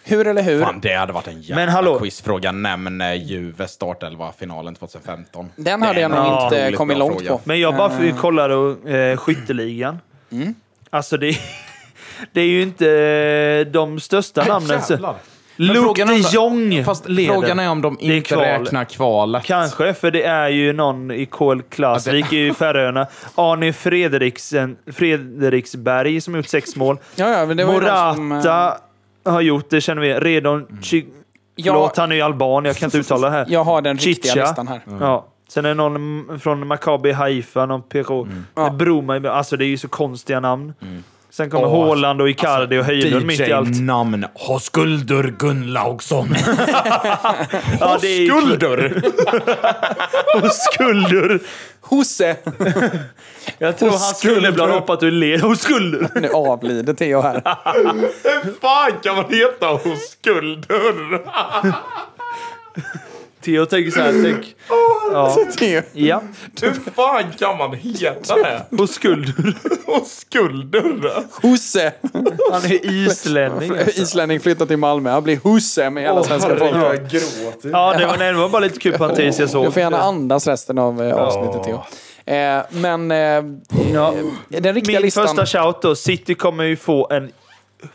[SPEAKER 3] hur eller hur?
[SPEAKER 4] Fan, det hade varit en jävla
[SPEAKER 5] Men hallå.
[SPEAKER 4] quizfråga. Nämn eh, Juve startelva finalen 2015.
[SPEAKER 3] Den hade jag nog
[SPEAKER 5] Ja,
[SPEAKER 3] inte
[SPEAKER 4] roligt
[SPEAKER 3] kommit
[SPEAKER 4] bra
[SPEAKER 3] långt
[SPEAKER 4] fråga.
[SPEAKER 3] på.
[SPEAKER 5] Men jag bara för, kollade och, eh, skytteligan. Alltså det, är- det är ju inte eh, de största namnen.
[SPEAKER 4] Jävlar. Men
[SPEAKER 5] Luke
[SPEAKER 4] frågan
[SPEAKER 5] de
[SPEAKER 4] är om-
[SPEAKER 5] Jong
[SPEAKER 4] Fast
[SPEAKER 5] leder.
[SPEAKER 4] frågan är om de
[SPEAKER 5] är
[SPEAKER 4] inte
[SPEAKER 5] kval.
[SPEAKER 4] räknar kvalet.
[SPEAKER 5] Kanske, för det är ju någon i KL Klasvik i Färöarna. Arne Frederiksen, Fredriksberg som har gjort sex mål.
[SPEAKER 3] Ja, ja, men det var ju
[SPEAKER 5] Morata
[SPEAKER 3] de som, eh,
[SPEAKER 5] har gjort, det känner vi. Redon... Chi-
[SPEAKER 3] Ja.
[SPEAKER 5] Förlåt, han är ju alban. Jag kan inte uttala det här.
[SPEAKER 3] Jag har den riktiga
[SPEAKER 5] Chicha.
[SPEAKER 3] listan här.
[SPEAKER 5] Ja. Sen är det någon m- från Maccabi Haifa, någon PK. Ja. Broma, i- alltså det är ju så konstiga namn. Sen kommer
[SPEAKER 4] Åh,
[SPEAKER 5] Haaland och Icardi och Höjlund mitt i allt.
[SPEAKER 4] DJ-namn. Ha skulder Gunnlaugsson.
[SPEAKER 5] Ja, det är ju-
[SPEAKER 4] Skulder!
[SPEAKER 5] och skulder!
[SPEAKER 3] Hosse!
[SPEAKER 5] Jag tror
[SPEAKER 3] Och
[SPEAKER 5] han skulle bland
[SPEAKER 3] skulder.
[SPEAKER 5] hoppat ur led. Och skulder!
[SPEAKER 3] Nu avlider Theo här.
[SPEAKER 4] Hur fan kan man heta hos skulder?
[SPEAKER 5] Theo tänker så här, tänk... Ja.
[SPEAKER 3] Theo.
[SPEAKER 5] ja.
[SPEAKER 4] Hur fan kan man heta det?
[SPEAKER 5] Och skulder.
[SPEAKER 4] Hos skulder?
[SPEAKER 3] Hosse!
[SPEAKER 5] Han är islänning. alltså.
[SPEAKER 3] Islänning flyttar till Malmö. Han blir Hosse med hela svenska folket.
[SPEAKER 4] gråter.
[SPEAKER 5] Ja, det var, nej, det var bara lite kul parentes jag såg.
[SPEAKER 3] Du får gärna andas resten av eh, avsnittet, Theo. Eh, men eh,
[SPEAKER 5] Ja.
[SPEAKER 3] den riktiga
[SPEAKER 5] Min
[SPEAKER 3] listan...
[SPEAKER 5] första shout då. City kommer ju få en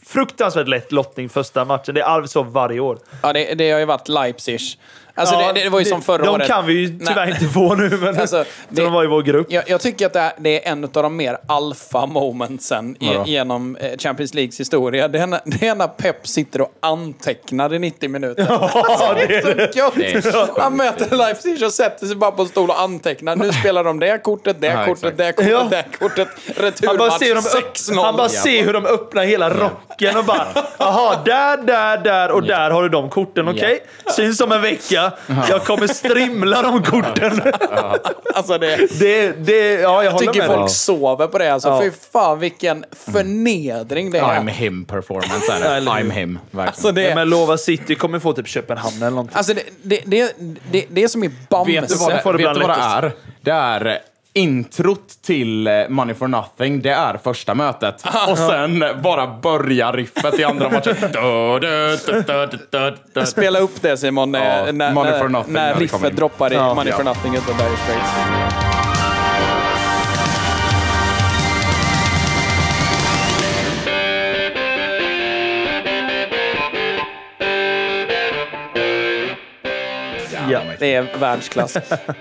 [SPEAKER 5] fruktansvärt lätt lottning första matchen. Det är alltid så varje år.
[SPEAKER 3] Ja, det, det har ju varit Leipzig. Alltså,
[SPEAKER 5] Ja,
[SPEAKER 3] det, det var ju som förra
[SPEAKER 5] de
[SPEAKER 3] året.
[SPEAKER 5] kan vi ju tyvärr
[SPEAKER 3] Nej.
[SPEAKER 5] inte få nu, men
[SPEAKER 3] Alltså, det-
[SPEAKER 5] de var i vår grupp.
[SPEAKER 3] Jag, jag tycker att det är, det är en av de mer alfa momentsen i,
[SPEAKER 4] Vadå?
[SPEAKER 3] genom eh, Champions Leagues historia. Det är, när, det är när Pep sitter och antecknar i 90 minuter.
[SPEAKER 5] Ja, det är det.
[SPEAKER 3] Ja,
[SPEAKER 4] är
[SPEAKER 3] Han möter Leipzig och sätter sig bara på en stol och antecknar. Nu spelar de det kortet, det
[SPEAKER 4] Ja,
[SPEAKER 3] kortet,
[SPEAKER 4] exakt.
[SPEAKER 3] det kortet,
[SPEAKER 5] Ja.
[SPEAKER 3] det kortet.
[SPEAKER 5] Han bara,
[SPEAKER 3] Returmatch
[SPEAKER 5] ser hur de upp,
[SPEAKER 3] 6-0.
[SPEAKER 5] han bara ser hur de öppnar hela rocken och bara “Jaha, där, där, där och där har du de korten, okej? Syns om en vecka. Jag kommer strimla de korten.”
[SPEAKER 3] Alltså, det,
[SPEAKER 5] det, det, ja, jag,
[SPEAKER 3] jag
[SPEAKER 5] håller
[SPEAKER 3] tycker
[SPEAKER 5] med
[SPEAKER 3] folk
[SPEAKER 5] dig.
[SPEAKER 3] sover på det. Alltså, Fy fan
[SPEAKER 4] Mm.
[SPEAKER 3] vilken förnedring det är.
[SPEAKER 4] I'm him performance är det. I'm him. Verkligen.
[SPEAKER 3] Alltså, det,
[SPEAKER 5] Men Lova City kommer få typ Köpenhamn eller någonting.
[SPEAKER 3] Alltså det, det, det, det, det är som i Bamse.
[SPEAKER 4] Vet du vad det,
[SPEAKER 5] får det
[SPEAKER 4] vet
[SPEAKER 5] bland
[SPEAKER 4] du vad det
[SPEAKER 5] lättast.
[SPEAKER 4] är? Det är eh, introt till eh, Money for nothing. Det är första mötet. Och sen bara börjar riffet i andra matchen. Du, du, du, du, du, du, du.
[SPEAKER 3] Spela upp det Simon, när,
[SPEAKER 4] Ja,
[SPEAKER 3] när,
[SPEAKER 4] Money
[SPEAKER 3] när,
[SPEAKER 4] for nothing
[SPEAKER 3] när
[SPEAKER 4] när det kommer
[SPEAKER 3] riffet
[SPEAKER 4] in.
[SPEAKER 3] droppar i
[SPEAKER 5] Ja.
[SPEAKER 3] Money for
[SPEAKER 4] Ja.
[SPEAKER 3] nothing utav Dire Straits.
[SPEAKER 5] Ja.
[SPEAKER 3] Det är världsklass.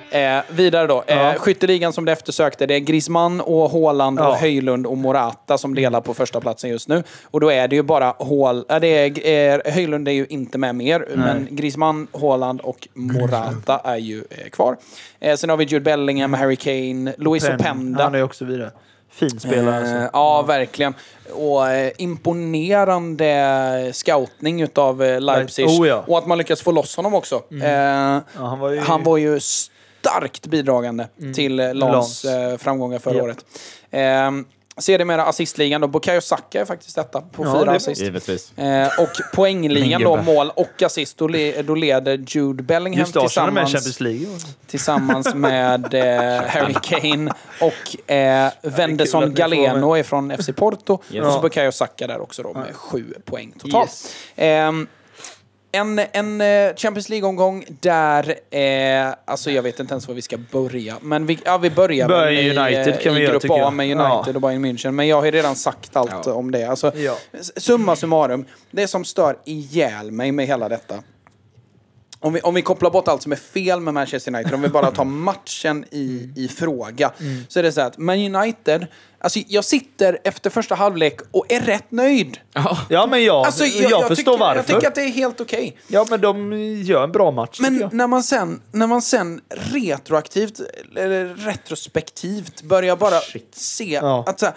[SPEAKER 3] eh, vidare då. Eh, Skytteligan som det eftersökte, det är Griezmann och Haaland och
[SPEAKER 5] Ja.
[SPEAKER 3] Höjlund och Morata som delar på första platsen just nu. Och då är det ju bara Hål... Äh, det är, eh, Höjlund är ju inte med mer, men Griezmann, Haaland och Morata är ju eh, kvar. Eh, sen har vi Jude
[SPEAKER 4] Mm.
[SPEAKER 3] Bellingham, Harry Kane, Luis
[SPEAKER 5] Pen-
[SPEAKER 3] Openda.
[SPEAKER 5] Han är också vidare. Fin spelare
[SPEAKER 3] Eh,
[SPEAKER 5] alltså.
[SPEAKER 3] Ja, verkligen. Och eh, imponerande scoutning utav eh, Leipzig.
[SPEAKER 5] Oh, ja. Mm.
[SPEAKER 3] Och att man lyckas få loss honom också. Eh,
[SPEAKER 5] Ja, han var ju- Mm.
[SPEAKER 3] han var ju starkt bidragande till eh, Lans
[SPEAKER 5] Lans.
[SPEAKER 3] eh, framgångar förra
[SPEAKER 5] Japp.
[SPEAKER 3] året. Eh, Sedermera assistligan då. Bukayo Saka är faktiskt detta på
[SPEAKER 5] Ja, det
[SPEAKER 3] fyra
[SPEAKER 5] är-
[SPEAKER 3] assist.
[SPEAKER 4] Givetvis.
[SPEAKER 3] Eh, och poängligan då,
[SPEAKER 4] Min gubbe.
[SPEAKER 3] mål och assist. Då, le, då leder Jude Bellingham
[SPEAKER 5] Just det, Arsenal är med i
[SPEAKER 3] tillsammans
[SPEAKER 5] Champions League.
[SPEAKER 3] tillsammans med eh, Harry Kane och eh,
[SPEAKER 5] kul
[SPEAKER 3] Wenderson
[SPEAKER 5] att ni får
[SPEAKER 3] Galeno är från FC Porto. Och så
[SPEAKER 5] Ja.
[SPEAKER 3] Bukayo Saka där också då med sju poäng totalt. Ehm, en, en eh, Champions League-omgång där, eh, alltså jag vet inte ens var vi ska börja, men vi, ja, vi börjar
[SPEAKER 5] Börja
[SPEAKER 3] väl
[SPEAKER 5] i United
[SPEAKER 3] eh,
[SPEAKER 5] kan
[SPEAKER 3] i
[SPEAKER 5] vi göra,
[SPEAKER 3] grupp
[SPEAKER 5] tycker
[SPEAKER 3] A
[SPEAKER 5] jag.
[SPEAKER 3] med
[SPEAKER 5] Ja.
[SPEAKER 3] United och Bayern München, men jag har ju redan sagt allt om det. Alltså,
[SPEAKER 5] Ja.
[SPEAKER 3] s- Summa summarum, det som stör ihjäl mig med hela detta, om vi, om vi kopplar bort allt som är fel med Manchester United, om vi bara tar matchen i,
[SPEAKER 5] Mm.
[SPEAKER 3] i fråga, så är det så här att Man United, alltså jag sitter efter första halvlek och är rätt nöjd.
[SPEAKER 5] Ja, men jag,
[SPEAKER 3] Alltså,
[SPEAKER 5] jag, förstår
[SPEAKER 3] tycker,
[SPEAKER 5] varför.
[SPEAKER 3] Jag tycker att det är helt okej.
[SPEAKER 5] Ja, men de gör en bra match. tycker
[SPEAKER 3] Men
[SPEAKER 5] jag.
[SPEAKER 3] när man, sen, när man sen retroaktivt, eller retrospektivt, börjar bara se
[SPEAKER 5] Ja.
[SPEAKER 3] att så här,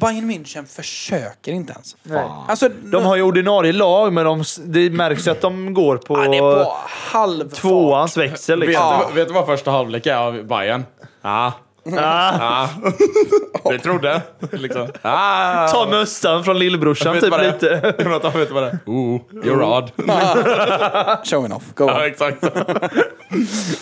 [SPEAKER 3] Bayern München försöker inte ens.
[SPEAKER 5] Nej.
[SPEAKER 3] Alltså,
[SPEAKER 5] De har ju ordinarie lag, men de, det märks ju att de går på,
[SPEAKER 3] han är på halv
[SPEAKER 5] tvåans växel.
[SPEAKER 4] Vet,
[SPEAKER 5] Liksom.
[SPEAKER 4] du, vet du vad första halvlek är av Bayern? Ah.
[SPEAKER 5] Ah,
[SPEAKER 4] Ah. Vi trodde. Liksom. Ah.
[SPEAKER 5] ta mössan från lillbrorsan
[SPEAKER 4] Vet du
[SPEAKER 5] typ
[SPEAKER 4] vad det är?
[SPEAKER 5] lite.
[SPEAKER 4] Jonathan, vet du vad det är? Ooh, you're odd.
[SPEAKER 3] Showing off. Go on.
[SPEAKER 4] Ja, exakt.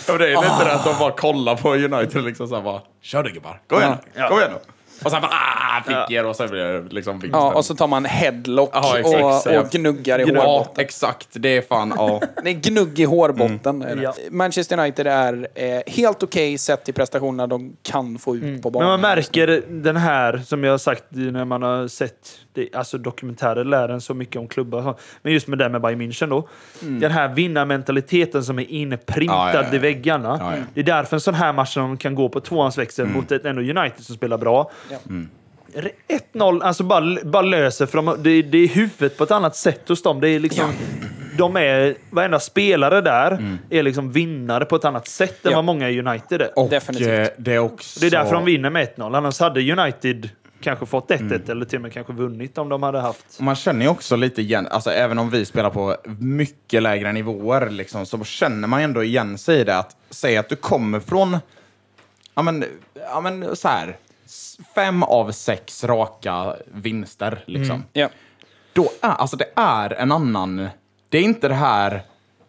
[SPEAKER 4] Ja, men det är lite det att de bara kollar på United liksom såhär bara Kör det gubbar, kom igen nu, kom igen nu. Och sen bara ah, fick er och sen blir det liksom vinsten.
[SPEAKER 3] Ja, och så tar man headlock
[SPEAKER 4] Ja, exakt.
[SPEAKER 3] och, och gnuggar i
[SPEAKER 4] Ja,
[SPEAKER 3] hårbotten.
[SPEAKER 4] exakt. Det är fan, ja.
[SPEAKER 3] Det är gnugg i hårbotten.
[SPEAKER 4] Mm.
[SPEAKER 3] är det.
[SPEAKER 5] Ja.
[SPEAKER 3] Manchester United är eh, helt okej sett till prestationerna de kan få ut
[SPEAKER 4] Mm.
[SPEAKER 3] på
[SPEAKER 5] Men
[SPEAKER 3] banan.
[SPEAKER 5] man märker den här, som jag har sagt när man har sett det, alltså dokumentärer, lär en så mycket om klubbar. och så. Men just med det med Bayern München då. Den här vinnarmentaliteten som är inprintad
[SPEAKER 4] Mm. Ja, ja, ja.
[SPEAKER 5] i väggarna.
[SPEAKER 4] Ja, Mm. ja.
[SPEAKER 5] Det är därför en sån här match som kan gå på tvåans växel mot ett ändå United som spelar bra.
[SPEAKER 3] Ja.
[SPEAKER 4] Mm.
[SPEAKER 5] 1-0, alltså bara, bara löser för de, det, det är huvudet på ett annat sätt hos dem. Det är liksom, De är, varenda spelare där
[SPEAKER 4] Mm.
[SPEAKER 5] är liksom vinnare på ett annat sätt än
[SPEAKER 3] Ja.
[SPEAKER 5] vad många i United är.
[SPEAKER 3] Och, Definitivt.
[SPEAKER 4] Eh, Det är också...
[SPEAKER 5] Det är därför de vinner med 1-0. Annars hade United kanske fått 1-1
[SPEAKER 4] Mm.
[SPEAKER 5] eller till och med kanske vunnit om de hade haft...
[SPEAKER 4] Man känner ju också lite igen, alltså även om vi spelar på mycket lägre nivåer, liksom, så känner man ju ändå igen sig i det. Att säga att du kommer från, ja men, ja, men så här, s- fem av sex raka vinster. Liksom.
[SPEAKER 5] Mm.
[SPEAKER 3] Ja.
[SPEAKER 4] Då är, alltså det är en annan, det är inte det här,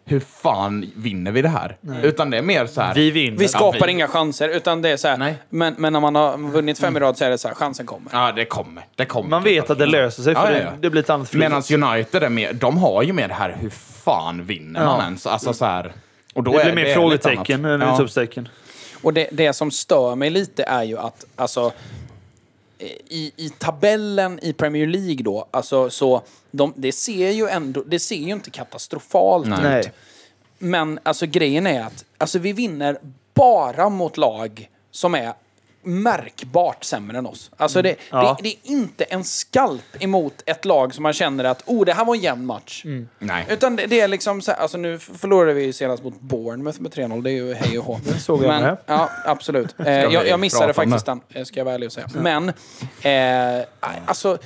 [SPEAKER 4] hur fan vinner vi det här? Utan det är mer så här,
[SPEAKER 5] Vi vinner.
[SPEAKER 3] Vi skapar
[SPEAKER 4] Ja, vi-
[SPEAKER 3] inga chanser, utan det är så här.
[SPEAKER 4] Nej. Mm.
[SPEAKER 3] Men, men när man har vunnit fem i rad så är det så här, chansen kommer.
[SPEAKER 4] ja det kommer, det kommer.
[SPEAKER 5] Man vet att det löser sig, för
[SPEAKER 4] Ja, ja,
[SPEAKER 5] det-
[SPEAKER 4] ja.
[SPEAKER 5] det blir ett annat flyt.
[SPEAKER 4] Medan United är mer, de har ju mer det här, hur fan vinner man ens? Alltså så här, och då
[SPEAKER 5] det
[SPEAKER 4] är
[SPEAKER 5] blir mer
[SPEAKER 4] är lite
[SPEAKER 5] frågetecken
[SPEAKER 4] annat.
[SPEAKER 5] än utropstecken.
[SPEAKER 3] Och det, det som stör mig lite är ju att alltså, i, i tabellen i Premier League då, alltså, så de, det ser ju ändå, det ser ju inte katastrofalt ut.
[SPEAKER 5] Nej.
[SPEAKER 3] Men alltså grejen är att alltså, vi vinner bara mot lag som är märkbart sämre än oss. Alltså det,
[SPEAKER 5] Mm. Ja.
[SPEAKER 3] det, det är inte en skalp emot ett lag som man känner att oh, det här var en jämn match.
[SPEAKER 5] Mm.
[SPEAKER 4] Nej.
[SPEAKER 3] Utan det, det är liksom så här, alltså nu förlorade vi ju senast mot Bournemouth med 3-0, det är ju hej och hå. Den
[SPEAKER 5] såg jag med.
[SPEAKER 3] Ja, absolut. Eh, jag,
[SPEAKER 4] vi
[SPEAKER 3] jag missade
[SPEAKER 4] prata om
[SPEAKER 3] faktiskt den, eh, ska jag vara ärlig och säga. Men, eh, alltså,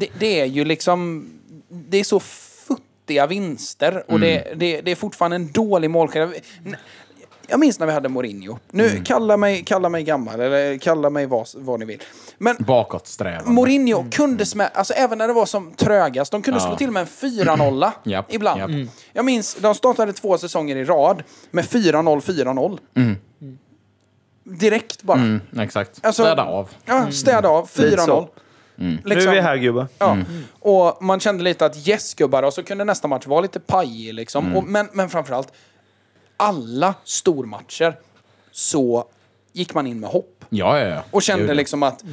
[SPEAKER 3] det, det är ju liksom, det är så futtiga vinster och
[SPEAKER 4] Mm.
[SPEAKER 3] det, det, det är fortfarande en dålig målskillnad. N- Jag minns när vi hade Mourinho. Nu,
[SPEAKER 4] Mm.
[SPEAKER 3] kalla, mig, kalla mig gammal, eller kalla mig vad, vad ni vill. Men
[SPEAKER 4] Bakåtsträvande.
[SPEAKER 3] Mourinho kunde smälla, alltså även när det var som trögast, de kunde slå till med en 4-0
[SPEAKER 4] Mm. Japp,
[SPEAKER 3] ibland.
[SPEAKER 4] japp.
[SPEAKER 3] Jag minns, de startade två säsonger i rad med 4-0, 4-0. Direkt bara.
[SPEAKER 4] Mm, exakt.
[SPEAKER 3] Alltså-
[SPEAKER 4] Städa av. Mm.
[SPEAKER 3] Ja, städa av, 4-0.
[SPEAKER 5] Nu
[SPEAKER 3] Liksom,
[SPEAKER 5] är vi här gubbar.
[SPEAKER 3] Ja.
[SPEAKER 4] Mm.
[SPEAKER 3] Och man kände lite att yes gubbar, och så kunde nästa match vara lite pajig liksom.
[SPEAKER 4] Mm.
[SPEAKER 3] Och, men, men framförallt, alla stormatcher så gick man in med hopp.
[SPEAKER 4] Ja, ja, ja.
[SPEAKER 3] Och
[SPEAKER 4] Gud,
[SPEAKER 3] kände
[SPEAKER 4] ja.
[SPEAKER 3] liksom att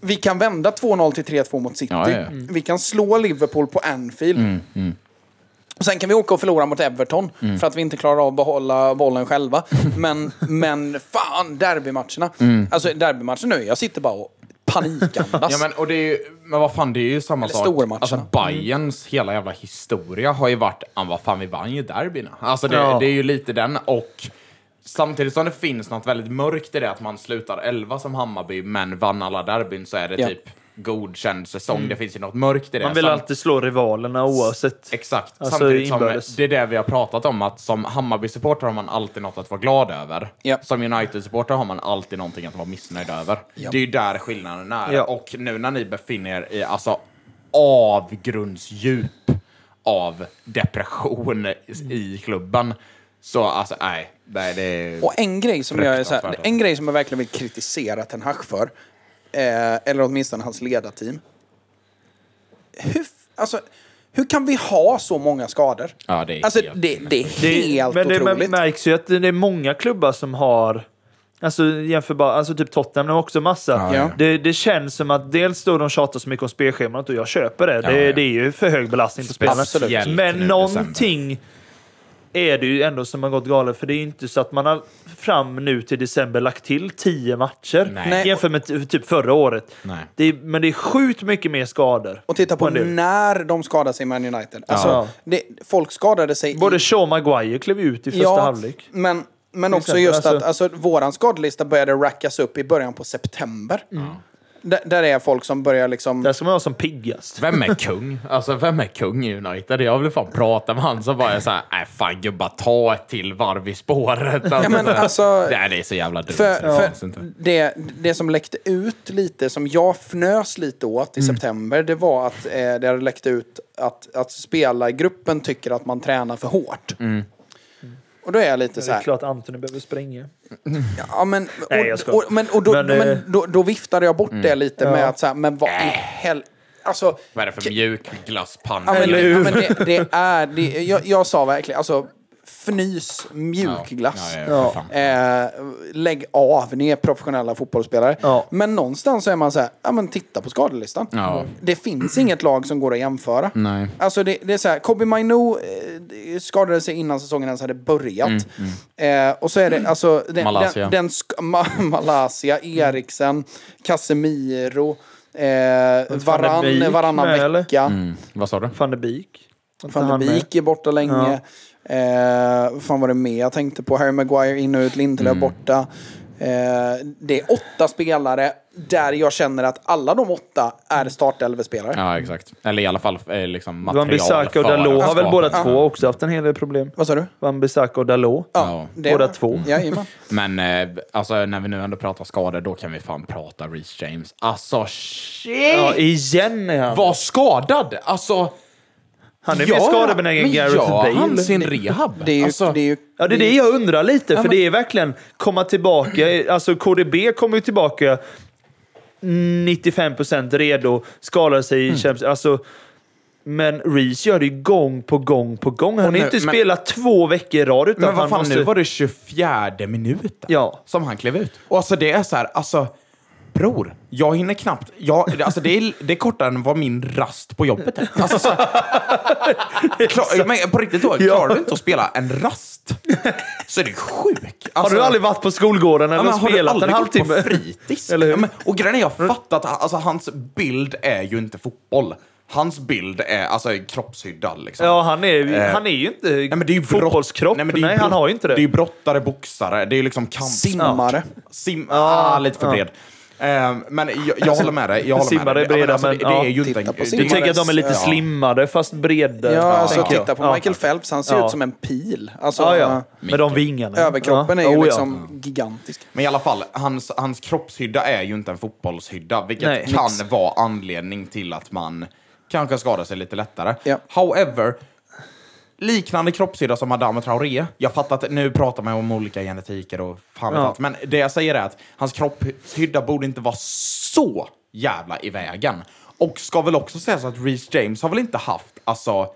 [SPEAKER 3] vi kan vända 2-0 till 3-2 mot City.
[SPEAKER 4] Ja, Mm, ja, ja.
[SPEAKER 3] Vi kan slå Liverpool på Anfield. Och sen kan vi åka och förlora mot Everton
[SPEAKER 4] Mm.
[SPEAKER 3] för att vi inte klarar av att behålla bollen själva. Men, men fan, derbymatcherna.
[SPEAKER 4] Mm.
[SPEAKER 3] Alltså derbymatchen nu, jag sitter bara och panikandas.
[SPEAKER 4] Ja, men, och det är ju, men vad fan, det är ju samma
[SPEAKER 3] Alltså- Eller
[SPEAKER 4] sak.
[SPEAKER 3] stormatcherna.
[SPEAKER 4] Alltså, Bayerns hela jävla historia har ju varit, "Ah, vad fan, vi vann ju derbyna. Alltså, det,
[SPEAKER 5] Ja.
[SPEAKER 4] det är ju lite den och samtidigt som det finns något väldigt mörkt i det att man slutar 11 som Hammarby men vann alla derbyn så är det
[SPEAKER 3] Ja. Mm.
[SPEAKER 4] typ godkänd säsong. Det finns ju något mörkt i det.
[SPEAKER 5] Man vill
[SPEAKER 4] Samt-
[SPEAKER 5] alltid slå rivalerna oavsett.
[SPEAKER 4] Exakt.
[SPEAKER 5] Alltså,
[SPEAKER 4] Samtidigt som
[SPEAKER 5] inbördes.
[SPEAKER 4] det är det vi har pratat om, att som Hammarby-supporter har man alltid något att vara glad över.
[SPEAKER 3] Ja.
[SPEAKER 4] Som United-supporter har man alltid någonting att vara missnöjd över.
[SPEAKER 3] Ja.
[SPEAKER 4] Det är ju där skillnaden är.
[SPEAKER 5] Ja.
[SPEAKER 4] Och nu när ni befinner er i alltså, avgrundsdjup av depression i- i klubben, så alltså nej. nej det är...
[SPEAKER 3] Och en grej som jag, är så här,
[SPEAKER 4] Fruktansvärt.
[SPEAKER 3] en grej som jag verkligen vill kritisera Ten Hag för, eh, eller åtminstone hans ledarteam. Hur, f- alltså, hur kan vi ha så många skador?
[SPEAKER 4] Ja, det är
[SPEAKER 3] alltså,
[SPEAKER 4] helt
[SPEAKER 3] det, det är helt
[SPEAKER 5] men det
[SPEAKER 3] otroligt.
[SPEAKER 5] märks ju att det är många klubbar som har... Alltså jämförbara, alltså typ Tottenham har också massa.
[SPEAKER 3] Ja.
[SPEAKER 5] Det, det känns som att dels då de tjatar så mycket om spelschemat och jag köper det. det,
[SPEAKER 4] ja.
[SPEAKER 5] det är ju för hög belastning på spelarna.
[SPEAKER 4] Speciellt nu i
[SPEAKER 5] Men
[SPEAKER 4] december.
[SPEAKER 5] någonting är det ju ändå som har gått galet. För det är ju inte så att man har fram nu till december lagt till tio matcher
[SPEAKER 4] Nej.
[SPEAKER 5] jämfört med ty- typ förra året.
[SPEAKER 4] Nej.
[SPEAKER 5] Det är, men det är sjukt mycket mer skador.
[SPEAKER 3] Och titta på
[SPEAKER 5] en del.
[SPEAKER 3] när de skadade sig i Man United. Alltså,
[SPEAKER 5] Ja.
[SPEAKER 3] det, folk skadade sig
[SPEAKER 5] Både Shaw Maguire klev ut i första halvlek.
[SPEAKER 3] Men, men också
[SPEAKER 5] exempel,
[SPEAKER 3] just att
[SPEAKER 5] alltså-
[SPEAKER 3] alltså, våran skadelista började rackas upp i början på september.
[SPEAKER 4] Mm.
[SPEAKER 3] Där, där är folk som börjar liksom...
[SPEAKER 5] Där ska man vara som piggast.
[SPEAKER 4] Vem är kung? Alltså vem är kung i United? Jag vill fan prata med han som bara är såhär, nej "Äh, fan gubbar ta ett till varv i spåret. Alltså,
[SPEAKER 3] Ja, men
[SPEAKER 4] så här,
[SPEAKER 3] alltså-
[SPEAKER 4] det, här, det är så jävla dumt.
[SPEAKER 3] För,
[SPEAKER 4] det finns
[SPEAKER 3] för
[SPEAKER 4] inte.
[SPEAKER 3] det, det som läckte ut lite, som jag fnös lite åt
[SPEAKER 4] Mm.
[SPEAKER 3] i september, det var att eh, det hade läckt ut att, att spelargruppen tycker att man tränar för hårt.
[SPEAKER 4] Mm.
[SPEAKER 3] Och då är jag lite
[SPEAKER 5] Det
[SPEAKER 3] så
[SPEAKER 5] är
[SPEAKER 3] här...
[SPEAKER 5] klart Antoni behöver spränga.
[SPEAKER 3] Ja, men, och,
[SPEAKER 5] Nej, jag skojar.
[SPEAKER 3] och, men, och då,
[SPEAKER 5] Men,
[SPEAKER 3] men,
[SPEAKER 5] eh, Äh.
[SPEAKER 3] då, då viftade jag
[SPEAKER 4] mm.
[SPEAKER 3] bort det lite med att så här, men vad i helvete... Alltså,
[SPEAKER 4] Vad är det för mjuk glasspanna?
[SPEAKER 3] ja, men,
[SPEAKER 5] Eller
[SPEAKER 3] ja,
[SPEAKER 5] hur?
[SPEAKER 3] men det, det är... Det, jag, jag sa verkligen, alltså, fnys, mjukglass.
[SPEAKER 4] Ja, ja, ja, för fan.
[SPEAKER 3] Eh, lägg av, ni är professionella fotbollsspelare.
[SPEAKER 5] Ja.
[SPEAKER 3] Men någonstans så är man så här, ja men titta på skadelistan.
[SPEAKER 4] Ja.
[SPEAKER 3] Det finns inget lag som går att jämföra.
[SPEAKER 4] Nej.
[SPEAKER 3] Alltså det, det är så här, Kobe Mainu eh, skadade sig innan säsongen ens hade börjat. Eh, och så är det alltså... Den,
[SPEAKER 4] Mm, Malaysia.
[SPEAKER 3] Den, den sk- Ma Malaysia, Eriksen, Casemiro, eh,
[SPEAKER 5] Beek
[SPEAKER 3] varann, varannan
[SPEAKER 5] med, eller?
[SPEAKER 3] vecka.
[SPEAKER 4] Mm, vad sa du?
[SPEAKER 5] Van de Beek. Inte
[SPEAKER 3] Van
[SPEAKER 5] han
[SPEAKER 3] de
[SPEAKER 5] med.
[SPEAKER 3] Beek är borta länge. Eh, vad fan var det med jag tänkte på? Harry Maguire in och ut, Lindelöf
[SPEAKER 5] Mm.
[SPEAKER 3] borta. Eh, det är åtta spelare där jag känner att alla de åtta
[SPEAKER 5] Mm.
[SPEAKER 3] är startelvespelare.
[SPEAKER 4] Ja, exakt. Eller i alla fall eh, liksom material
[SPEAKER 5] Van Bissaka och
[SPEAKER 4] för
[SPEAKER 5] Dalot har
[SPEAKER 4] att
[SPEAKER 5] väl
[SPEAKER 4] skapa.
[SPEAKER 5] båda två också haft en hel del problem.
[SPEAKER 3] Vad sa du?
[SPEAKER 5] Van Bissaka och Dalot.
[SPEAKER 4] Ja.
[SPEAKER 3] det-
[SPEAKER 5] Båda två.
[SPEAKER 3] Jajamän.
[SPEAKER 4] Men eh, alltså, när vi nu ändå pratar skador, då kan vi fan prata Reece James. Alltså shit!
[SPEAKER 5] Ja, igen är han.
[SPEAKER 4] Var skadad! Alltså...
[SPEAKER 5] Han är mer skadebenägen än
[SPEAKER 4] men
[SPEAKER 5] Gareth
[SPEAKER 4] gör
[SPEAKER 5] Bale.
[SPEAKER 4] han sin rehab?
[SPEAKER 3] Det är ju,
[SPEAKER 4] Alltså-
[SPEAKER 3] det är ju
[SPEAKER 5] Ja, det är det jag undrar lite, för det är verkligen komma tillbaka. Alltså KDB kommer ju tillbaka
[SPEAKER 4] Mm.
[SPEAKER 5] 95% redo, skalar sig i Champions alltså, Men Reese gör det ju gång på gång på gång. Hon
[SPEAKER 4] nu-
[SPEAKER 5] har inte
[SPEAKER 4] men-
[SPEAKER 5] spelat två veckor i rad. Utan
[SPEAKER 4] Men vad
[SPEAKER 5] han
[SPEAKER 4] fan,
[SPEAKER 5] måste-
[SPEAKER 4] nu var det 24 minuten
[SPEAKER 5] Ja.
[SPEAKER 4] som han klev ut. Och alltså det är så här, alltså bror, jag hinner knappt. Jag, alltså det, är, det är kortare än vad min rast på jobbet är. Alltså, så, klar, men på riktigt då, klarar du inte att spela en rast så är du sjuk.
[SPEAKER 5] Har
[SPEAKER 4] Alltså,
[SPEAKER 5] du aldrig varit på skolgården eller
[SPEAKER 4] Ja, men har du
[SPEAKER 5] spelat en
[SPEAKER 4] aldrig gått
[SPEAKER 5] halvtimme?
[SPEAKER 4] på fritids?
[SPEAKER 5] Eller hur? Mm.
[SPEAKER 4] Ja, men, och grejen är, jag fattar att alltså, hans bild är ju inte fotboll. Hans bild är alltså kroppshyddad. Liksom.
[SPEAKER 5] Ja, han är,
[SPEAKER 4] Eh.
[SPEAKER 5] han är ju inte
[SPEAKER 4] Nej, men det är ju brott-
[SPEAKER 5] fotbollskropp. Nej,
[SPEAKER 4] men det är ju
[SPEAKER 5] han
[SPEAKER 4] brott-
[SPEAKER 5] har ju inte det.
[SPEAKER 4] Det är ju brottare, boxare, det är ju liksom kamp.
[SPEAKER 3] Simmare.
[SPEAKER 4] Sim... Ah, lite för bred. Ehm, men jag, jag håller med dig. Jag håller med
[SPEAKER 5] Alltså, Simmare
[SPEAKER 4] dig.
[SPEAKER 5] är breda,
[SPEAKER 4] Ja, men alltså,
[SPEAKER 5] men,
[SPEAKER 4] det, det är
[SPEAKER 5] ja.
[SPEAKER 4] ju inte...
[SPEAKER 3] Titta på
[SPEAKER 4] det-
[SPEAKER 5] du
[SPEAKER 3] simmare.
[SPEAKER 5] tänker att de är lite
[SPEAKER 3] Ja.
[SPEAKER 5] slimmade fast bredare?
[SPEAKER 3] Ja, alltså
[SPEAKER 5] tänker jag.
[SPEAKER 3] titta på
[SPEAKER 5] Ja.
[SPEAKER 3] Michael Phelps. Han ser
[SPEAKER 5] Ja.
[SPEAKER 3] ut som en pil. Alltså,
[SPEAKER 5] Ja,
[SPEAKER 3] eh,
[SPEAKER 5] ja. Med de vingarna.
[SPEAKER 3] Överkroppen
[SPEAKER 5] ja.
[SPEAKER 3] är ju
[SPEAKER 5] Oh, ja.
[SPEAKER 3] liksom gigantisk.
[SPEAKER 4] Men i alla fall, hans, hans kroppshydda är ju inte en fotbollshydda, vilket
[SPEAKER 5] Nej.
[SPEAKER 4] kan vara anledning till att man kanske skadar sig lite lättare.
[SPEAKER 3] Ja.
[SPEAKER 4] However, liknande kroppshydda som Adame Traoré. Jag fattar att nu pratar man om olika genetiker och fan vet
[SPEAKER 5] Ja.
[SPEAKER 4] allt, men det jag säger är att hans kroppshydda borde inte vara så jävla i vägen. Och ska väl också sägas att Reece James har väl inte haft, alltså,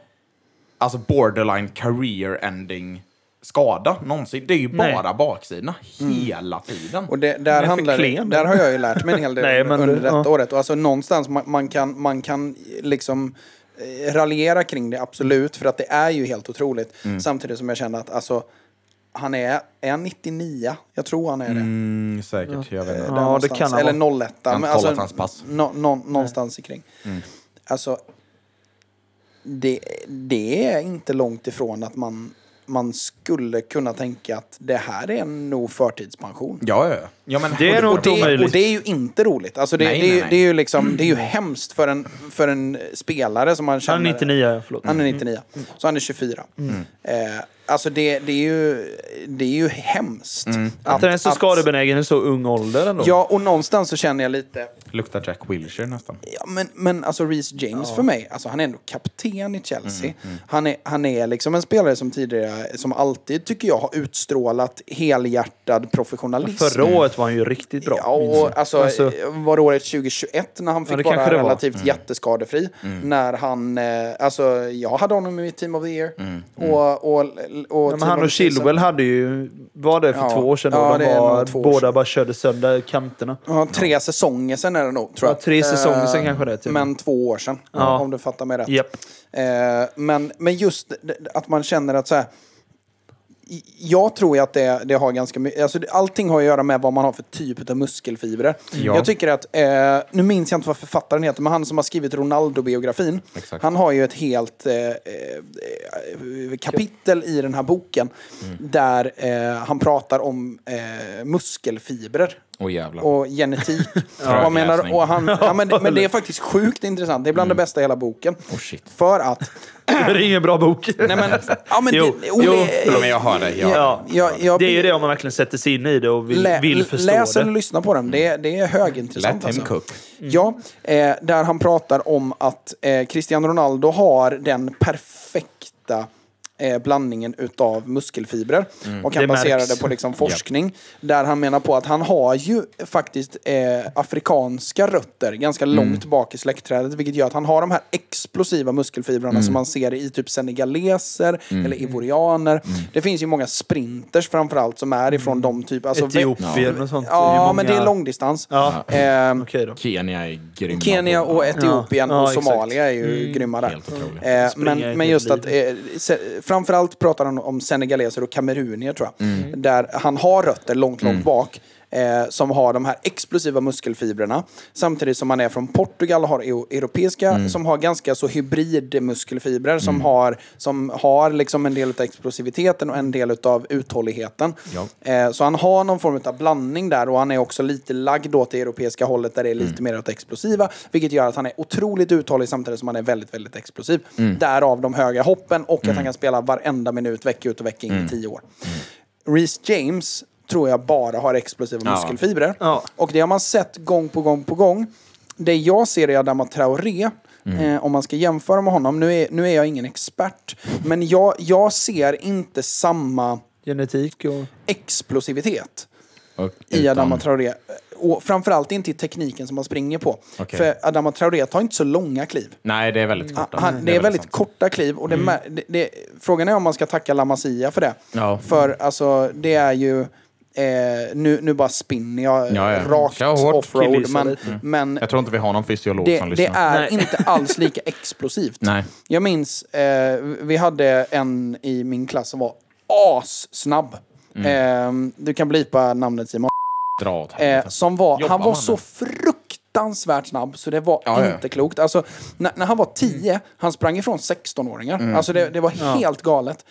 [SPEAKER 4] alltså borderline career ending skada någonsin. Det är ju
[SPEAKER 5] Nej.
[SPEAKER 4] bara baksida hela tiden.
[SPEAKER 3] Och det,
[SPEAKER 5] är
[SPEAKER 3] där,
[SPEAKER 5] för
[SPEAKER 3] handlar, det-
[SPEAKER 5] klen.
[SPEAKER 3] där har jag ju lärt mig en hel del
[SPEAKER 5] Nej, men
[SPEAKER 3] under
[SPEAKER 5] det-
[SPEAKER 3] detta
[SPEAKER 5] ja.
[SPEAKER 3] året. Och alltså någonstans, man, man, kan, man kan liksom eh, raljera kring det, absolut. För att det är ju helt otroligt.
[SPEAKER 5] Mm.
[SPEAKER 3] Samtidigt som jag känner att alltså, han är, är han 99? Jag tror han är det.
[SPEAKER 4] Mm, säkert. Jag vet inte.
[SPEAKER 3] Där
[SPEAKER 5] det
[SPEAKER 3] någonstans.
[SPEAKER 5] kan han
[SPEAKER 3] Eller
[SPEAKER 5] vara.
[SPEAKER 3] 01.
[SPEAKER 4] Jag har
[SPEAKER 3] Men
[SPEAKER 4] inte
[SPEAKER 3] alltså,
[SPEAKER 4] kollat hans pass.
[SPEAKER 3] nå- nå- någonstans ikring.
[SPEAKER 5] Mm.
[SPEAKER 3] Alltså, det, det är inte långt ifrån att man, man skulle kunna tänka att det här är nog förtidspension.
[SPEAKER 4] Ja, ja, ja. ja men,
[SPEAKER 5] Det är nog
[SPEAKER 3] Och det,
[SPEAKER 5] omöjligt.
[SPEAKER 3] och det är ju inte roligt. Alltså det,
[SPEAKER 4] Nej,
[SPEAKER 3] det, är,
[SPEAKER 4] nej,
[SPEAKER 3] ju-
[SPEAKER 4] nej.
[SPEAKER 3] det är ju liksom, det är ju hemskt för en, för en spelare som man känner...
[SPEAKER 5] Mm. Han är Mm. 99, ja, förlåt.
[SPEAKER 3] Han är 99. Så han är 24.
[SPEAKER 5] Mm.
[SPEAKER 3] Eh, alltså det, det, är ju, det är ju hemskt.
[SPEAKER 5] Mm. Att den är så
[SPEAKER 3] att-
[SPEAKER 5] skadebenägen i så ung ålder ändå.
[SPEAKER 3] Ja, och någonstans så känner jag lite...
[SPEAKER 4] Luktar Jack Wilshere nästan.
[SPEAKER 3] Ja, men, men alltså Reece James för mig, alltså han är ändå kapten i Chelsea.
[SPEAKER 5] Mm,
[SPEAKER 3] Han, är, han är liksom en spelare som tidigare, som alltid tycker jag har utstrålat helhjärtad professionalism.
[SPEAKER 5] Förra året var han ju riktigt bra.
[SPEAKER 3] Ja, och alltså,
[SPEAKER 5] Alltså-
[SPEAKER 3] var det året 2021 när han fick
[SPEAKER 5] det
[SPEAKER 3] vara
[SPEAKER 5] kanske det var. Mm.
[SPEAKER 3] relativt jätteskadefri? När han, eh, alltså jag hade honom i mitt team of the year. Och, och, och,
[SPEAKER 5] Ja, men
[SPEAKER 3] team of
[SPEAKER 5] han och
[SPEAKER 3] the season.
[SPEAKER 5] Chilwell hade ju... Var det för
[SPEAKER 3] Ja.
[SPEAKER 5] två år sedan? då
[SPEAKER 3] Ja, det
[SPEAKER 5] de
[SPEAKER 3] är
[SPEAKER 5] var,
[SPEAKER 3] nog två år
[SPEAKER 5] båda
[SPEAKER 3] sedan.
[SPEAKER 5] bara körde sönder kanterna.
[SPEAKER 3] Ja, tre säsonger sen är det nog, tror
[SPEAKER 5] Ja,
[SPEAKER 3] jag.
[SPEAKER 5] tre säsonger sen
[SPEAKER 3] Eh,
[SPEAKER 5] kanske det är, typ.
[SPEAKER 3] Men två år sen,
[SPEAKER 5] Ja.
[SPEAKER 3] om du fattar mig rätt.
[SPEAKER 5] Japp.
[SPEAKER 3] Eh, men, men just d- d- att man känner att så här, i- jag tror ju att det, det har ganska mycket, alltså det- allting har att göra med vad man har för typ av muskelfibrer.
[SPEAKER 4] Ja.
[SPEAKER 3] Jag tycker att, eh, nu minns jag inte vad författaren heter, men han som har skrivit Ronaldo-biografin,
[SPEAKER 4] Exakt.
[SPEAKER 3] han har ju ett helt eh, eh, kapitel i den här boken
[SPEAKER 4] Mm.
[SPEAKER 3] där eh, han pratar om eh, muskelfibrer
[SPEAKER 4] Åh jävlar.
[SPEAKER 3] och genetik. ja. och, menar, och han, ja, men, men det är faktiskt sjukt intressant. Det är bland
[SPEAKER 5] Mm.
[SPEAKER 3] det bästa i hela boken.
[SPEAKER 4] Oh,
[SPEAKER 3] För att...
[SPEAKER 5] Det är ingen bra bok.
[SPEAKER 3] Nej, men, ja, men
[SPEAKER 5] Jo,
[SPEAKER 3] det, Olle,
[SPEAKER 5] jo,
[SPEAKER 4] Ja, men jag hör dig. Jag, ja.
[SPEAKER 5] Ja.
[SPEAKER 3] jag, jag,
[SPEAKER 5] Det är ju det om man verkligen sätter sig in i det och vill,
[SPEAKER 3] lä-
[SPEAKER 5] vill förstå
[SPEAKER 3] läs eller
[SPEAKER 5] det.
[SPEAKER 3] lyssna på den. Det, det är högintressant. alltså.
[SPEAKER 4] Let him cook.
[SPEAKER 3] Ja, eh, där han pratar om att eh, Cristiano Ronaldo har den perfekta eh, blandningen utav muskelfibrer. Och han
[SPEAKER 5] Mm. Det märks.
[SPEAKER 3] baserar det på liksom forskning. Där han menar på att han har ju faktiskt eh, afrikanska rötter ganska
[SPEAKER 5] Mm.
[SPEAKER 3] långt bak i släktträdet. Vilket gör att han har de här explosiva muskelfibrerna
[SPEAKER 5] Mm.
[SPEAKER 3] som man ser i typ senegaleser eller ivorianer.
[SPEAKER 5] Mm.
[SPEAKER 3] Det finns ju många sprinters framförallt som är ifrån de typ... Alltså, vä-
[SPEAKER 5] Etiopien och sånt.
[SPEAKER 3] Ja,
[SPEAKER 5] ju många-
[SPEAKER 3] men det är långdistans.
[SPEAKER 5] Ja.
[SPEAKER 3] Ehm,
[SPEAKER 5] Okej då.
[SPEAKER 4] Kenya är grymma.
[SPEAKER 3] Kenya och Etiopien
[SPEAKER 5] Ja,
[SPEAKER 3] och
[SPEAKER 5] exakt.
[SPEAKER 3] Somalia är ju grymma där.
[SPEAKER 4] Helt otroligt.
[SPEAKER 3] Eh,
[SPEAKER 5] Springa
[SPEAKER 3] men,
[SPEAKER 5] ett
[SPEAKER 3] men
[SPEAKER 5] helt
[SPEAKER 3] just
[SPEAKER 5] liv.
[SPEAKER 3] att, eh, se, framförallt pratar han om senegaleser och kamerunier tror jag. Mm. Där han har rötter långt, långt bak. Eh, som har de här explosiva muskelfibrerna. Samtidigt som han är från Portugal och har eu- europeiska som har ganska så hybridmuskelfibrer. Som, har, som har liksom en del av explosiviteten och en del av uthålligheten. Eh, så han har någon form av blandning där och han är också lite lagd åt det europeiska hållet där det är lite mer åt det explosiva. Vilket gör att han är otroligt uthållig samtidigt som han är väldigt, väldigt explosiv. Därav de höga hoppen och att han kan spela varenda minut vecka ut och vecka in i tio år. Reece James tror jag bara har explosiva muskelfibrer.
[SPEAKER 5] Ja.
[SPEAKER 3] Och det har man sett gång på gång på gång. Det jag ser är Adama Traoré, eh, om man ska jämföra med honom. Nu är, nu är jag ingen expert, men jag, jag ser inte samma
[SPEAKER 5] Genetik och...
[SPEAKER 3] explosivitet
[SPEAKER 4] Och
[SPEAKER 3] i
[SPEAKER 4] utan-
[SPEAKER 3] Adama Traoré. Och framförallt inte i tekniken som man springer på.
[SPEAKER 4] Okej.
[SPEAKER 3] För Adama Traoré tar inte så långa kliv.
[SPEAKER 4] Nej, det är väldigt kort.
[SPEAKER 3] Ah, Han, det, är väldigt korta kliv. Och det, mär- det, det, frågan är om man ska tacka La Masia för det.
[SPEAKER 4] Ja.
[SPEAKER 3] För alltså, det är ju... Eh, nu, nu bara spinner jag
[SPEAKER 4] Ja, ja.
[SPEAKER 3] rakt
[SPEAKER 4] Kör hårt,
[SPEAKER 3] offroad.
[SPEAKER 4] killgissa
[SPEAKER 3] Men, men
[SPEAKER 4] Mm. Jag tror inte vi har någon fysiolog
[SPEAKER 3] det,
[SPEAKER 4] som
[SPEAKER 3] det
[SPEAKER 4] lyssnar.
[SPEAKER 3] är inte alls lika explosivt.
[SPEAKER 4] Nej.
[SPEAKER 3] Jag minns, eh, vi hade en i min klass som var assnabb.
[SPEAKER 4] Mm.
[SPEAKER 3] Eh, du kan blipa namnet Simon.
[SPEAKER 4] Dra åt
[SPEAKER 3] Eh, som var,
[SPEAKER 4] Jobbar
[SPEAKER 3] han var
[SPEAKER 4] man
[SPEAKER 3] så
[SPEAKER 4] med?
[SPEAKER 3] fruktansvärt snabb så det var
[SPEAKER 4] Ja, ja.
[SPEAKER 3] inte klokt. Alltså, när, när han var 10, han sprang ifrån 16-åringar.
[SPEAKER 4] Mm.
[SPEAKER 3] Alltså det, det var helt galet.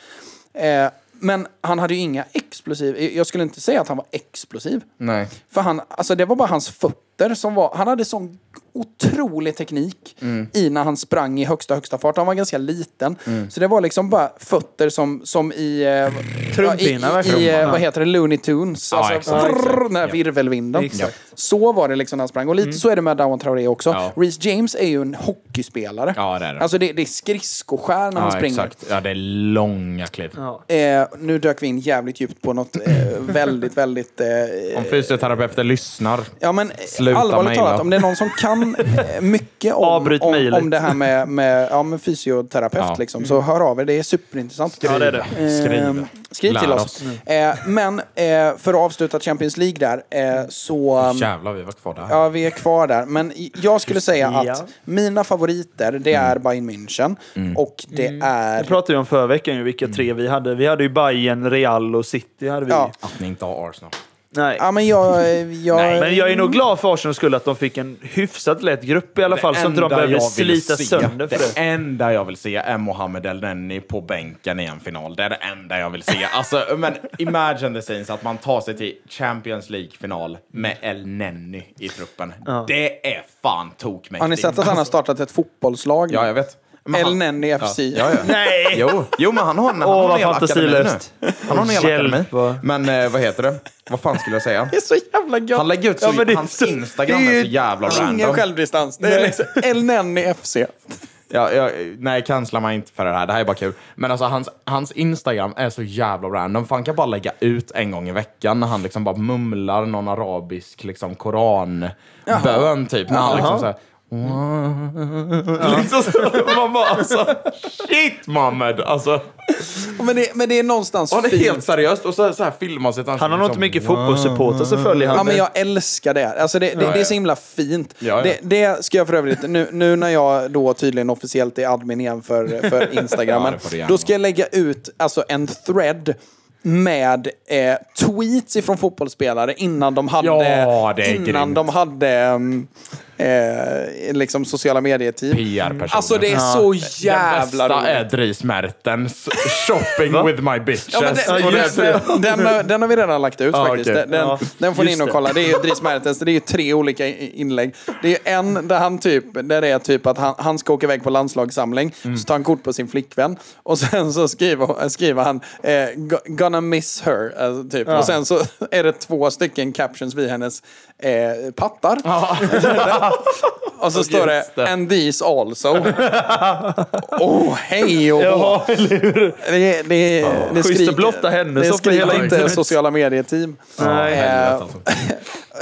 [SPEAKER 3] Eh, men han hade ju inga explosiv... Jag skulle inte säga att han var explosiv.
[SPEAKER 4] Nej.
[SPEAKER 3] För han, alltså det var bara hans fötter som var... Han hade sån otrolig teknik i när han sprang i högsta, högsta fart. Han var ganska liten. Så det var liksom bara fötter som, som i... Eh, ja,
[SPEAKER 5] Trumpinnar,
[SPEAKER 3] I, i,
[SPEAKER 5] verkligen.
[SPEAKER 3] i eh,
[SPEAKER 5] Ja.
[SPEAKER 3] vad heter det? Looney Tunes.
[SPEAKER 4] Ja,
[SPEAKER 3] alltså,
[SPEAKER 4] exakt.
[SPEAKER 3] vrrr, den här
[SPEAKER 4] Ja. Mm.
[SPEAKER 3] virvelvinden.
[SPEAKER 5] Exakt.
[SPEAKER 3] Så var det liksom när han sprang. Och lite så är det med Darwin Traoré också.
[SPEAKER 4] Ja.
[SPEAKER 3] Reece James är ju en hockeyspelare.
[SPEAKER 4] Ja, det är det.
[SPEAKER 3] Alltså det, det är skridskoskär när han
[SPEAKER 4] Ja,
[SPEAKER 3] springer.
[SPEAKER 4] exakt. Ja, det är långa kliv.
[SPEAKER 3] Eh, nu dök vi in jävligt djupt på något eh, väldigt, väldigt... Eh,
[SPEAKER 4] Om fysioterapeuter lyssnar.
[SPEAKER 3] Ja, men eh,
[SPEAKER 4] Sluta
[SPEAKER 3] allvarligt
[SPEAKER 4] mejla.
[SPEAKER 3] talat, om det är någon som kan eh, mycket om,
[SPEAKER 5] Avbryt
[SPEAKER 3] om,
[SPEAKER 5] mejlet.
[SPEAKER 3] om det här med, med, ja, med fysioterapeut,
[SPEAKER 4] Ja.
[SPEAKER 3] liksom, så hör av er. Det är superintressant.
[SPEAKER 5] Ja, det är det.
[SPEAKER 3] Ehm,
[SPEAKER 4] Skriv.
[SPEAKER 3] skriv till
[SPEAKER 4] Lär
[SPEAKER 3] oss.
[SPEAKER 4] oss.
[SPEAKER 3] Eh, men eh, för att avsluta Champions League där, eh, så...
[SPEAKER 4] Jävlar, vi var kvar där.
[SPEAKER 3] Ja, vi är kvar där. Men i- jag skulle säga
[SPEAKER 5] Ja.
[SPEAKER 3] att mina favoriter, det
[SPEAKER 4] Mm.
[SPEAKER 3] är Bayern München och det
[SPEAKER 5] Det
[SPEAKER 3] är...
[SPEAKER 5] pratade vi om förra veckan, ju, vilka tre vi hade. Vi hade ju Bayern, Real och City. Hade vi.
[SPEAKER 3] Ja.
[SPEAKER 4] Att ni inte har Arsenal.
[SPEAKER 5] Nej.
[SPEAKER 3] Ja, men jag... jag
[SPEAKER 5] Men jag är nog glad för Arsenals skull att de fick en hyfsat lätt grupp i alla fall, så inte de
[SPEAKER 4] enda
[SPEAKER 5] behöver
[SPEAKER 4] jag vill
[SPEAKER 5] slita
[SPEAKER 4] se-
[SPEAKER 5] sönder för det.
[SPEAKER 4] Det enda jag vill se är Mohamed El-Neni på bänken i en final. Det är det enda jag vill se. Alltså, men imagine the scenes att man tar sig till Champions League-final med El-Neni i truppen. Det är fan tokmäktigt. Alltså,
[SPEAKER 3] Har ni sett att han har startat ett fotbollslag?
[SPEAKER 4] Ja, jag vet. Men
[SPEAKER 3] El
[SPEAKER 4] han-
[SPEAKER 3] Nenni FC.
[SPEAKER 4] Ja, ja, ja.
[SPEAKER 5] Nej!
[SPEAKER 4] Jo, jo, men han har en, han
[SPEAKER 5] Åh,
[SPEAKER 4] har en
[SPEAKER 5] vad
[SPEAKER 4] hel akademi
[SPEAKER 5] fantasilöst.
[SPEAKER 4] nu. Han har en hel
[SPEAKER 5] Hjälp,
[SPEAKER 4] akademi.
[SPEAKER 5] vad-
[SPEAKER 4] Men eh, vad heter det? Vad fan skulle jag säga?
[SPEAKER 3] Det är så jävla gött.
[SPEAKER 4] Han lägger ut så,
[SPEAKER 3] Ja, men det är
[SPEAKER 4] hans
[SPEAKER 3] så-
[SPEAKER 4] Instagram
[SPEAKER 3] det
[SPEAKER 4] är
[SPEAKER 3] är
[SPEAKER 5] typ-
[SPEAKER 4] så jävla
[SPEAKER 3] Ingen
[SPEAKER 4] random.
[SPEAKER 3] självdistans. Det är liksom El Nenni FC.
[SPEAKER 4] Ja, ja, nej, cancella mig inte för det här. Det här är bara kul. Men alltså, hans, hans Instagram är så jävla random. För han kan bara lägga ut en gång i veckan när han liksom bara mumlar någon arabisk liksom, koranbön typ. När han liksom så här, liksom så, man bara alltså, shit Mohammed! Alltså,
[SPEAKER 3] Men det, men det är någonstans
[SPEAKER 4] och han är
[SPEAKER 3] fint.
[SPEAKER 4] helt seriöst och så, så här Liksom, filmar sig.
[SPEAKER 5] Han har nog inte mycket fotbollssupportrar så följer han.
[SPEAKER 3] Ja, men jag älskar det. Alltså det, det, det är så himla fint.
[SPEAKER 4] Ja, ja.
[SPEAKER 3] Det, det ska jag för övrigt, nu, nu när jag då tydligen officiellt är admin igen för, för
[SPEAKER 4] Ja,
[SPEAKER 3] Instagrammen,
[SPEAKER 4] det får du gärna
[SPEAKER 3] då ska jag lägga ut alltså, en thread med eh, tweets ifrån fotbollsspelare innan de hade,
[SPEAKER 4] Ja, det är
[SPEAKER 3] innan
[SPEAKER 4] grymt.
[SPEAKER 3] de hade mm, eh, liksom sociala medier-team.
[SPEAKER 4] PR-personer.
[SPEAKER 3] Alltså det är så jävla
[SPEAKER 4] Den bästa
[SPEAKER 3] roligt.
[SPEAKER 4] är Dries Mertens shopping with my bitches.
[SPEAKER 3] Ja, men den,
[SPEAKER 4] Och det-
[SPEAKER 3] just det. den, har- den har vi redan lagt ut
[SPEAKER 4] Ja,
[SPEAKER 3] faktiskt.
[SPEAKER 4] okej.
[SPEAKER 3] Den,
[SPEAKER 5] Ja,
[SPEAKER 3] den får ni
[SPEAKER 5] just
[SPEAKER 3] in och
[SPEAKER 5] det.
[SPEAKER 3] kolla. Det är ju Dries Mertens, det är ju tre olika i- inlägg. Det är en där han typ, där det är typ att han, han ska åka iväg på landslagssamling, så tar han kort på sin flickvän och sen så skriver, skriver han eh, "Go- “gonna miss her”. Alltså, typ. Och sen så är det två stycken captions vid hennes eh, pattar. och så står det
[SPEAKER 4] Just det.
[SPEAKER 3] “and these also”. Åh, hej och hå.
[SPEAKER 5] Ja, eller hur?
[SPEAKER 3] Det, det, det
[SPEAKER 5] Schysst att blotta henne,
[SPEAKER 3] Det
[SPEAKER 5] så får hela
[SPEAKER 3] skriker inte
[SPEAKER 5] internet-
[SPEAKER 3] sociala medier-team.
[SPEAKER 5] Nej.
[SPEAKER 4] Helvete, alltså.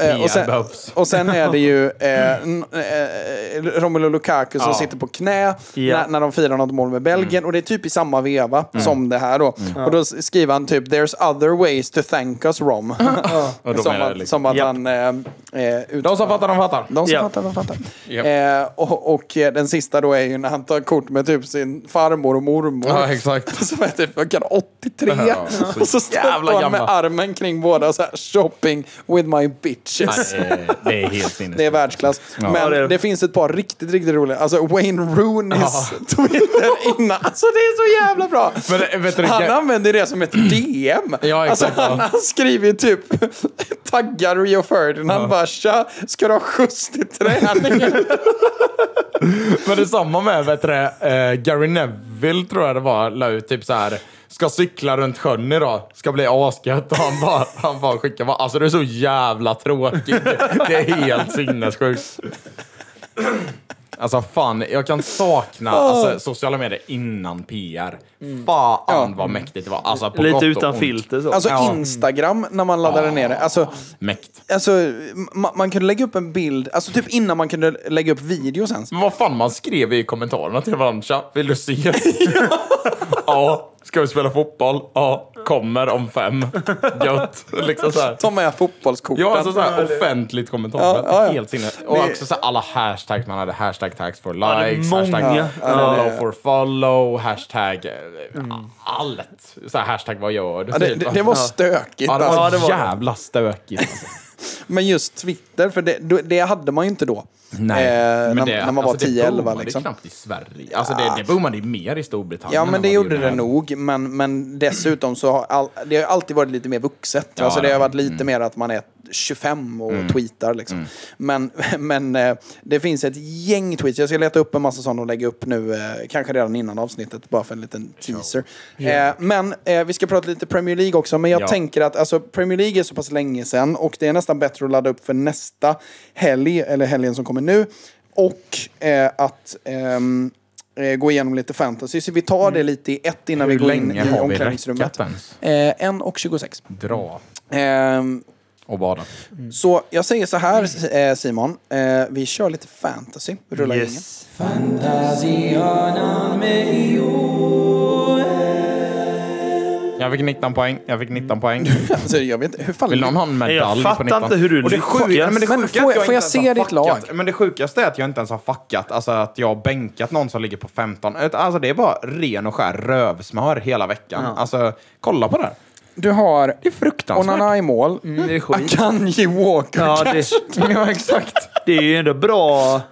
[SPEAKER 3] Eh, och, sen,
[SPEAKER 4] PR behövs.
[SPEAKER 3] och sen är det ju eh, n- eh, Romelu Lukaku som
[SPEAKER 4] Ja.
[SPEAKER 3] sitter på knä
[SPEAKER 5] Ja. Mm.
[SPEAKER 3] när, när de firar något mål med Belgien. Och det är typ i samma veva som det här då. Och då s- skriver han typ “There's other ways to thank us Rom”.
[SPEAKER 4] Och de
[SPEAKER 3] som,
[SPEAKER 4] är
[SPEAKER 3] att,
[SPEAKER 4] liksom-
[SPEAKER 3] som att
[SPEAKER 5] Japp.
[SPEAKER 3] han... Eh, eh, ut-
[SPEAKER 4] De som fattar, de fattar.
[SPEAKER 3] de som
[SPEAKER 5] Ja.
[SPEAKER 3] fattar, de fattar.
[SPEAKER 4] Japp.
[SPEAKER 3] Eh, och, och eh, den sista då är ju när han tar kort med typ sin farmor och mormor.
[SPEAKER 4] exakt.
[SPEAKER 3] Som är typ vad kan 83.
[SPEAKER 4] Ja, så
[SPEAKER 3] och så står han
[SPEAKER 4] jävla
[SPEAKER 3] med
[SPEAKER 4] gammal.
[SPEAKER 3] armen kring båda så här shopping with my bitches.
[SPEAKER 4] eh, Det är helt sinnes.
[SPEAKER 3] Det är världsklass. Men
[SPEAKER 5] Ja, det
[SPEAKER 3] det,
[SPEAKER 5] är-
[SPEAKER 3] finns ett par riktigt, riktigt roliga. Alltså Wayne Rooneys Twitter innan. Alltså det är så jävla bra.
[SPEAKER 4] Men, eh, vet du,
[SPEAKER 3] han
[SPEAKER 4] vilka- Mm.
[SPEAKER 3] använder det som ett DM.
[SPEAKER 4] Ja,
[SPEAKER 3] alltså,
[SPEAKER 4] exakt, ja.
[SPEAKER 3] han, han skriver typ, taggar Rio Ferdinand bara tja, ska du ha skjuts till träningen?
[SPEAKER 4] Men det är samma med vet du, det, eh, Gary Neville, tror jag det var, la ut typ så här. Ska cykla runt sjön idag, ska bli asgött. Och han bara, han bara skickar bara, alltså det är så jävla tråkigt. Det är helt sinnessjukt. Alltså fan, jag kan sakna alltså, sociala medier innan PR. Fan vad mäktigt det var. Alltså, på gott
[SPEAKER 5] Lite
[SPEAKER 4] och
[SPEAKER 5] utan
[SPEAKER 4] ont.
[SPEAKER 5] filter så.
[SPEAKER 3] Alltså
[SPEAKER 4] Ja.
[SPEAKER 3] Instagram, när man laddade ner det. Alltså,
[SPEAKER 4] Mäkt.
[SPEAKER 3] alltså ma- man kunde lägga upp en bild, alltså typ innan man kunde lägga upp video sen.
[SPEAKER 4] Men vad fan man skrev i kommentarerna till varandra. Tja, Vill du se? ja. Ska vi spela fotboll? Ja. Kommer om fem. Gött. Liksom så här.
[SPEAKER 3] Ta med fotbollskorten.
[SPEAKER 4] Ja, alltså såhär offentligt kommentarer.
[SPEAKER 3] Ja, ja, ja.
[SPEAKER 4] Helt sinne. Och också såhär alla hashtags man hade. Hashtag tags for likes,
[SPEAKER 5] många.
[SPEAKER 4] hashtag
[SPEAKER 5] Ja,
[SPEAKER 4] follow for follow, hashtag eh, allt. Såhär hashtag vad gör du?
[SPEAKER 3] Mm. Ja, det, det, det var stökigt.
[SPEAKER 4] typ. Ja, det var
[SPEAKER 3] Alltså.
[SPEAKER 5] det var det.
[SPEAKER 4] jävla stökigt. alltså.
[SPEAKER 3] Men just Twitter, för det, då- det hade man ju inte då. Eh, när, när man var
[SPEAKER 4] alltså, det
[SPEAKER 3] 10-11
[SPEAKER 4] boomade
[SPEAKER 3] liksom. Ah.
[SPEAKER 4] knappt i Sverige. Alltså det, det boomade ju mer i Storbritannien.
[SPEAKER 3] Ja,
[SPEAKER 4] än
[SPEAKER 3] men
[SPEAKER 4] vad
[SPEAKER 3] det gjorde
[SPEAKER 4] här.
[SPEAKER 3] det nog. Men, men dessutom så har all, det har alltid varit lite mer vuxet.
[SPEAKER 4] Ja,
[SPEAKER 3] alltså det har
[SPEAKER 4] ja. Mm.
[SPEAKER 3] varit lite mer att man är 25 och tweetar liksom. Men, men eh, det finns ett gäng tweets. Jag ska leta upp en massa sådana och lägga upp nu, eh, kanske redan innan avsnittet, bara för en liten teaser. Eh, men eh, vi ska prata lite Premier League också. Men jag
[SPEAKER 4] Ja.
[SPEAKER 3] tänker att alltså, Premier League är så pass länge sedan och det är nästan bättre att ladda upp för nästa helg, eller helgen som kommer nu. Och eh, att... ehm, eh, gå igenom lite fantasy. Så vi tar
[SPEAKER 4] Mm.
[SPEAKER 3] det lite i ett innan
[SPEAKER 4] Hur
[SPEAKER 3] vi går in
[SPEAKER 4] länge
[SPEAKER 3] i
[SPEAKER 4] har vi räckat
[SPEAKER 3] omklädningsrummet.
[SPEAKER 4] ens?
[SPEAKER 3] Eh, 1 och 26.
[SPEAKER 4] Dra
[SPEAKER 3] Ehm,
[SPEAKER 4] och bada.
[SPEAKER 3] Så jag säger så här eh, Simon, eh, vi kör lite fantasy. Rullar ingen.
[SPEAKER 5] Yes.
[SPEAKER 4] Jag fick 19 poäng, jag fick 19 poäng.
[SPEAKER 3] Alltså, jag vet inte, hur fan...
[SPEAKER 4] Vill någon ha en medalj
[SPEAKER 5] Jag
[SPEAKER 4] på
[SPEAKER 5] fattar
[SPEAKER 4] 19?
[SPEAKER 5] inte hur du
[SPEAKER 4] Och det
[SPEAKER 5] lyckas.
[SPEAKER 4] sjuka, nej, men det
[SPEAKER 3] Men får
[SPEAKER 4] sjuka är
[SPEAKER 3] jag- får
[SPEAKER 4] att
[SPEAKER 3] jag
[SPEAKER 4] inte ens
[SPEAKER 3] se
[SPEAKER 4] har
[SPEAKER 3] ditt
[SPEAKER 4] fuckat.
[SPEAKER 3] lag?
[SPEAKER 4] Men det sjukaste är att jag inte ens har fuckat. Alltså att jag har bänkat någon som ligger på 15. Ut- Alltså det är bara ren och skär rövsmör hela veckan. Alltså kolla på det här.
[SPEAKER 3] Du har
[SPEAKER 4] Det är Mm, fruktansvärt.
[SPEAKER 3] Onana i mål,
[SPEAKER 5] Det är skit.
[SPEAKER 3] Akanji Walker.
[SPEAKER 5] Ja, det,
[SPEAKER 4] Ja, exakt.
[SPEAKER 5] det är ju ändå bra.
[SPEAKER 3] Fan!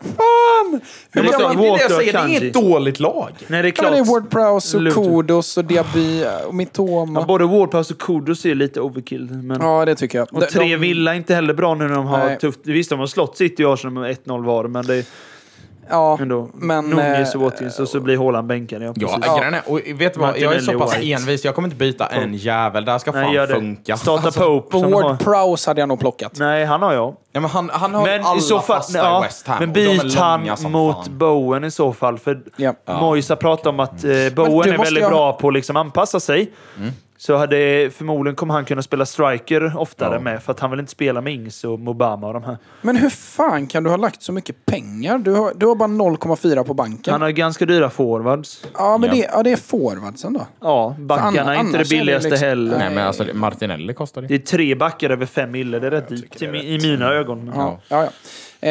[SPEAKER 5] Men
[SPEAKER 4] Det är,
[SPEAKER 5] liksom
[SPEAKER 4] det, det,
[SPEAKER 5] Walker
[SPEAKER 4] jag
[SPEAKER 5] och
[SPEAKER 4] säger, det är
[SPEAKER 5] Kanji.
[SPEAKER 4] inget dåligt lag.
[SPEAKER 5] Nej, det är
[SPEAKER 3] Ja, men
[SPEAKER 5] klart.
[SPEAKER 3] det är Ward Prowse och
[SPEAKER 5] Luton.
[SPEAKER 3] Kodos och Diaby och
[SPEAKER 5] Ja,
[SPEAKER 3] Mitoma.
[SPEAKER 5] både Wardpass och Kudos är lite overkill. Men...
[SPEAKER 3] Ja, det tycker jag.
[SPEAKER 5] Och tre Villa är inte heller bra nu när de har
[SPEAKER 3] Nej.
[SPEAKER 5] tufft. Visst, de har slått City och Arsenal med 1-0 var, men det är
[SPEAKER 3] Ja,
[SPEAKER 5] ändå
[SPEAKER 3] men...
[SPEAKER 5] Nunez
[SPEAKER 3] eh,
[SPEAKER 5] och Watkins och så blir Håland bänkad. Ja,
[SPEAKER 4] Ja,
[SPEAKER 5] precis.
[SPEAKER 4] ja. grejen är, och vet du vad, jag är
[SPEAKER 5] Martinelli
[SPEAKER 4] så pass
[SPEAKER 5] White.
[SPEAKER 4] envis, jag kommer inte byta en jävel. Det här ska
[SPEAKER 5] Nej, gör
[SPEAKER 4] fan
[SPEAKER 5] det.
[SPEAKER 4] funka.
[SPEAKER 5] Starta
[SPEAKER 4] Alltså,
[SPEAKER 5] Pope. Som de har.
[SPEAKER 3] Ward Prowse hade jag nog plockat.
[SPEAKER 5] Nej, han har jag.
[SPEAKER 4] Ja, men han, han har ju
[SPEAKER 5] Men
[SPEAKER 4] alla
[SPEAKER 5] i så fall...
[SPEAKER 4] fasta i
[SPEAKER 5] Ja,
[SPEAKER 4] West Ham.
[SPEAKER 5] men
[SPEAKER 4] och de är
[SPEAKER 5] byt han
[SPEAKER 4] långa som
[SPEAKER 5] mot
[SPEAKER 4] fan.
[SPEAKER 5] Bowen i så fall. För
[SPEAKER 3] Ja.
[SPEAKER 5] Moisa pratar om att eh, Bowen
[SPEAKER 3] du måste
[SPEAKER 5] är
[SPEAKER 3] ju
[SPEAKER 5] väldigt
[SPEAKER 3] ha-
[SPEAKER 5] bra på att liksom anpassa sig. Så hade, förmodligen kommer han kunna spela striker oftare med, för att han vill inte spela med Ings och Mobama och de här.
[SPEAKER 3] Men hur fan kan du ha lagt så mycket pengar? Du har, du har bara 0,4 på banken.
[SPEAKER 5] Han har ganska dyra forwards.
[SPEAKER 3] Ja, men
[SPEAKER 4] Ja.
[SPEAKER 3] Det, ja, det är forwardsen då.
[SPEAKER 5] Ja, backarna är inte
[SPEAKER 3] annars
[SPEAKER 5] det
[SPEAKER 3] är det
[SPEAKER 5] billigaste
[SPEAKER 3] liksom-
[SPEAKER 5] heller.
[SPEAKER 4] Nej, men alltså det- Martinelli kostar det.
[SPEAKER 5] Det är tre backar över fem mille. Det är rätt dyrt i, mi- i mina ögon. Ja.
[SPEAKER 3] Ja, ja. Eh,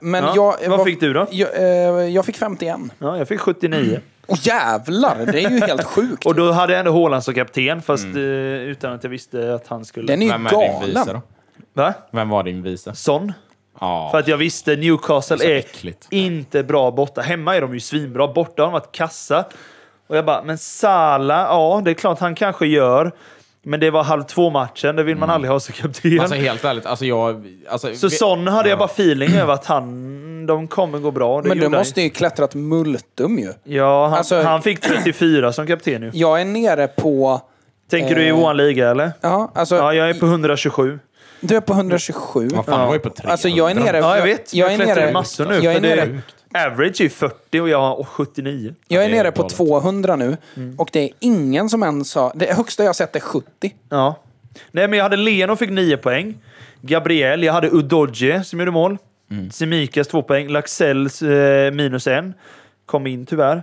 [SPEAKER 3] men
[SPEAKER 5] Ja,
[SPEAKER 3] jag...
[SPEAKER 5] vad
[SPEAKER 3] var-
[SPEAKER 5] fick du då?
[SPEAKER 3] Jag, eh, jag fick 51.
[SPEAKER 5] jag fick 79.
[SPEAKER 3] Åh jävlar, det är ju helt sjukt.
[SPEAKER 5] Och då hade jag ändå Haaland som kapten, fast eh, utan att jag visste att han skulle...
[SPEAKER 3] Den är ju
[SPEAKER 4] Vem är din vice
[SPEAKER 3] galen.
[SPEAKER 4] då?
[SPEAKER 5] Va?
[SPEAKER 4] Vem var din vice?
[SPEAKER 5] Son.
[SPEAKER 4] Ja.
[SPEAKER 5] För att jag visste Newcastle
[SPEAKER 4] Det är
[SPEAKER 5] är,
[SPEAKER 4] så äckligt.
[SPEAKER 5] inte bra borta. Hemma är de ju svinbra. Borta har de varit kassa. Och jag bara, men Sala, ja det är klart han kanske gör. Men det var halv två-matchen, det vill
[SPEAKER 3] Mm.
[SPEAKER 5] man aldrig ha som kapten.
[SPEAKER 4] Alltså helt ärligt, alltså jag... Alltså,
[SPEAKER 5] så
[SPEAKER 4] vi-
[SPEAKER 5] Son hade jag bara feeling över att han, de kommer gå bra. Det
[SPEAKER 3] Men du
[SPEAKER 5] gjorde han
[SPEAKER 3] måste ju klättrat multum ju.
[SPEAKER 5] Ja, han,
[SPEAKER 3] Alltså- Eh.
[SPEAKER 5] han fick 34 som kapten nu.
[SPEAKER 3] Jag är nere på...
[SPEAKER 5] Tänker du i
[SPEAKER 3] Eh,
[SPEAKER 5] vår liga eller?
[SPEAKER 3] Ja, alltså,
[SPEAKER 5] Ja, jag är på 127.
[SPEAKER 3] du är på 127.
[SPEAKER 4] Vad fan, det var ju på 300.
[SPEAKER 3] Alltså jag är nere...
[SPEAKER 5] Ja, jag vet.
[SPEAKER 3] Jag, är
[SPEAKER 5] klättrar
[SPEAKER 3] nere...
[SPEAKER 5] massor nu.
[SPEAKER 3] Jag är
[SPEAKER 5] för det
[SPEAKER 3] nere,
[SPEAKER 5] average är 40 och jag har 79.
[SPEAKER 3] jag är
[SPEAKER 4] det är
[SPEAKER 3] nere på
[SPEAKER 4] galet.
[SPEAKER 3] 200 nu.
[SPEAKER 5] Mm.
[SPEAKER 3] Och det är ingen som ens har... Det högsta jag har sett är 70.
[SPEAKER 5] Ja. Nej, men jag hade Leno fick 9 poäng. Gabriel, jag hade Udogie som gjorde mål. Semikas 2 poäng. Laxells eh, minus 1. Kom in tyvärr.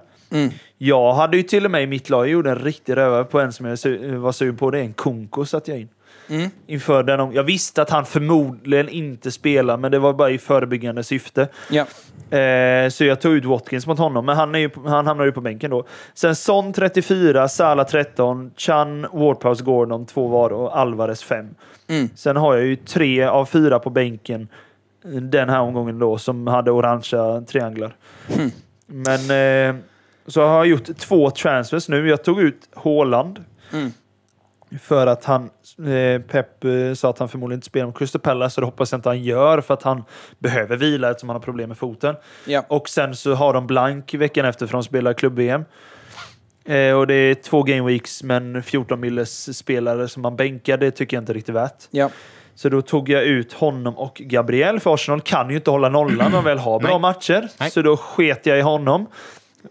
[SPEAKER 5] Jag hade ju till och med i mitt lag, jag gjorde en riktig rövare på en som jag su- var sugen på. Det är en Kunko satte jag in. Inför den om, jag visste att han förmodligen inte spelar, men det var bara i förebyggande syfte.
[SPEAKER 3] Ja.
[SPEAKER 5] Eh, så jag tog ut Watkins mot honom, men han, är ju, han hamnar ju på bänken då. Sen Son 34, Salah 13, Chan, Wardprowse, Gordon 2 var och Alvarez 5. Sen har jag ju tre av fyra på bänken den här omgången då, som hade orangea trianglar. Men eh, så har jag gjort två transfers nu. Jag tog ut Haaland. För att han, eh, Pep eh, sa att han förmodligen inte spelar mot Crystal Palace, så det hoppas jag inte han gör för att han behöver vila eftersom han har problem med foten.
[SPEAKER 3] Ja.
[SPEAKER 5] Och sen så har de blank veckan efter för de spelar klubb-VM. Eh, och det är två game weeks men 14 milles spelare som man bänkar, det tycker jag inte är riktigt värt.
[SPEAKER 3] Ja.
[SPEAKER 5] Så då tog jag ut honom och Gabriel, för Arsenal kan ju inte hålla nollan när de väl har bra matcher. Så då sket jag i honom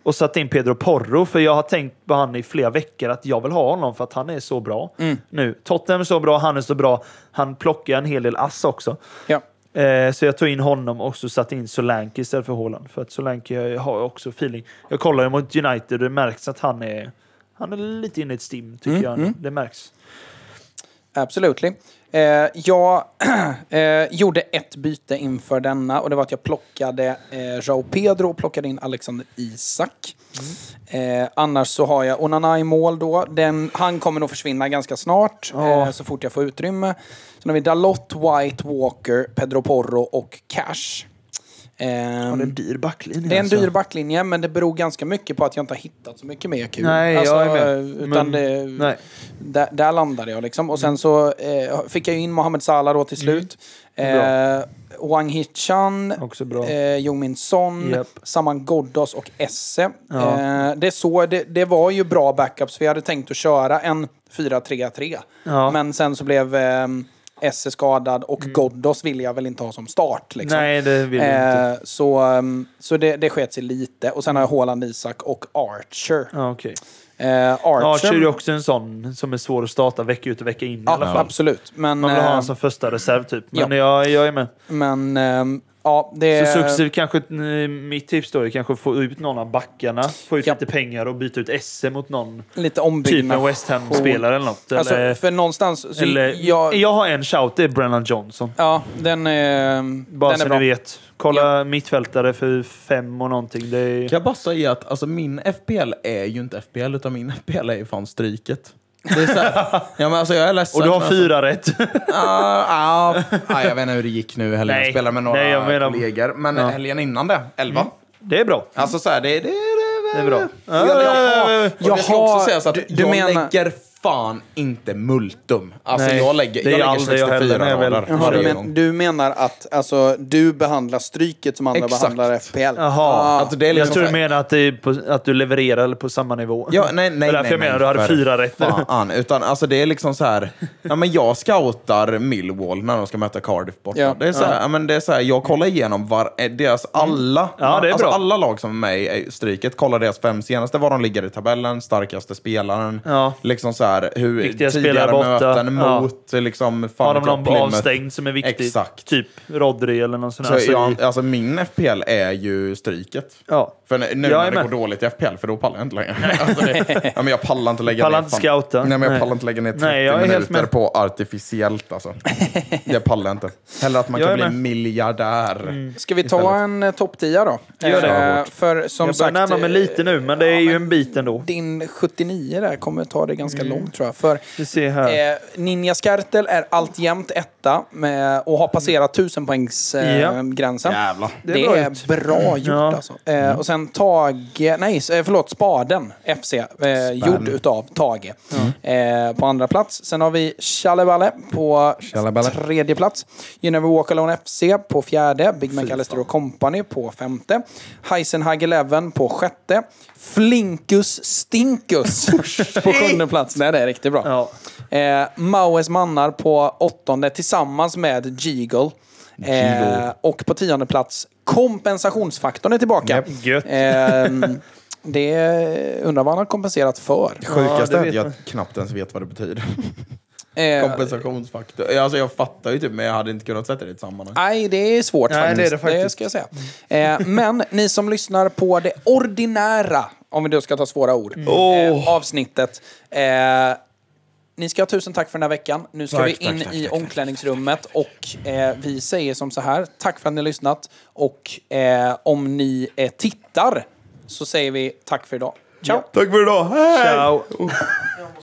[SPEAKER 5] och satte in Pedro Porro, för jag har tänkt på han i flera veckor att jag vill ha honom för att han är så bra
[SPEAKER 3] Mm.
[SPEAKER 5] nu. Tottenham är så bra, han är så bra. Han plockar en hel del ass också.
[SPEAKER 3] Ja.
[SPEAKER 5] Eh, så jag tog in honom och så satte in Solanke istället för Haaland. För att Solanke har jag också feeling. Jag kollar ju mot United och det märks att han är, han är lite inne i ett stim, tycker
[SPEAKER 3] Mm,
[SPEAKER 5] jag. Det märks.
[SPEAKER 3] Absolutely. Eh, jag eh, gjorde ett byte inför denna och det var att jag plockade eh, João Pedro och plockade in Alexander Isak.
[SPEAKER 5] Mm.
[SPEAKER 3] Eh, annars så har jag Onana i mål då. Den, han kommer nog försvinna ganska snart, eh, så fort jag får utrymme. Sen har vi Dalot, White, Walker, Pedro Porro och Cash. Ehm,
[SPEAKER 5] Det är en dyr backlinje.
[SPEAKER 3] det är en
[SPEAKER 5] alltså.
[SPEAKER 3] dyr backlinje, men det beror ganska mycket på att jag inte har hittat så mycket mer kul.
[SPEAKER 5] Nej,
[SPEAKER 3] Alltså,
[SPEAKER 5] jag är med.
[SPEAKER 3] Utan
[SPEAKER 5] Men-
[SPEAKER 3] det,
[SPEAKER 5] Nej.
[SPEAKER 3] Där, där landade jag liksom. Och
[SPEAKER 5] Mm.
[SPEAKER 3] sen så eh, fick jag ju in Mohamed Salah då till slut. Eh, Wang Hichan,
[SPEAKER 5] Också bra.
[SPEAKER 3] eh, Jo Min Son,
[SPEAKER 5] Japp.
[SPEAKER 3] Saman Ghoddos och Esse.
[SPEAKER 5] Ja.
[SPEAKER 3] Eh, det, är så, det, det var ju bra backups, för jag hade tänkt att köra en 4-3-3.
[SPEAKER 5] Ja. Mm.
[SPEAKER 3] Men sen så blev eh, Esse skadad och Ghoddos ville jag väl inte ha som start. Liksom.
[SPEAKER 5] Nej, det vill jag inte. Mm.
[SPEAKER 3] Eh, så ehm, så det, det sket sig lite. Och sen har jag Haaland, Isak och Archer.
[SPEAKER 5] Ja, okej.
[SPEAKER 3] Eh, Archer,
[SPEAKER 5] Archer är ju också en sån som är svår att starta vecka ut och vecka in i
[SPEAKER 3] ja,
[SPEAKER 5] alla fall.
[SPEAKER 3] absolut. Men,
[SPEAKER 5] Man vill ha
[SPEAKER 3] eh,
[SPEAKER 5] honom som första reserv typ. Men
[SPEAKER 3] ja.
[SPEAKER 5] jag, jag är med.
[SPEAKER 3] men ehm, ja, det...
[SPEAKER 5] Så successivt kanske, eh, mitt tips då är kanske att få ut någon av backarna. Få ut
[SPEAKER 3] Ja.
[SPEAKER 5] lite pengar och byta ut Esse mot någon.
[SPEAKER 3] lite
[SPEAKER 5] Typ
[SPEAKER 3] ombyggnation.
[SPEAKER 5] en West Ham-spelare eller något.
[SPEAKER 3] Alltså,
[SPEAKER 5] eller,
[SPEAKER 3] för någonstans... Så
[SPEAKER 5] eller, jag,
[SPEAKER 3] jag,
[SPEAKER 5] har en shout, det är Brennan Johnson.
[SPEAKER 3] ja, den, ehm,
[SPEAKER 5] Bara
[SPEAKER 3] den är
[SPEAKER 5] så
[SPEAKER 3] bra.
[SPEAKER 5] ni vet. Kolla mittfältare för fem och någonting. Det är,
[SPEAKER 4] Kan jag bara säga att alltså, min FPL är ju inte FPL, utan min FPL är ju fan stryket. Det är så här, ja, men alltså, jag är ledsen.
[SPEAKER 5] och du har
[SPEAKER 4] men
[SPEAKER 5] fyra rätt.
[SPEAKER 4] Ah, ah, ah, jag vet inte hur det gick nu i helgen.
[SPEAKER 5] Nej.
[SPEAKER 4] Jag spelade med några
[SPEAKER 5] Nej, jag menar-
[SPEAKER 4] kollegor. Men
[SPEAKER 5] Ja.
[SPEAKER 4] helgen innan det, 11.
[SPEAKER 5] det är bra.
[SPEAKER 4] Alltså så här, det, det, det,
[SPEAKER 5] Det är bra.
[SPEAKER 4] Jag, jag,
[SPEAKER 5] Äh,
[SPEAKER 4] jag, jag ska
[SPEAKER 3] Jaha,
[SPEAKER 4] också säga så att
[SPEAKER 3] du- du
[SPEAKER 4] jag
[SPEAKER 3] menar-
[SPEAKER 4] lägger fan inte multum. Alltså
[SPEAKER 5] Nej,
[SPEAKER 4] jag lägger,
[SPEAKER 5] det är
[SPEAKER 4] jag lägger
[SPEAKER 5] aldrig jag
[SPEAKER 4] 64
[SPEAKER 5] heller när jag väl-
[SPEAKER 4] rader
[SPEAKER 5] Jaha,
[SPEAKER 3] Jaha, du,
[SPEAKER 4] varje
[SPEAKER 3] men,
[SPEAKER 4] gång.
[SPEAKER 3] du menar att alltså, du behandlar stryket som andra
[SPEAKER 4] Exakt.
[SPEAKER 3] behandlar FPL? Ah.
[SPEAKER 5] Jaha.
[SPEAKER 4] Alltså, det är
[SPEAKER 5] jag
[SPEAKER 4] liksom
[SPEAKER 5] tror
[SPEAKER 4] så
[SPEAKER 5] du
[SPEAKER 4] här-
[SPEAKER 5] menar att, det är på, att du levererar på samma nivå.
[SPEAKER 4] Ja, nej, nej,
[SPEAKER 5] det är därför
[SPEAKER 4] nej,
[SPEAKER 5] jag menar
[SPEAKER 4] nej,
[SPEAKER 5] du hade
[SPEAKER 4] för
[SPEAKER 5] fyra rätt.
[SPEAKER 4] Fan, utan alltså det är liksom så här, ja, men jag scoutar Millwall när de ska möta Cardiff borta.
[SPEAKER 3] Ja.
[SPEAKER 4] det, är så här, ja. men det är så här, jag kollar igenom var, eh, deras alla,
[SPEAKER 5] Ja, det är
[SPEAKER 4] alltså
[SPEAKER 5] bra.
[SPEAKER 4] alla lag som är med i eh, stryket, kollar deras fem senaste, var de ligger i tabellen, starkaste spelaren,
[SPEAKER 5] Ja.
[SPEAKER 4] liksom så här, hur
[SPEAKER 5] Viktiga
[SPEAKER 4] tidigare
[SPEAKER 5] spelare borta.
[SPEAKER 4] möten
[SPEAKER 5] Ja.
[SPEAKER 4] mot, liksom, fan,
[SPEAKER 5] Har de någon
[SPEAKER 4] Plymouth.
[SPEAKER 5] avstängd som är viktig?
[SPEAKER 4] Exakt.
[SPEAKER 5] Typ Rodri eller någon sån
[SPEAKER 4] Så
[SPEAKER 5] här. Så i-
[SPEAKER 4] jag, alltså min FPL är ju stryket.
[SPEAKER 5] ja.
[SPEAKER 4] För nu
[SPEAKER 5] Jag är
[SPEAKER 4] när det går
[SPEAKER 5] med.
[SPEAKER 4] dåligt i FPL, för då pallar jag inte längre. alltså det, ja, men jag pallar inte lägga
[SPEAKER 5] Pallar
[SPEAKER 4] ner...
[SPEAKER 5] inte
[SPEAKER 4] fan-
[SPEAKER 5] scouta.
[SPEAKER 4] Nej, men jag
[SPEAKER 5] Nej.
[SPEAKER 4] pallar inte lägga ner 30
[SPEAKER 5] Nej, jag är helt
[SPEAKER 4] minuter
[SPEAKER 5] med.
[SPEAKER 4] på artificiellt alltså. Det pallar jag inte. Hellre att man
[SPEAKER 5] Jag
[SPEAKER 4] kan
[SPEAKER 5] är
[SPEAKER 4] bli
[SPEAKER 5] med. Mm.
[SPEAKER 4] miljardär.
[SPEAKER 3] Ska vi ta
[SPEAKER 4] Istället.
[SPEAKER 3] en eh, topp 10 då?
[SPEAKER 5] Gör det.
[SPEAKER 3] Eh, för som
[SPEAKER 5] jag börjar
[SPEAKER 3] sagt...
[SPEAKER 5] närma mig
[SPEAKER 3] eh,
[SPEAKER 5] lite nu, men det är ju en bit ändå.
[SPEAKER 3] Din 79 där kommer ta det ganska
[SPEAKER 5] Mm.
[SPEAKER 3] långt tror jag. För
[SPEAKER 5] Vi ser här.
[SPEAKER 3] Eh, Ninja Skertel är alltjämt etta med, och har passerat 1000 poängs eh,
[SPEAKER 5] Ja.
[SPEAKER 3] gränsen.
[SPEAKER 4] Jävlar.
[SPEAKER 3] Det,
[SPEAKER 5] Det är bra gjort.
[SPEAKER 3] är bra gjort
[SPEAKER 5] Ja. Mm.
[SPEAKER 3] alltså. Eh, och sen Tage, nej s- eh, förlåt, Spaden FC, eh, gjord utav Tage. Eh, på andra plats. Sen har vi Challeballe på
[SPEAKER 4] Challeballe.
[SPEAKER 3] tredje plats. You Never Walk Alone FC på fjärde. Big McAllister och Company på femte. Heisenhag Eleven på sjätte. Flinkus Stinkus på sjunde plats. Nej, det är riktigt bra.
[SPEAKER 5] Ja.
[SPEAKER 3] Eh, Maues mannar på åttonde tillsammans med Jiggle. Eh,
[SPEAKER 4] Jiggle.
[SPEAKER 3] och på tionde plats, kompensationsfaktorn är tillbaka.
[SPEAKER 5] Japp. Gött.
[SPEAKER 4] Eh,
[SPEAKER 3] Ehm, det undrar vad han har kompenserat för.
[SPEAKER 4] Sjukaste
[SPEAKER 5] det
[SPEAKER 4] är
[SPEAKER 5] vet
[SPEAKER 4] att jag
[SPEAKER 5] man.
[SPEAKER 4] knappt ens vet vad det betyder.
[SPEAKER 3] Eh,
[SPEAKER 4] Kompensationsfaktor. Alltså jag fattar ju typ, men jag hade inte kunnat sätta det i ett sammanhang.
[SPEAKER 3] Nej, det är svårt
[SPEAKER 5] Nej,
[SPEAKER 3] faktiskt.
[SPEAKER 5] det är det faktiskt.
[SPEAKER 3] ska jag säga. Eh, men ni som lyssnar på det ordinära, om vi då ska ta svåra ord, eh, avsnittet. Eh, ni ska ha tusen tack för den här veckan. Nu ska
[SPEAKER 4] Tack,
[SPEAKER 3] vi in
[SPEAKER 4] tack, tack,
[SPEAKER 3] i
[SPEAKER 4] tack, tack.
[SPEAKER 3] omklädningsrummet och eh, vi säger som så här, tack för att ni har lyssnat och eh, om ni eh, tittar så säger vi tack för idag. Ciao!
[SPEAKER 4] Tack för idag. Hej!
[SPEAKER 5] Ciao.